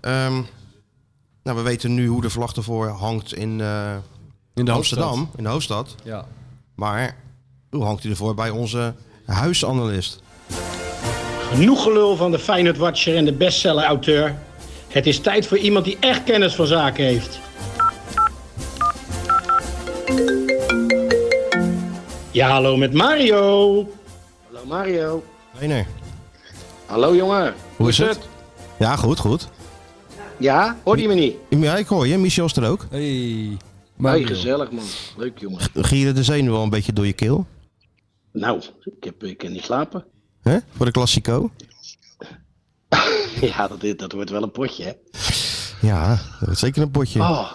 S3: Ehm, nou, we weten nu hoe de vlag ervoor hangt in eh,
S4: In de
S3: Amsterdam,
S4: hoofdstad.
S3: in de hoofdstad.
S4: Ja.
S3: Maar hoe hangt hij ervoor bij onze huisanalist?
S11: Genoeg gelul van de Feyenoord Watcher en de bestseller-auteur. Het is tijd voor iemand die echt kennis van zaken heeft. Ja, hallo met Mario. Hallo Mario.
S3: Trainer.
S11: Hallo jongen.
S3: Hoe is het? Ja, goed, goed.
S11: Ja, hoor je me niet?
S3: Ja, ik hoor je. Michel is er ook.
S4: Hey.
S11: Hoi,
S4: Mario.
S11: gezellig man. Leuk jongen.
S3: Gieren de zenuwen wel een beetje door je keel.
S11: Nou, ik, heb, ik kan niet slapen.
S3: Hè? Voor de Classico.
S11: Ja, dat, is- dat wordt wel een potje hè.
S3: Ja, dat is zeker een potje.
S12: Ah.
S11: Oh,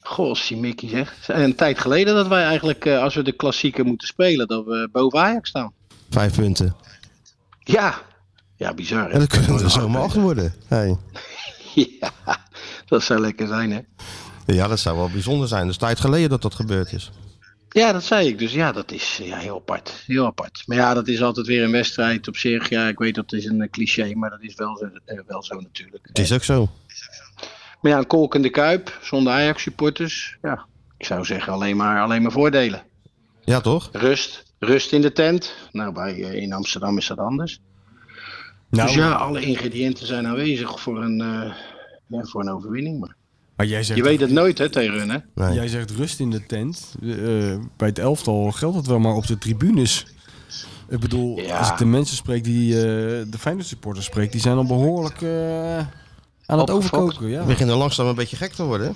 S11: goh, Simikkie zeg. Een tijd geleden dat wij eigenlijk, eh, als we de klassieker moeten spelen, dat we boven Ajax staan.
S3: Vijf punten.
S11: Ja. Ja, bizar. Hè?
S3: En dat
S12: Ah.
S3: kunnen er zomaar acht worden. Hey.
S11: Ja, dat zou lekker zijn, hè?
S3: Ja, dat zou wel bijzonder zijn. Dat is tijd geleden dat dat gebeurd is.
S12: Ja, dat zei ik. Dus ja, dat is eh, ja, heel apart. Heel apart. Maar ja, dat is altijd weer een wedstrijd op zich. Ja, ik weet dat is een eh, cliché, maar dat is wel zo, eh, wel zo natuurlijk.
S3: Het is ook zo.
S12: Maar ja, een kolkende kuip zonder Ajax supporters. Ja, ik zou zeggen alleen maar, alleen maar voordelen.
S3: Ja, toch?
S12: Rust. Rust in de tent. Nou, bij, eh, in Amsterdam is dat anders.
S4: Nou.
S12: dus ja, alle ingrediënten zijn aanwezig voor een, eh, ja, voor een overwinning. Maar
S4: Maar jij zegt
S12: je weet het nooit hè, tegen hun, hè?
S4: Jij zegt rust in de tent. Eh, eh, bij het elftal geldt dat wel, maar op de tribunes. Ik bedoel, als ik de mensen spreek die eh, de Feyenoord supporters spreek, die zijn al behoorlijk eh, aan het overkoken. Ja.
S3: We beginnen langzaam een beetje gek te worden. hè?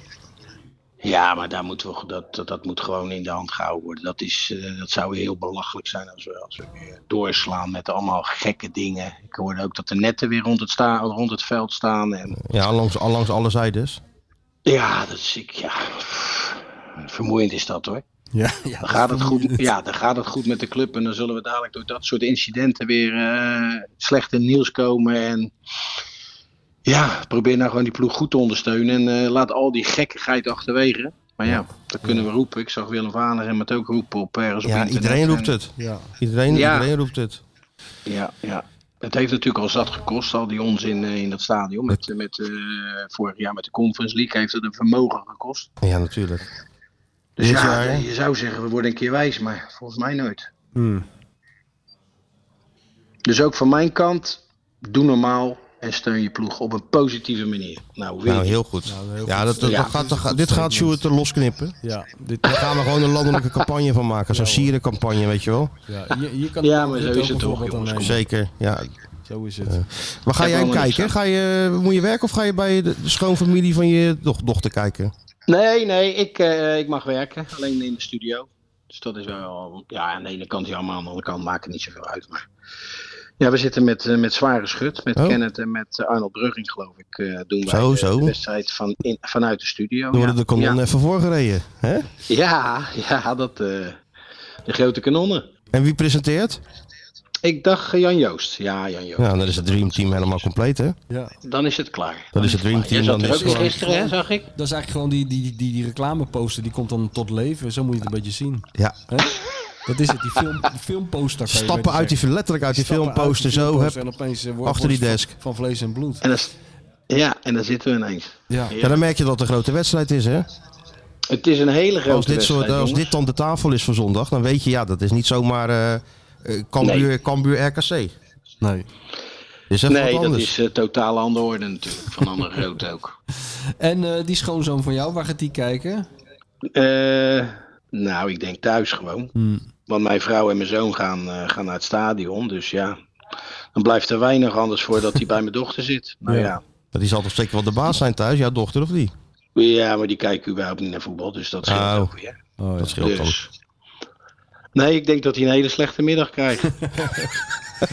S12: Ja, maar daar moeten we, dat, dat, dat moet gewoon in de hand gehouden worden. Dat, is, eh, dat zou heel belachelijk zijn als we, als we weer doorslaan met allemaal gekke dingen. Ik hoorde ook dat de netten weer rond het, sta, rond het veld staan. En
S3: Ja, langs, langs alle zijdes.
S12: ja, dat is ik. Ja. Vermoeiend is dat hoor.
S4: Ja,
S12: Dan gaat, het goed, ja, dan gaat het goed met de club en dan zullen we dadelijk door dat soort incidenten weer eh, slecht in het nieuws komen. En ja, probeer nou gewoon die ploeg goed te ondersteunen en eh, laat al die gekkigheid achterwege. Maar ja, dat kunnen we roepen. Ik zag Willem Vaner en het ook roepen op ergens op
S3: Ja,
S12: internet.
S3: iedereen roept
S12: En-
S3: het. Iedereen,
S12: Ja.
S3: iedereen roept het.
S12: Ja, ja. Het heeft natuurlijk al zat gekost, al die onzin eh, in dat stadion. Met, met, eh, vorig jaar met de Conference League heeft het een vermogen gekost.
S3: Ja, natuurlijk.
S12: Dus
S3: Dit
S12: ja,
S3: jaar, hè? Hmm.
S12: je zou zeggen, we worden een keer wijs, maar volgens mij nooit. Dus ook van mijn kant, doe normaal en steun je ploeg op een positieve manier. Nou, weer
S3: Nou,
S12: niet.
S3: heel goed. Ja, dat, dat, dat gaat, dat gaat- dit gaat Sjoerd er losknippen.
S4: Ja, dit,
S3: Daar gaan we gewoon een landelijke campagne van maken. Zo'n sierencampagne, weet je wel.
S4: ja, hier, hier kan
S12: Ja, maar
S4: dit
S12: zo
S4: ook
S12: is het
S4: een
S12: toch,
S4: voorbeeld aan
S12: jongens.
S4: nemen.
S3: Zeker, ja.
S4: Zo is het.
S3: Eh, Waar ga
S12: Ik
S3: jij
S12: heb
S3: hem
S12: wel een
S3: kijken? Ga je, moet je werken of ga je bij de, de schoonfamilie van je doch- dochter kijken?
S12: Nee, nee, ik, eh, ik mag werken. Alleen in de studio. Dus dat is wel, ja, aan de ene kant jammer, aan de andere kant maakt het niet zoveel uit. Maar ja, we zitten met, eh, met zware schut, met
S3: Oh.
S12: Kenneth en met eh, Arnold Brugging, geloof ik. eh, doen wij
S3: Zo,
S12: de,
S3: zo.
S12: de wedstrijd van in, vanuit de studio.
S3: Dan
S12: ja.
S3: worden de kanonnen
S12: Ja.
S3: even voorgereden. Hè?
S12: Ja, ja, dat, eh, de grote kanonnen.
S3: En wie presenteert?
S12: Ik dacht eh, Jan Joost. Ja, Jan Joost.
S3: Ja, dan is het Dream Team helemaal compleet, hè?
S12: Dan is het klaar.
S3: Dat is het Dream
S12: Jij
S3: Team.
S12: zat
S3: Dan
S12: er
S3: is
S12: ook
S3: het
S12: in
S3: gewoon-
S12: gisteren, hè, zag ik.
S4: Dat is eigenlijk gewoon die, die, die, die reclameposter, die komt dan tot leven. Zo moet je het een beetje zien.
S3: Ja.
S4: Hè? Dat is het, die, film, die filmposter. kan je
S3: Stappen
S4: beter
S3: uit die,
S4: zeggen.
S3: letterlijk uit die
S4: Stappen
S3: filmposter,
S4: die
S3: zo.
S4: filmposter
S3: Hup,
S4: En opeens eh, wordt-
S3: achter die
S4: wordt
S3: desk.
S4: Van, van vlees en bloed.
S12: En dat is- ja, en daar zitten we ineens.
S4: Ja.
S3: Ja, dan merk je dat het een grote wedstrijd is, hè?
S12: Het is een hele grote
S3: Als dit, soort, eh,
S12: wedstrijd,
S3: als
S12: jongens.
S3: dit dan de tafel is van zondag, dan weet je, ja, dat is niet zomaar eh, eh, Cambuur,
S12: Nee.
S3: Cambuur RKC. Nee.
S4: Nee.
S3: Is even wat
S12: Nee, dat
S3: anders.
S12: is eh, totaal andere orde natuurlijk. Van andere groot ook.
S4: En eh, die schoonzoon van jou, waar gaat die kijken?
S12: Eh, nou, ik denk thuis gewoon.
S3: Hmm.
S12: Want mijn vrouw en mijn zoon gaan, eh, gaan naar het stadion. Dus ja, dan blijft er weinig anders voor dat hij bij mijn dochter zit. Nou ja.
S3: Dat die zal toch zeker wel de baas zijn thuis, jouw dochter of die?
S12: ja. maar die kijken überhaupt niet naar voetbal. Dus dat scheelt
S3: Oh.
S12: ook weer.
S3: Dat scheelt
S12: Dus... Nee, ik denk dat hij een hele slechte middag krijgt.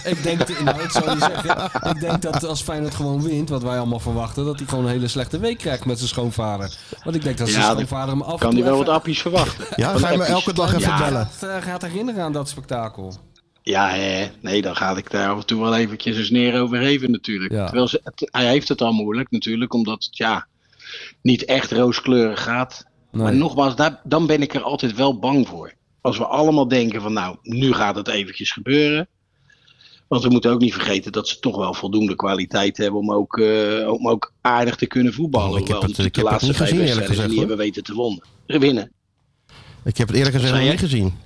S4: Ik denk, nou, ik zou je zeggen, ik denk dat als Feyenoord gewoon wint, wat wij allemaal verwachten, dat hij gewoon een hele slechte week krijgt met zijn schoonvader. Want ik denk dat zijn
S12: Ja, dan
S4: schoonvader hem af en
S12: Kan
S4: toe
S12: hij wel
S4: even-
S12: wat appies verwachten?
S3: Ja,
S12: Van
S3: ga je me
S12: appies.
S3: elke dag even
S4: Ja,
S3: bellen?
S4: dat, eh, gaat herinneren aan dat spektakel.
S12: Ja, hè. nee, dan ga ik daar af en toe wel eventjes een sneer over geven natuurlijk.
S4: Ja.
S12: Terwijl ze, het- hij heeft het al moeilijk natuurlijk, omdat het ja, niet echt rooskleurig gaat. Maar nogmaals, daar, dan ben ik er altijd wel bang voor. Als we allemaal denken van nou, nu gaat het eventjes gebeuren. Want we moeten ook niet vergeten dat ze toch wel voldoende kwaliteit hebben om ook, eh, om ook aardig te kunnen voetballen.
S3: Oh, Ik heb
S12: Hoewel
S3: het-
S12: natuurlijk
S3: ik heb
S12: de
S3: het
S12: laatste
S3: niet
S12: vijf
S3: gezien, eerlijk
S12: wedstrijden
S3: gezegd,
S12: niet
S3: hoor.
S12: hebben weten te wonnen, winnen.
S3: Ik heb het eerlijk gezegd nog
S12: zei
S3: niet gezien.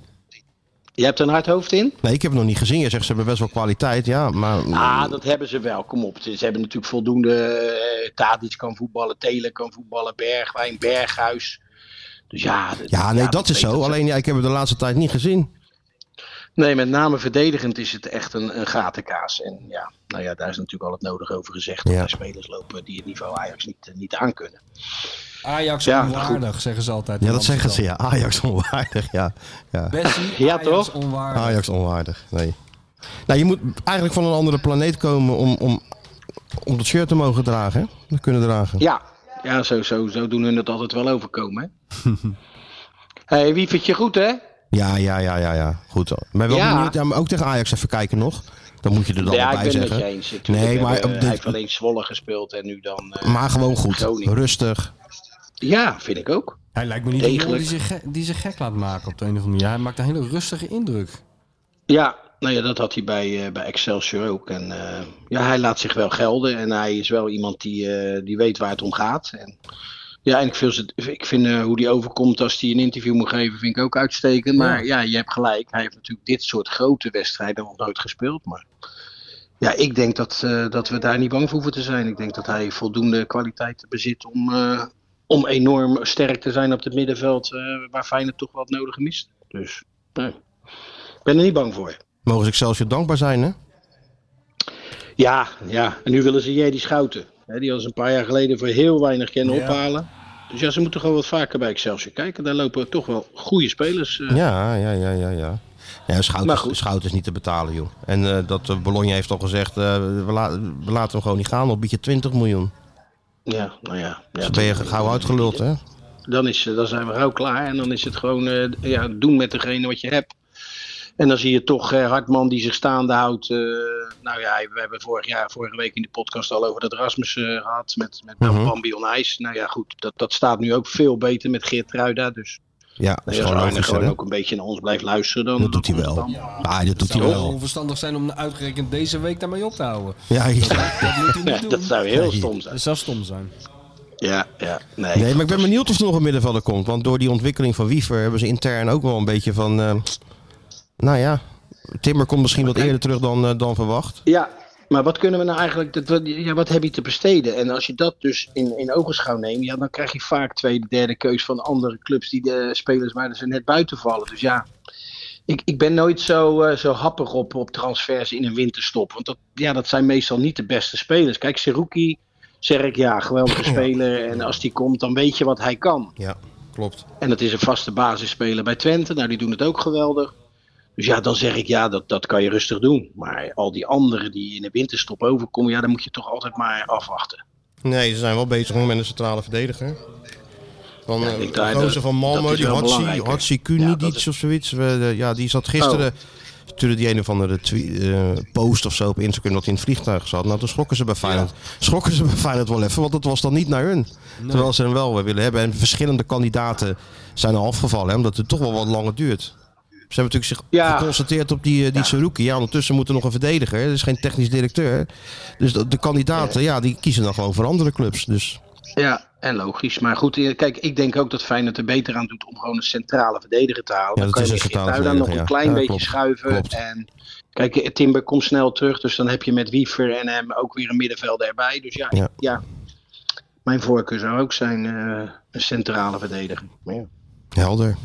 S12: Je hebt er een hard hoofd in?
S3: Nee, ik heb het nog niet gezien. Jij zegt ze hebben best wel kwaliteit, ja, maar...
S12: Ah, dat hebben ze wel. Kom op. Ze, ze hebben natuurlijk voldoende. eh, Tadic kan voetballen, Telen kan voetballen, Bergwijn, Berghuis. Dus ja. d-
S3: ja, nee, dat is
S12: weet
S3: zo.
S12: ik.
S3: Alleen, ja, ik heb het de laatste tijd niet gezien.
S12: Nee, met name verdedigend is het echt een, een gatenkaas. En ja, nou ja, daar is natuurlijk al het nodige over gezegd. Dat
S3: Ja.
S12: er spelers lopen die het niveau Ajax niet, eh, niet aankunnen.
S4: Ajax
S12: Ja,
S4: onwaardig, zeggen ze altijd.
S3: Ja,
S4: in
S3: dat zeggen ze,
S4: Amsterdam.
S3: ja. Ajax onwaardig, ja. ja. Ah,
S4: Bessie,
S12: Ja,
S4: Ajax
S12: toch?
S4: onwaardig.
S3: Ajax onwaardig, nee. Nou, je moet eigenlijk van een andere planeet komen om, om, om dat shirt te mogen dragen, hè? Te kunnen dragen.
S12: Ja, ja zo, zo, zo doen hun het altijd wel overkomen. Hé, hey, Wievertje, goed hè?
S3: Ja, ja, ja, ja, ja. Goed. hoor. Maar wel
S12: Ja.
S3: benieuwd, ja, maar ook tegen Ajax even kijken nog. Dan moet je er dan
S12: ja,
S3: wel
S12: ik
S3: bij
S12: ben het met
S3: zeggen.
S12: je eens. natuurlijk.
S3: nee,
S12: We
S3: maar, eh,
S12: hebben-
S3: op
S12: eh, Hij
S3: dit-
S12: heeft alleen Zwolle gespeeld en nu dan. eh,
S3: maar gewoon goed.
S12: Groningen.
S3: Rustig.
S12: Ja, vind ik ook.
S4: Hij lijkt me niet iemand
S12: Degelijk.
S4: die zich, ge- die zich gek laat maken op de een of andere manier. Hij maakt een hele rustige indruk.
S12: Ja, nou ja, dat had hij bij, eh, bij Excelsior ook. En eh, ja, hij laat zich wel gelden en hij is wel iemand die, eh, die weet waar het om gaat. En, ja, en ik vind, het- ik vind eh, hoe die overkomt als hij een interview moet geven, vind ik ook uitstekend. Maar ja, je hebt gelijk. Hij heeft natuurlijk dit soort grote wedstrijden nog nooit gespeeld. Maar ja, ik denk dat, eh, dat we daar niet bang voor hoeven te zijn. Ik denk dat hij voldoende kwaliteiten bezit om, eh, om enorm sterk te zijn op het middenveld, eh, waar Feyenoord toch wat nodig mist. Dus nee, ik ben er niet bang voor.
S3: Mogen ze Excelsior dankbaar zijn, hè?
S12: Ja, ja. En nu willen ze jij die Schouten. Hè, die hadden ze een paar jaar geleden voor heel weinig kennen
S3: Ja.
S12: ophalen. Dus ja, ze moeten gewoon wat vaker bij Excelsior kijken. Daar lopen toch wel goede spelers. eh.
S3: Ja, ja, ja, ja, ja. Ja,
S12: Maar
S3: Schout
S12: goed.
S3: is, Schout is niet te betalen, joh. En eh, dat eh, Bologna heeft al gezegd, eh, we, la- we laten hem gewoon niet gaan. Dan bied je 20 miljoen.
S12: Ja, nou ja. ja
S3: dus ben je
S12: dat-
S3: gauw uitgeluld, hè?
S12: Dan, is, eh, dan zijn we gauw klaar. En dan is het gewoon eh, ja, doen met degene wat je hebt. En dan zie je toch eh, Hartman die zich staande houdt. eh, nou ja, we hebben vorig jaar, vorige week in de podcast al over dat Rasmus eh, gehad. Met, met
S3: Mhm.
S12: Bambi on IJs. Nou ja, goed. Dat, dat staat nu ook veel beter met Geert Ruida. Dus
S3: Ja, dat
S12: Nou
S3: is
S12: ja, als
S3: gewoon
S12: Arne
S3: logisch,
S12: gewoon
S3: hè?
S12: ook een beetje naar ons blijft luisteren, dan
S3: Dat doet hij wel. Ah, dat doet
S4: Het
S3: hij
S4: zou heel
S3: wel.
S4: onverstandig zijn om uitgerekend deze week daarmee op te houden.
S3: Ja, ja.
S4: Dat, dat moet hij
S12: Nee,
S4: niet doen.
S12: dat zou heel stom zijn.
S4: Dat zou stom zijn.
S12: Ja, ja. Nee,
S3: Nee, maar ik ben benieuwd of er nog een middenvelder komt. Want door die ontwikkeling van Wiever hebben ze intern ook wel een beetje van... eh, nou ja, Timmer komt misschien wat eerder terug dan, eh, dan verwacht.
S12: Ja, maar wat kunnen we nou eigenlijk, dat, wat- ja, wat heb je te besteden? En als je dat dus in, in ogenschouw neemt, ja, dan krijg je vaak tweede, derde keus van andere clubs die de spelers waar ze net buiten vallen. Dus ja, ik, ik ben nooit zo, eh, zo happig op, op transfers in een winterstop. Want dat, ja, dat zijn meestal niet de beste spelers. Kijk, Seruki, zeg ik ja, geweldige speler. En als die komt, dan weet je wat hij kan.
S3: Ja, klopt.
S12: En dat is een vaste basisspeler bij Twente. Nou, die doen het ook geweldig. Dus ja, dan zeg ik ja, dat, dat kan je rustig doen. Maar al die anderen die in de winterstop overkomen, ja, dan moet je toch altijd maar afwachten.
S3: Nee, ze zijn wel bezig met een centrale verdediger. Van, eh,
S12: ik denk
S3: de
S12: daar-
S3: gozer
S12: dat-
S3: van
S12: dat
S3: Malmö,
S12: is
S3: die
S12: wel
S3: Hatsi,
S12: belangrijker.
S3: Hatsi Kunidic of zoiets. We, de- ja, die zat
S12: Oh.
S3: gisteren... stuurde die een of andere twe- eh, post of zo op Instagram dat hij in het vliegtuig zat. Nou, toen schrokken ze bij Feyenoord. Schrokken ze bij Feyenoord wel even, want dat was dan niet naar hun. Terwijl ze hem wel weer willen hebben. En verschillende kandidaten zijn al afgevallen, hè, omdat het toch wel wat langer duurt. Ze hebben natuurlijk zich geconcentreerd op die, eh, die Saruki. Ja, ondertussen moet er nog een verdediger. Er is geen technisch directeur. Dus dat- de kandidaten, ja, die kiezen dan gewoon voor andere clubs. Dus
S12: Ja, en logisch. Maar goed, eh, kijk, ik denk ook dat Feyenoord er beter aan doet om gewoon een centrale verdediger te halen.
S3: Ja,
S12: dan
S3: dat
S12: kan
S3: is
S12: je
S3: een
S12: Geert
S3: centrale
S12: Ruida nog een
S3: verdediger, ja.
S12: klein
S3: Ja,
S12: beetje
S3: klopt.
S12: schuiven.
S3: Klopt.
S12: En kijk, eh, Timber komt snel terug, dus dan heb je met Wiever en hem ook weer een middenvelder erbij. Dus ja,
S3: Ja.
S12: ja. mijn voorkeur zou ook zijn eh, een centrale verdediger. Maar ja.
S3: helder.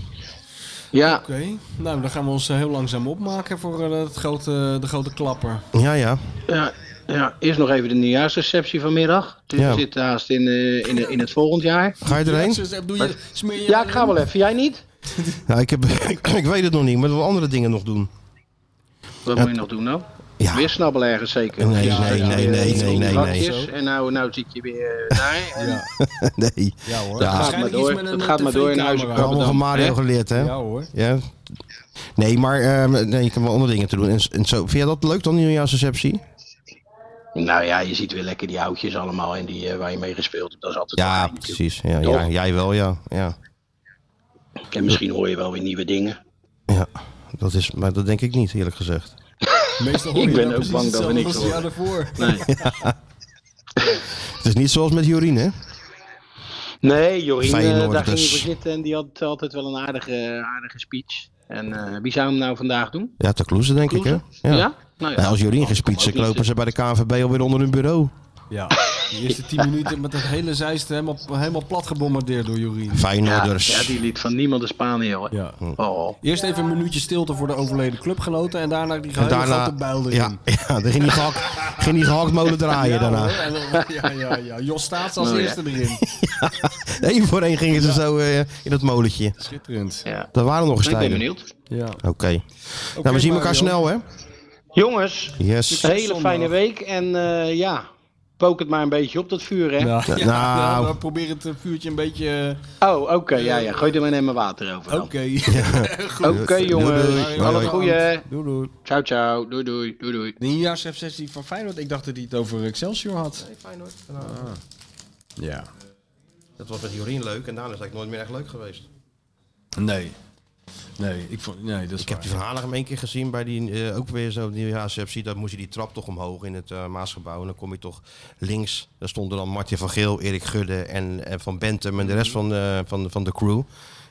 S12: Ja.
S4: Oké, nou dan gaan we ons eh, heel langzaam opmaken voor eh, het grote, de grote klapper.
S3: Ja, ja.
S12: Ja, ja, eerst nog even de nieuwjaarsreceptie vanmiddag. Dus
S3: Ja.
S12: we zitten haast in, eh, in, in het volgend jaar.
S3: Ga je erheen?
S4: Doe je, smeer je
S12: Ja, ik ga wel even. Jij niet?
S3: Nou, ik, heb, ik weet het nog niet, maar we andere dingen nog doen.
S12: Wat
S3: Ja.
S12: moet je nog doen nou? Weer snabbelen ergens zeker.
S3: Nee, nee,
S12: ja,
S3: nee,
S12: weer,
S3: nee,
S12: eh,
S3: nee, nee,
S12: hapjes.
S3: nee.
S12: En nou, nou zit je weer eh, daar. En
S3: nee.
S4: Ja hoor.
S12: Het gaat maar
S4: Waarschijnlijk iets
S12: door.
S4: met een,
S12: Het
S4: eh,
S12: gaat maar door in
S4: TV-camera.
S12: huizen.
S3: We hebben allemaal van Mario geleerd, hè?
S4: Ja hoor.
S3: Ja. Nee, maar ehm, nee, je kan wel andere dingen te doen. En, en zo, vind jij dat leuk dan, nieuwjaarsreceptie?
S12: Nou ja, je ziet weer lekker die houtjes allemaal en die eh, waar je mee gespeeld hebt. Dat is altijd
S3: Ja,
S12: fijn natuurlijk.
S3: precies. Ja,
S12: Toch?
S3: ja, jij wel, ja. ja.
S12: En misschien hoor je wel weer nieuwe dingen.
S3: Ja, dat is, maar dat denk ik niet, eerlijk gezegd.
S4: Meestal hoor
S12: Ik
S4: je
S12: ben
S4: nou
S12: ook
S4: precies
S12: bang dat
S4: hetzelfde
S12: we niks
S4: als het jaar
S12: horen.
S4: daarvoor.
S12: Nee.
S3: Het is niet zoals met Jorien, hè?
S12: Nee, Jorien, eh,
S3: Feyenoord,
S12: daar ging
S3: dus.
S12: je voor zitten en die had altijd wel een aardige, aardige speech. En eh, wie zou hem nou vandaag doen?
S3: Ja, te kloezen, denk ik, hè?
S12: Ja? Nou ja.
S3: Nou, als Jorien
S12: Nou,
S3: gespietst,
S12: kom ook
S3: dan
S12: niet
S3: lopen ze bij de KNVB alweer onder hun bureau.
S4: Ja, de eerste 10 minuten met dat hele zijste helemaal, helemaal plat gebombardeerd door Jorien.
S12: Ja,
S3: Feyenoorders.
S12: ja, die liet van niemand de Spanië hoor.
S4: Ja.
S12: Oh.
S4: Eerst even een minuutje stilte voor de overleden clubgenoten en daarna die
S3: En
S4: gehele
S3: daarna...
S4: grote buil erin.
S3: Ja, ja, dan ging die, gehakt, ging die gehaktmolen draaien
S4: Ja,
S3: daarna.
S4: hoor. En dan- ja, ja, ja. Jos staat als
S12: Oh, ja.
S4: eerste erin.
S3: Eén voor één gingen ze zo eh, in dat molentje.
S4: Schitterend.
S12: Ja.
S3: Daar waren nog eens
S12: Ik ben
S3: tijden.
S12: benieuwd.
S4: Ja.
S3: Oké. nou, we zien elkaar
S4: Mario.
S3: snel, hè?
S12: Jongens,
S3: Yes.
S12: een hele
S4: zondag.
S12: fijne week. En eh, ja, pook het maar een beetje op dat vuur hè.
S4: Ja, ja,
S3: Nou.
S4: we proberen het eh, vuurtje een beetje... eh,
S12: Oh, oké. ja, ja, gooi er maar even water over dan.
S4: Oké.
S12: Oké jongens,
S3: Doei, doei.
S12: alle
S3: Doei.
S12: goeie.
S4: Doei, doei.
S12: Ciao, ciao. Doei, doei, doei, doei.
S4: De nieuwjaarsreceptie van Feyenoord. Ik dacht dat hij het over Excelsior had. Nee, Feyenoord. Ja.
S3: Dat was met Jorien leuk en daarna is het eigenlijk nooit meer echt leuk geweest.
S4: Nee. Nee, ik, vond, nee dat is
S3: Ik heb die van Hanegem één keer gezien bij die, eh, ook weer zo, die HCFC. Daar moest je die trap toch omhoog in het eh, Maasgebouw. En dan kom je toch links. Daar stonden dan Martin van Geel, Erik Gudde en, en Van Bentum en de rest van, eh, van, van de crew.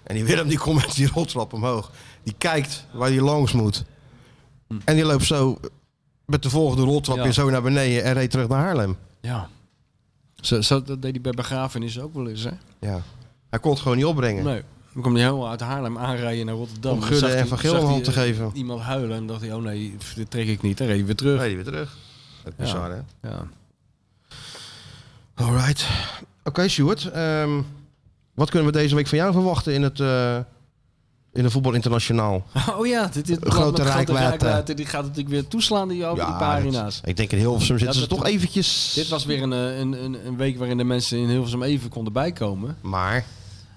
S3: En die Willem die komt met die roltrap omhoog. Die kijkt waar hij langs moet. En die loopt zo met de volgende roltrap
S4: Ja.
S3: weer zo naar beneden en reed terug naar Haarlem.
S4: Ja. Zo, zo, dat deed hij bij begrafenis ook wel eens, hè?
S3: Ja. Hij kon het gewoon niet opbrengen.
S4: Nee. Dan kwam hij helemaal uit Haarlem aanrijden naar Rotterdam.
S3: Om
S4: Dan
S3: Gudde
S4: zag
S3: en
S4: hij-
S3: Van Geel
S4: zag
S3: een
S4: hij,
S3: hand te
S4: eh,
S3: geven.
S4: Iemand huilen en dacht hij, oh nee, pff, dit trek ik niet. Dan reed hij weer terug.
S3: Reed hij weer terug. Ook bizar,
S4: ja.
S3: hè?
S4: Ja.
S3: Alright. Oké, Stuart. ehm, wat kunnen we deze week van jou verwachten in het, eh, in de voetbal internationaal?
S4: Oh ja, dit is
S3: Een grote reikwijdte.
S4: Die gaat natuurlijk weer toeslaan die over die
S3: dat-
S4: pagina's.
S3: ik denk in Hilversum zitten
S4: Ja,
S3: ze
S4: dat-
S3: toch eventjes...
S4: Dit was weer een, eh, een, een, een week waarin de mensen in Hilversum even konden bijkomen.
S3: Maar?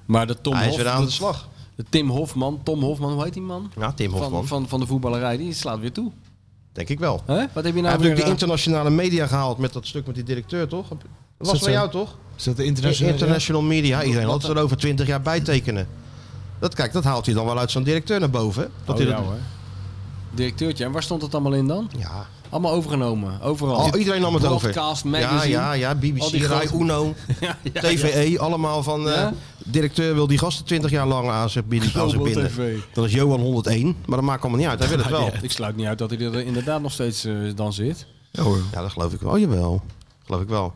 S4: Maar de Tom
S3: Hij is
S4: Hof-
S3: weer aan de slag.
S4: De Tim Hofman, Tom Hofman, hoe heet die man?
S3: Ja, Tim Hofman.
S4: Van, van, van de voetballerij, die slaat weer toe.
S3: Denk ik wel.
S4: Hè? Wat heb je
S3: Hij
S4: nou
S3: heeft
S4: weer...
S3: natuurlijk de
S4: eh,
S3: internationale media gehaald met dat stuk met die directeur, toch? Dat
S5: Is dat
S3: was van
S5: zo?
S3: jou, toch?
S5: Is dat de
S3: International,
S5: internationale...
S3: media. Iedereen had
S5: Wat-
S3: het er over twintig jaar bij tekenen. Dat, kijk, dat haalt hij dan wel uit zo'n directeur naar boven. hè? Dat
S4: Oh,
S3: hij
S4: ja,
S3: dat-
S4: hoor. eh, Directeurtje, en waar stond het allemaal in dan?
S3: Ja.
S4: Allemaal overgenomen, overal.
S3: Al- Oh, iedereen nam het over.
S4: Broadcast,
S3: Ja,
S4: magazine.
S3: ja, ja, BBC,
S4: Al die
S3: Rai,
S4: grote-
S3: Uno,
S4: Ja, ja, ja.
S3: TVE, allemaal van eh,
S4: Ja?
S3: directeur wil die gasten 20 jaar lang aan zich bieden. aan zich
S4: Global
S3: binden.
S4: TV.
S3: Dat is Johan 101, maar dat maakt allemaal niet uit. Hij wil het wel.
S4: Ik sluit niet uit dat hij er inderdaad nog steeds eh, dan zit.
S3: Ja, dat geloof ik wel. Oh, Jawel, geloof ik wel.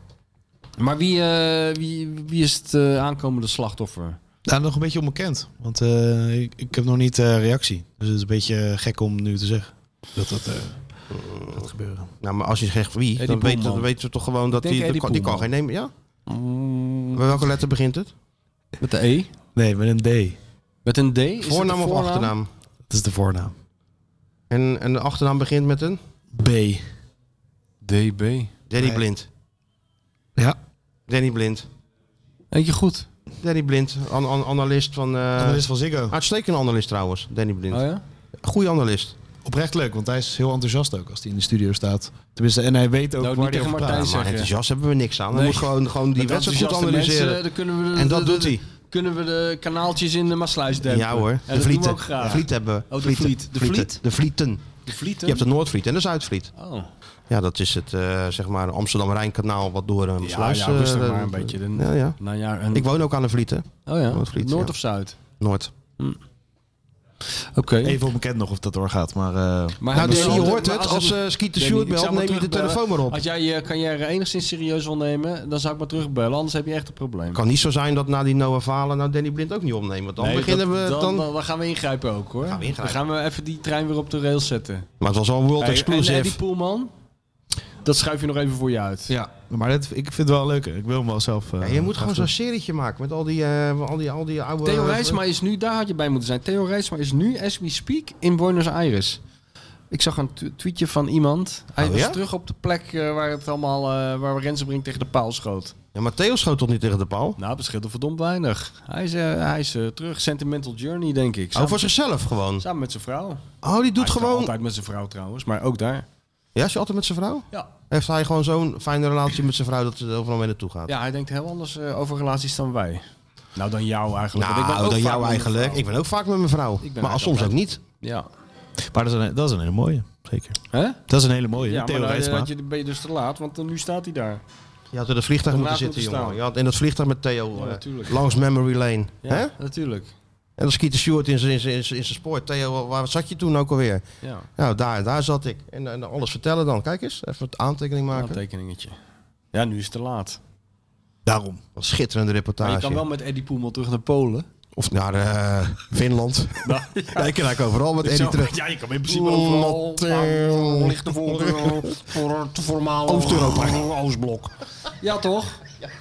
S4: Maar wie, eh, wie, wie is het eh, aankomende slachtoffer?
S5: Nou, nog een beetje onbekend. Want eh, ik, ik heb nog niet eh, reactie. Dus het is een beetje gek om nu te zeggen. Dat dat eh, gaat gebeuren.
S3: Nou, maar als je zegt wie,
S5: Eddie
S3: dan weten,
S5: Poelman.
S3: dan weten we toch gewoon dat
S5: denk
S3: die, dat
S5: Eddie
S3: kan, die kan
S5: Poelman.
S3: geen nemen. Ja?
S4: Mm.
S3: Bij welke letter begint het?
S4: Met de E?
S5: Nee, met een D.
S4: Met een D? Is dat de
S3: Voornaam of achternaam?
S5: Dat is de voornaam.
S3: En, en de achternaam begint met een?
S5: B.
S4: DB.
S3: Danny
S5: Nee.
S3: Blind.
S5: Ja.
S3: Danny Blind.
S4: Eentje goed.
S3: Danny Blind, an- an- analist van... eh,
S5: Analist van Ziggo.
S3: Uitstekende analist trouwens, Danny Blind.
S4: Oh ja?
S3: Goeie analist.
S5: Oprecht leuk, want hij is heel enthousiast ook als hij in de studio staat. Tenminste, en hij weet ook
S4: Nou,
S5: waar
S4: niet
S5: hij
S4: tegen
S5: over
S4: Martijn
S5: praat.
S4: zeggen.
S3: Maar enthousiast hebben we niks aan. Hij
S4: Nee.
S3: moet gewoon, gewoon die
S4: Met
S3: wedstrijd goed
S4: enthousiaste
S3: analyseren.
S4: mensen, eh, dan kunnen we de-
S3: en dat
S4: de- de-
S3: doet hij.
S4: Kunnen we de kanaaltjes in de Maasluis dempen?
S3: Ja hoor,
S4: Ja,
S3: de
S4: dat doen we
S3: vlieten.
S4: ook graag.
S3: De vliet hebben we.
S4: Oh, de
S3: Vlieten.
S4: vliet. De
S3: Vlieten.
S4: vliet?
S3: De vlieten.
S4: De vlieten?
S3: Je hebt de Noordvliet en de Zuidvliet.
S4: Oh.
S3: Ja, dat is het eh, zeg maar Amsterdam-Rijnkanaal wat door een
S4: Ja,
S3: sluis...
S4: ja,
S3: eh,
S4: rustig
S3: eh,
S4: maar een beetje. De-
S3: ja, ja.
S4: Nou ja, en-
S3: Ik woon ook aan de Vlieten.
S4: Oh ja,
S3: Noordvliet,
S4: Noord
S3: ja.
S4: of Zuid?
S3: Noord.
S4: Oké.
S5: Even onbekend nog of dat doorgaat, maar... eh,
S4: Maar
S3: Nou,
S4: hij
S3: dus
S4: moet-
S3: je hoort
S4: maar
S3: het. Als, eh, Skeeter
S4: Danny,
S3: Stewart
S4: ik zou
S3: belt,
S4: maar
S3: neem je de
S4: terugbellen.
S3: telefoon maar op.
S4: Als jij je carrière enigszins serieus wil nemen, dan zou ik maar terugbellen. Anders heb je echt een probleem.
S3: kan niet zo zijn dat na die Noah Valen nou Danny Blind ook niet opneemt. Want dan
S4: Nee,
S3: beginnen
S4: dat-
S3: we... Dan,
S4: dan, dan, dan gaan we ingrijpen ook hoor. Dan gaan we, even die trein weer op de rails zetten.
S3: Maar het was al world
S4: Hey,
S3: exclusive.
S4: En Eddie Poelman, dat schuif je nog even voor je uit.
S5: Ja, maar dit, ik vind het wel leuker. Ik wil hem wel zelf... eh,
S3: Ja, je moet gewoon zo'n
S5: achter-
S3: serietje maken met al die, eh, al die, al die oude...
S4: Theo Rijsma is nu, daar had je bij moeten zijn. Theo Rijsma is nu, as we speak, in Buenos Aires. Ik zag een tw- tweetje van iemand. Hij
S3: Oh,
S4: was
S3: ja?
S4: terug op de plek eh, waar het allemaal, eh, waar Rensenbrink tegen de paal schoot.
S3: Ja, maar Theo schoot toch niet tegen de paal?
S4: Nou, dat scheelt er verdomd weinig. Hij is, eh, hij is eh, terug. Sentimental Journey, denk ik.
S3: Oh, voor zichzelf gewoon?
S4: Samen met zijn vrouw.
S3: Oh, die doet
S4: Hij is
S3: gewoon...
S4: Altijd met zijn vrouw trouwens, maar ook daar.
S3: Ja, is je altijd met zijn vrouw?
S4: Ja.
S3: Heeft hij gewoon zo'n fijne relatie met zijn vrouw dat ze er overal mee naartoe gaat?
S4: Ja, hij denkt heel anders eh, over relaties dan wij. Nou, dan jou eigenlijk.
S3: Nou,
S4: want ik ben ook
S3: dan
S4: vaak
S3: jou
S4: met mijn
S3: eigenlijk.
S4: vrouw.
S3: Ik ben ook vaak met mijn vrouw.
S4: ben
S3: Maar
S4: eigenlijk
S3: soms ook niet.
S4: Ja.
S5: Maar dat is, een, dat is een hele mooie, zeker.
S4: Hè?
S5: Dat is een hele mooie,
S4: Ja,
S5: Theo
S4: maar dan,
S5: Rijsma.
S4: had je, ben je dus te laat, want eh, nu staat hij daar.
S3: Je had in het vliegtuig
S4: Daarnaast
S3: moeten zitten, jongen.
S4: moeten staan.
S3: Je had in dat vliegtuig met Theo
S4: Ja,
S3: eh,
S4: natuurlijk.
S3: langs memory lane.
S4: Ja,
S3: Hè?
S4: natuurlijk.
S3: En dan schiet de Stuart in zijn in zijn- in zijn sport. Theo, waar zat je toen ook alweer?
S4: Ja.
S3: Nou, daar, daar zat ik. En, en alles vertellen dan. Kijk eens, even een aantekening maken.
S4: Een tekeningetje. Ja, nu is het te laat.
S5: Daarom.
S3: Wat schitterende reportage.
S4: Maar je kan wel met Eddie Poemel terug naar Polen.
S3: Of naar eh, Finland.
S4: Nou, ja.
S3: ja, ik kan eigenlijk overal met
S4: Ik
S3: Eddie
S4: zou-
S3: terug.
S4: Ja, je kan in principe overal.
S3: Latte-
S4: Ligt de voorkeur voor het voormalige eh,
S3: Oost-Europa.
S4: Oostblok. Ja, toch?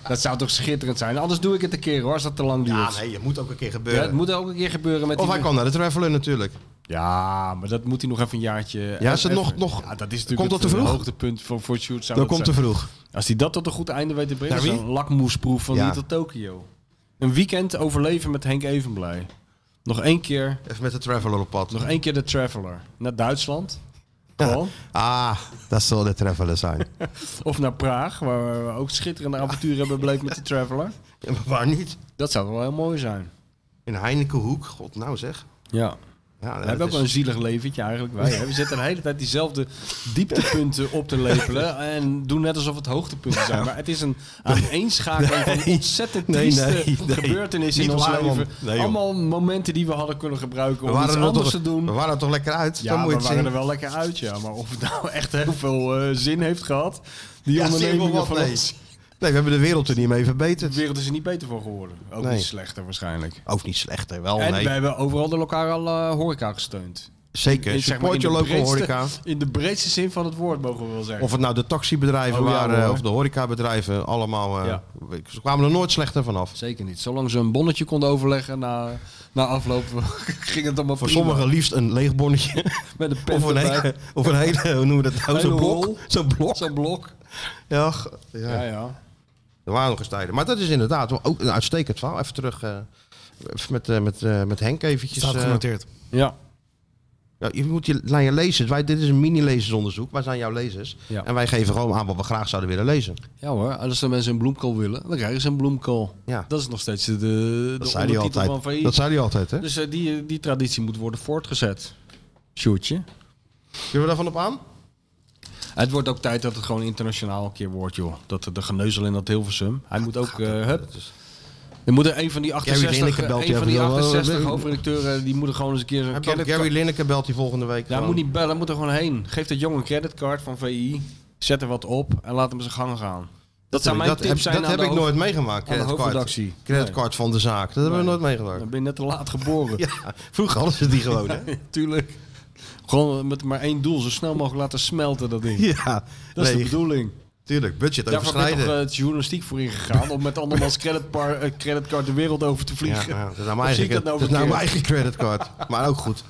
S4: Dat zou toch schitterend zijn. Anders doe ik het een keer hoor, als dat te lang duurt.
S3: Ja, nee, je moet ook een keer
S4: Ja, het
S3: gebeuren.
S4: moet ook een keer gebeuren met
S3: Of
S4: die-
S3: hij kan naar de Traveler natuurlijk.
S4: Ja, maar dat moet hij nog even een jaartje... eh,
S3: Ja, is het
S4: even-
S3: nog- nog-
S4: Ja, dat is natuurlijk
S3: komt dat
S4: het
S3: te vroeg?
S4: eh, hoogtepunt voor, voor Sjoerd. zou
S3: Dat
S4: dat
S3: komt te
S4: zijn.
S3: vroeg.
S4: Als hij dat tot een goed einde weet te brengen,
S3: Naar
S4: is
S3: wie?
S4: een lakmoesproef van
S3: Ja.
S4: hier tot Tokio. Een weekend overleven met Henk Evenblij. Nog één keer,
S3: Even met de Traveler op pad.
S4: nog één keer de Traveler. Naar Duitsland. Gewoon.
S3: Ah, dat zal de traveler zijn.
S4: Of naar Praag, waar we ook schitterende avonturen hebben bleek met de Traveler.
S3: Ja, maar waar niet?
S4: Dat zou wel heel mooi zijn.
S3: In Heinekenhoek, god nou zeg.
S4: Ja.
S3: Ja,
S4: we
S3: dat
S4: hebben ook
S3: is-
S4: wel een zielig leventje eigenlijk. Wij, hè? We zitten de hele tijd diezelfde dieptepunten op te lepelen. En doen net alsof het hoogtepunten zijn. Maar het is een aaneenschakeling van
S3: Nee.
S4: ontzettend
S3: Nee,
S4: trieste
S3: nee, nee.
S4: gebeurtenissen in
S3: Niet
S4: ons
S3: waar, man.
S4: leven.
S3: Nee, joh.
S4: Allemaal momenten die we hadden kunnen gebruiken
S3: We
S4: om
S3: waren,
S4: iets
S3: er
S4: anders
S3: toch,
S4: te doen.
S3: we waren er toch lekker uit?
S4: Ja,
S3: dan moet je
S4: we
S3: het
S4: waren er
S3: zien.
S4: wel lekker uit, ja. Maar of het nou echt heel veel eh, zin heeft gehad, die
S3: Ja, zie je
S4: ondernemingen
S3: wel wat?
S4: van
S3: nee.
S4: ons.
S3: Nee, we hebben de wereld er niet mee verbeterd.
S4: De wereld is er niet beter voor geworden. Ook
S3: Nee.
S4: niet slechter waarschijnlijk.
S3: Ook niet slechter, wel
S4: en
S3: nee.
S4: we hebben overal de lokale eh, horeca gesteund.
S3: Zeker,
S4: In- zeg maar,
S3: support
S4: in de
S3: your local
S4: breedste-
S3: horeca.
S4: In de breedste zin van het woord mogen we wel zeggen.
S3: Of het nou de taxibedrijven
S4: Oh, ja,
S3: waren
S4: hoor.
S3: of de horecabedrijven, allemaal. eh,
S4: Ja.
S3: Ze kwamen er nooit slechter vanaf.
S4: Zeker niet. Zolang ze een bonnetje konden overleggen na, na afloop, ging het allemaal
S3: Voor
S4: prima.
S3: sommigen liefst een leeg bonnetje.
S4: Met een pen
S3: of, een
S4: erbij.
S3: hele, of een hele, hoe noemen we dat nou,
S4: Hele
S3: zo'n
S4: rol.
S3: blok. Zo'n blok.
S4: Zo'n blok.
S3: Ja, g- ja.
S4: Ja, ja.
S3: er waren nog eens tijden. Maar dat is inderdaad wel ook een uitstekend verhaal. Even terug eh, even met, eh, met, eh, met Henk eventjes.
S5: Staat
S3: eh,
S5: genoteerd.
S4: Ja.
S3: ja, je moet je naar je lezers. Wij, dit is een mini-lezersonderzoek. Wij zijn jouw lezers.
S4: Ja.
S3: En wij geven gewoon aan wat we graag zouden willen lezen.
S4: Ja hoor, als de mensen een bloemkool willen, dan krijgen ze een bloemkool.
S3: Ja.
S4: Dat is nog steeds de, de
S3: Dat zei hij
S4: ondertitel van
S3: altijd.
S4: VI.
S3: Dat zei hij altijd, hè?
S4: Dus eh, die, die traditie moet worden voortgezet. Sjoerdje.
S3: Kunnen we daarvan op aan?
S4: Het wordt ook tijd dat het gewoon internationaal een keer wordt, joh. Dat de geneuzel in dat Hilversum. Hij moet ook... eh hup. Er moet er een van die
S3: Gary
S4: 68,
S3: Lineker belt
S4: een
S3: je
S4: van
S3: even
S4: die
S3: wel.
S4: 68 hoofdredacteuren, die moeten gewoon eens een keer zo'n
S3: Heb
S4: creditcard-
S3: Gary Lineker belt die volgende week.
S4: Ja, hij
S3: gewoon.
S4: moet niet bellen, hij moet er gewoon heen. Geef dat jongen een creditcard van VI, zet er wat op en laat hem zijn gang gaan. Dat zou
S3: heb ik-
S4: mijn
S3: dat
S4: tips
S3: heb,
S4: zijn
S3: dat
S4: aan
S3: heb
S4: de
S3: ik
S4: hoofd-
S3: nooit meegemaakt.
S4: aan de
S3: creditcard.
S4: hoofdredactie.
S3: Creditcard van de zaak. Dat hebben we nooit meegemaakt.
S4: Dan ben je net te laat geboren.
S3: Ja, vroeger hadden ze die gewoon, hè?
S4: Tuurlijk. Gewoon met maar één doel, zo snel mogelijk laten smelten dat ding.
S3: Ja,
S4: Dat is de
S3: nee,
S4: bedoeling.
S3: Tuurlijk, budget
S4: Daarvoor ben je toch
S3: overschrijden.
S4: eh, het journalistiek voor ingegaan om met andermans creditpar- eh, creditcard de wereld over te
S3: ja,
S4: eh, vliegen.
S3: ja, dat is nou
S4: Of
S3: mijn
S4: zie ik
S3: eigen,
S4: dat nou
S3: dat is nou mijn
S4: verkeerd?
S3: eigen creditcard. Maar ook goed.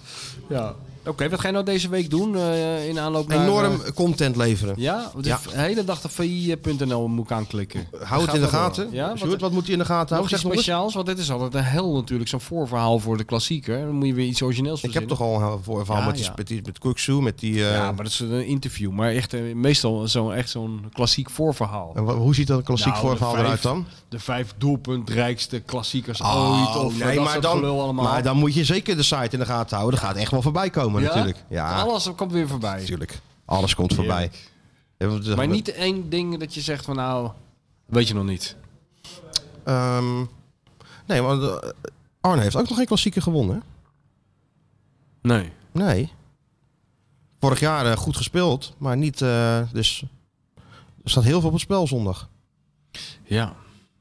S4: Ja. Oké, wat ga je nou deze week doen eh, in aanloop naar...
S3: Enorm
S4: eh,
S3: content leveren.
S4: ja, de
S3: Ja.
S4: hele dag op vi.nl moet ik aanklikken.
S3: Hou het
S4: Gaat
S3: in de
S4: dat wel?
S3: gaten.
S4: Ja,
S3: Sjoerd, wat moet hij in de gaten
S4: Nog
S3: houden?
S4: iets
S3: Zeg nog eens.
S4: speciaals, want dit is altijd een hel natuurlijk, zo'n voorverhaal voor de klassieker. Dan moet je weer iets origineels
S3: Ik heb
S4: verzinnen.
S3: toch al een voorverhaal
S4: Ja,
S3: met, die-
S4: ja.
S3: met, die- met Kuksu, met die... eh,
S4: Ja, maar dat is een interview, maar echt, eh, meestal zo'n echt zo'n klassiek voorverhaal.
S3: en wa- hoe ziet dat een klassiek
S4: Nou, de
S3: voorverhaal
S4: vijf-
S3: eruit dan?
S4: De vijf doelpuntrijkste klassiekers
S3: Oh,
S4: ooit. Of
S3: nee,
S4: dat
S3: maar,
S4: soort
S3: dan,
S4: gelul allemaal.
S3: maar dan moet je zeker de site in de gaten houden. Dat gaat echt wel voorbij komen
S4: Ja?
S3: natuurlijk. Ja,
S4: Alles komt weer voorbij.
S3: natuurlijk. Alles komt voorbij. Ja, want, eh,
S4: Maar niet één ding dat je zegt van nou, weet je nog niet.
S3: ehm, nee, want eh, Arne heeft ook nog geen klassieker gewonnen. hè?
S4: Nee.
S3: Nee. Vorig jaar eh, goed gespeeld, maar niet... eh, dus er staat heel veel op het spel zondag.
S4: Ja.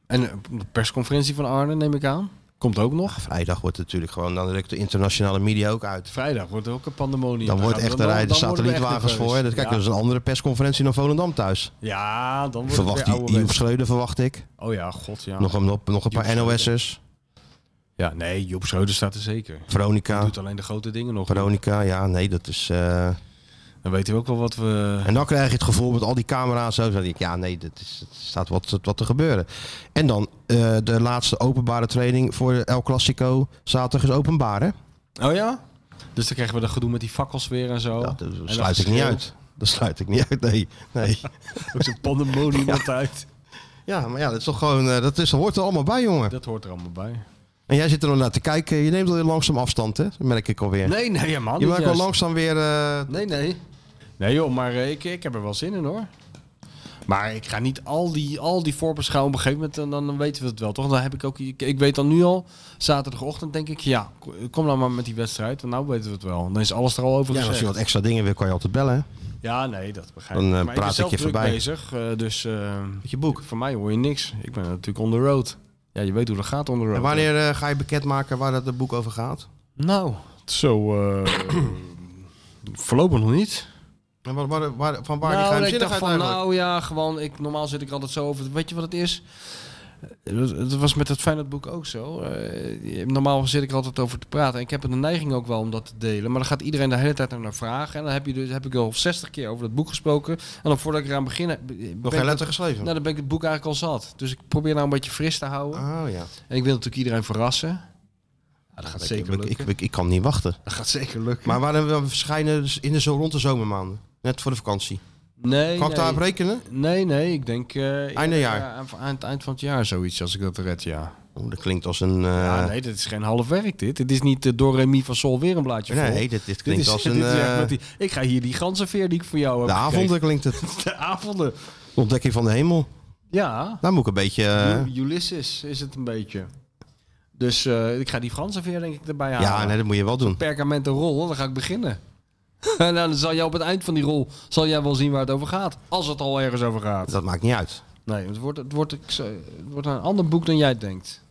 S4: En eh, de persconferentie van Arne neem ik aan. Komt ook
S3: Ah,
S4: nog.
S3: Vrijdag wordt het natuurlijk gewoon... Dan rukt de internationale media ook uit.
S4: Vrijdag wordt er ook een pandemonium.
S3: Dan wordt
S4: gaan we-
S3: echt, daar rijden
S4: dan worden we echt
S3: satellietwagens voor.
S4: nerveus.
S3: Dat, kijk,
S4: ja.
S3: dat is een andere persconferentie dan Volendam thuis.
S4: Ja, dan wordt
S3: Verwacht
S4: het weer
S3: die
S4: ouderwets.
S3: Joep Schreuder, verwacht ik.
S4: Oh ja, god ja.
S3: Nog, een, nog, nog een
S4: Joep
S3: paar
S4: Schreuder.
S3: NOS'ers.
S4: Ja, nee, Joep Schreuder staat er zeker. Hij
S3: Veronica.
S4: doet alleen de grote dingen nog.
S3: Veronica, ja, nee, dat is... eh,
S4: Dan weten we ook wel wat we...
S3: En dan krijg je het gevoel met al die camera's zo. Dan denk ik, ja, nee, dat is, het staat wat, wat te gebeuren. En dan eh, de laatste openbare training voor El Clasico. Zaterdag is openbaar, hè?
S4: Oh ja? Dus dan krijgen we dat gedoe met die fakkels weer en zo.
S3: Ja, dat
S4: En
S3: sluit ik niet
S4: geschreeuw.
S3: uit. Dat sluit ik niet uit, nee. nee.
S4: Ook zo'n pandemonium altijd.
S3: Ja, maar ja, dat is toch gewoon... eh, dat is, dat hoort er allemaal bij, jongen.
S4: Dat hoort er allemaal bij.
S3: En jij zit er nog naar te kijken. Je neemt al langzaam afstand, hè? Dat merk ik alweer.
S4: Nee, nee, ja, man.
S3: je maakt wel langzaam weer... eh,
S4: Nee, nee. Nee joh, maar eh, ik, ik heb er wel zin in hoor. Maar ik ga niet al die, al die voorbeschouwen op een gegeven moment, en dan, dan weten we het wel toch? Dan heb ik ook, ik, ik weet dan nu al, zaterdagochtend denk ik, ja, kom dan maar met die wedstrijd, want nou weten we het wel. Dan is alles er al over
S3: ja, als
S4: gezegd.
S3: je wat extra dingen wil, kan je altijd bellen, hè?
S4: Ja, nee, dat begrijp ik.
S3: Dan, eh,
S4: maar ik ben
S3: praat
S4: zelf
S3: ik je
S4: druk
S3: voorbij.
S4: bezig, eh, dus eh,
S3: Met je boek.
S4: voor mij hoor je niks. Ik ben natuurlijk on the road. Ja, je weet hoe dat gaat on the road.
S3: En wanneer eh, ga je bekendmaken waar dat het boek over gaat?
S4: Nou, zo... eh, voorlopig nog niet.
S3: En waar, waar, waar- van waar die
S4: nou, ik dacht
S3: geheimzinnigheid
S4: van,
S3: eigenlijk?
S4: nou ja, gewoon, ik, normaal zit ik altijd zo over, weet je wat het is? Eh, dat- Dat was met dat Feyenoordboek ook zo. Eh, je- normaal zit ik er altijd over te praten. En ik heb de neiging ook wel om dat te delen. Maar dan gaat iedereen de hele tijd naar vragen. En dan heb, je dus, heb ik al 60 keer over dat boek gesproken. En dan voordat ik eraan begin... eh, ben
S3: Nog
S4: ik
S3: geen letter
S4: dat-
S3: geschreven?
S4: Nou, dan ben ik het boek eigenlijk al zat. Dus ik probeer nou een beetje fris te houden.
S3: Oh ja.
S4: En ik wil natuurlijk iedereen verrassen. Ah, dat gaat
S3: Ik-
S4: zeker
S3: ik, ik,
S4: lukken.
S3: ik, ik kan niet wachten.
S4: Dat gaat zeker lukken.
S3: Maar waarom we verschijnen dus in de zo rond de zomermaanden? Net voor de vakantie.
S4: Nee,
S3: Kan ik
S4: nee.
S3: daarop rekenen?
S4: Nee, nee, ik denk... eh,
S3: Einde
S4: ja,
S3: jaar.
S4: ja, aan, aan het eind van het jaar zoiets, als ik dat red, ja.
S3: Oeh, dat klinkt als een... eh,
S4: Ja, nee, dit is geen half werk dit. Dit is niet de Doremi van Sol weer een blaadje
S3: Nee,
S4: vol.
S3: dit- dit klinkt
S4: is-
S3: als een,
S4: dit is echt
S3: eh,
S4: met die- Oh, ik ga hier die ganzenveer die ik voor jou heb
S3: de avonden
S4: gekregen.
S3: klinkt het.
S4: De avonden.
S3: De ontdekking van de hemel.
S4: Ja.
S3: Daar moet ik een beetje... eh,
S4: U- Ulysses is het een beetje. Dus eh, ik ga die ganzenveer denk ik erbij halen.
S3: ja, nee, dat moet je wel doen.
S4: Perkamenten rol, dan ga ik beginnen. en dan zal jij op het eind van die rol zal jij wel zien waar het over gaat. Als het al ergens over gaat.
S3: Dat maakt niet uit.
S4: Nee, het wordt, het wordt, ik zou- het wordt een ander boek dan jij denkt.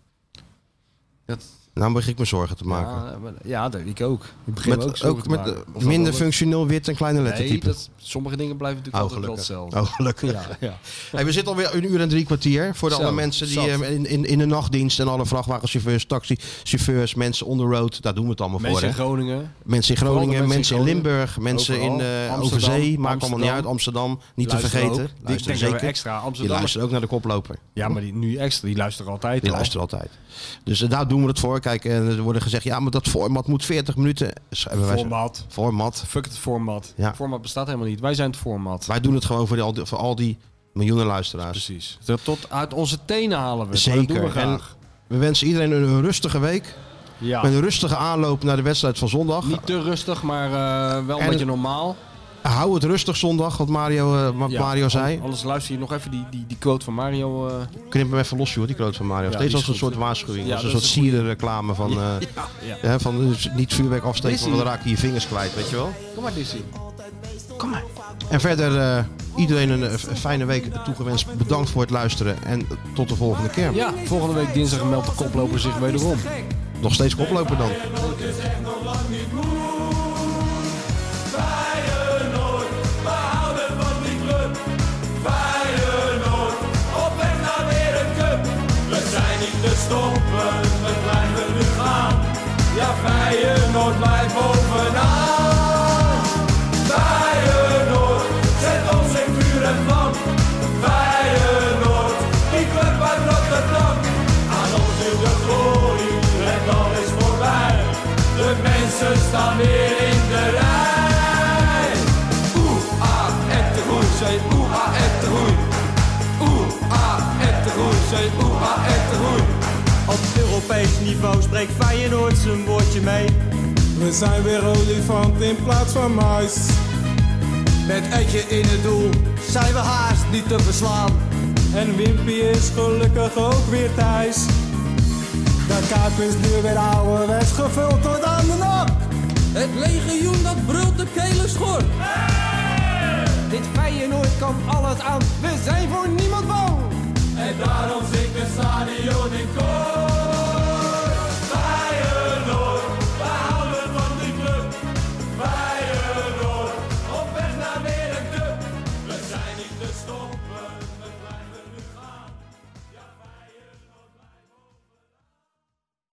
S3: Nou begin ik me zorgen te maken.
S4: Ja, maar- ja, dat ik ook. Ik begin
S3: met,
S4: me ook,
S3: ook,
S4: zorgen te
S3: met
S4: maken.
S3: eh,
S4: Of dat
S3: minder
S4: wel-
S3: functioneel wit en kleine lettertypen.
S4: Nee, dat, sommige dingen blijven natuurlijk
S3: Oh,
S4: altijd
S3: gelukkig.
S4: wel hetzelfde.
S3: Oh, gelukkig.
S4: Ja, ja.
S3: Hey, we zitten alweer een uur en drie kwartier. Voor de
S4: Zo,
S3: alle mensen die
S4: zat.
S3: eh, in, in, in de nachtdienst en alle vrachtwagenchauffeurs, taxichauffeurs, mensen on the road, daar doen we het allemaal
S4: Mensen in
S3: voor. hè?
S4: Groningen.
S3: Mensen in
S4: Vooral de
S3: Groningen, mensen, in
S4: Groningen.
S3: Limburg, mensen
S4: Overal.
S3: in eh
S4: Amsterdam,
S3: Overzee, maakt allemaal niet
S4: Amsterdam.
S3: uit. Amsterdam, niet
S4: Luisteren
S3: te vergeten.
S4: ook. Die
S3: Luisteren
S4: denken we extra.
S3: Die
S4: Amsterdammers-
S3: luisteren ook naar de koploper.
S4: Ja, maar die nu extra, die luisteren altijd.
S3: Die
S4: al.
S3: luisteren altijd. Dus eh, daar doen we het voor. Kijk, eh, er worden gezegd, ja, maar dat format moet 40 minuten. Dus hebben wij zo-
S4: Format.
S3: Format.
S4: Fuck het format.
S3: Ja.
S4: Format bestaat helemaal niet. Wij zijn het format.
S3: Wij doen het gewoon voor, die, al die- voor al die miljoenen luisteraars.
S4: Precies. Tot uit onze tenen halen we. het, maar Dat
S3: Zeker.
S4: doen we
S3: en
S4: graag.
S3: we wensen iedereen een rustige week.
S4: ja.
S3: Met een rustige aanloop naar de wedstrijd van zondag.
S4: Niet te rustig, maar eh, wel een
S3: En-
S4: beetje normaal.
S3: Hou het rustig zondag, wat Mario, eh, wat
S4: Ja,
S3: Mario zei.
S4: an- Anders luister je nog even die, die, die quote van Mario. eh.
S3: Knip hem even los, joh, die kloot van Mario.
S4: Ja,
S3: Steeds
S4: die
S3: als
S4: is
S3: een
S4: goed.
S3: soort waarschuwing.
S4: Ja,
S3: als een
S4: dat
S3: soort
S4: is een goeie.
S3: sierenreclame van...
S4: Ja,
S3: eh,
S4: ja.
S3: hè, van eh, niet vuurwerk afsteken,
S4: Dizzy.
S3: want dan raak je je vingers kwijt, weet je wel.
S4: Kom maar, Dizzy. Kom maar.
S3: En verder eh, iedereen een, eh, f- fijne week toegewenst. Bedankt voor het luisteren en tot de volgende keer.
S4: Ja, volgende week dinsdag meldt de koploper zich wederom.
S3: Nog steeds koploper dan.
S12: Het is echt nog lang niet moe. Feyenoord, we houden van die club. Feyenoord, op weg naar weer een cup. We zijn niet te stoppen, we blijven nu gaan. Ja, Feyenoord blijft bovenaan. Feyenoord, zet ons in vuur en vlam. Feyenoord, die club uit Rotterdam. Aan ons nu de glorie, het al is voorbij. De mensen staan weer in de rij. Oeh, ah, en te groei, zijn oeh, ah, en te groei. Oeh, ah, en te groei, zijn oeh, ah, en te groei.
S13: Op Europees niveau spreekt Feyenoord zijn woordje mee.
S2: We zijn weer olifant in plaats van muis.
S13: Met Etje in het doel zijn we haast niet te verslaan.
S2: En Wimpy is gelukkig ook weer thuis. De kaap is nu weer ouderwets gevuld tot aan de nok.
S12: Het legioen dat brult de kelen schor.
S13: Dit Feyenoord kan alles aan. We zijn voor nieuw.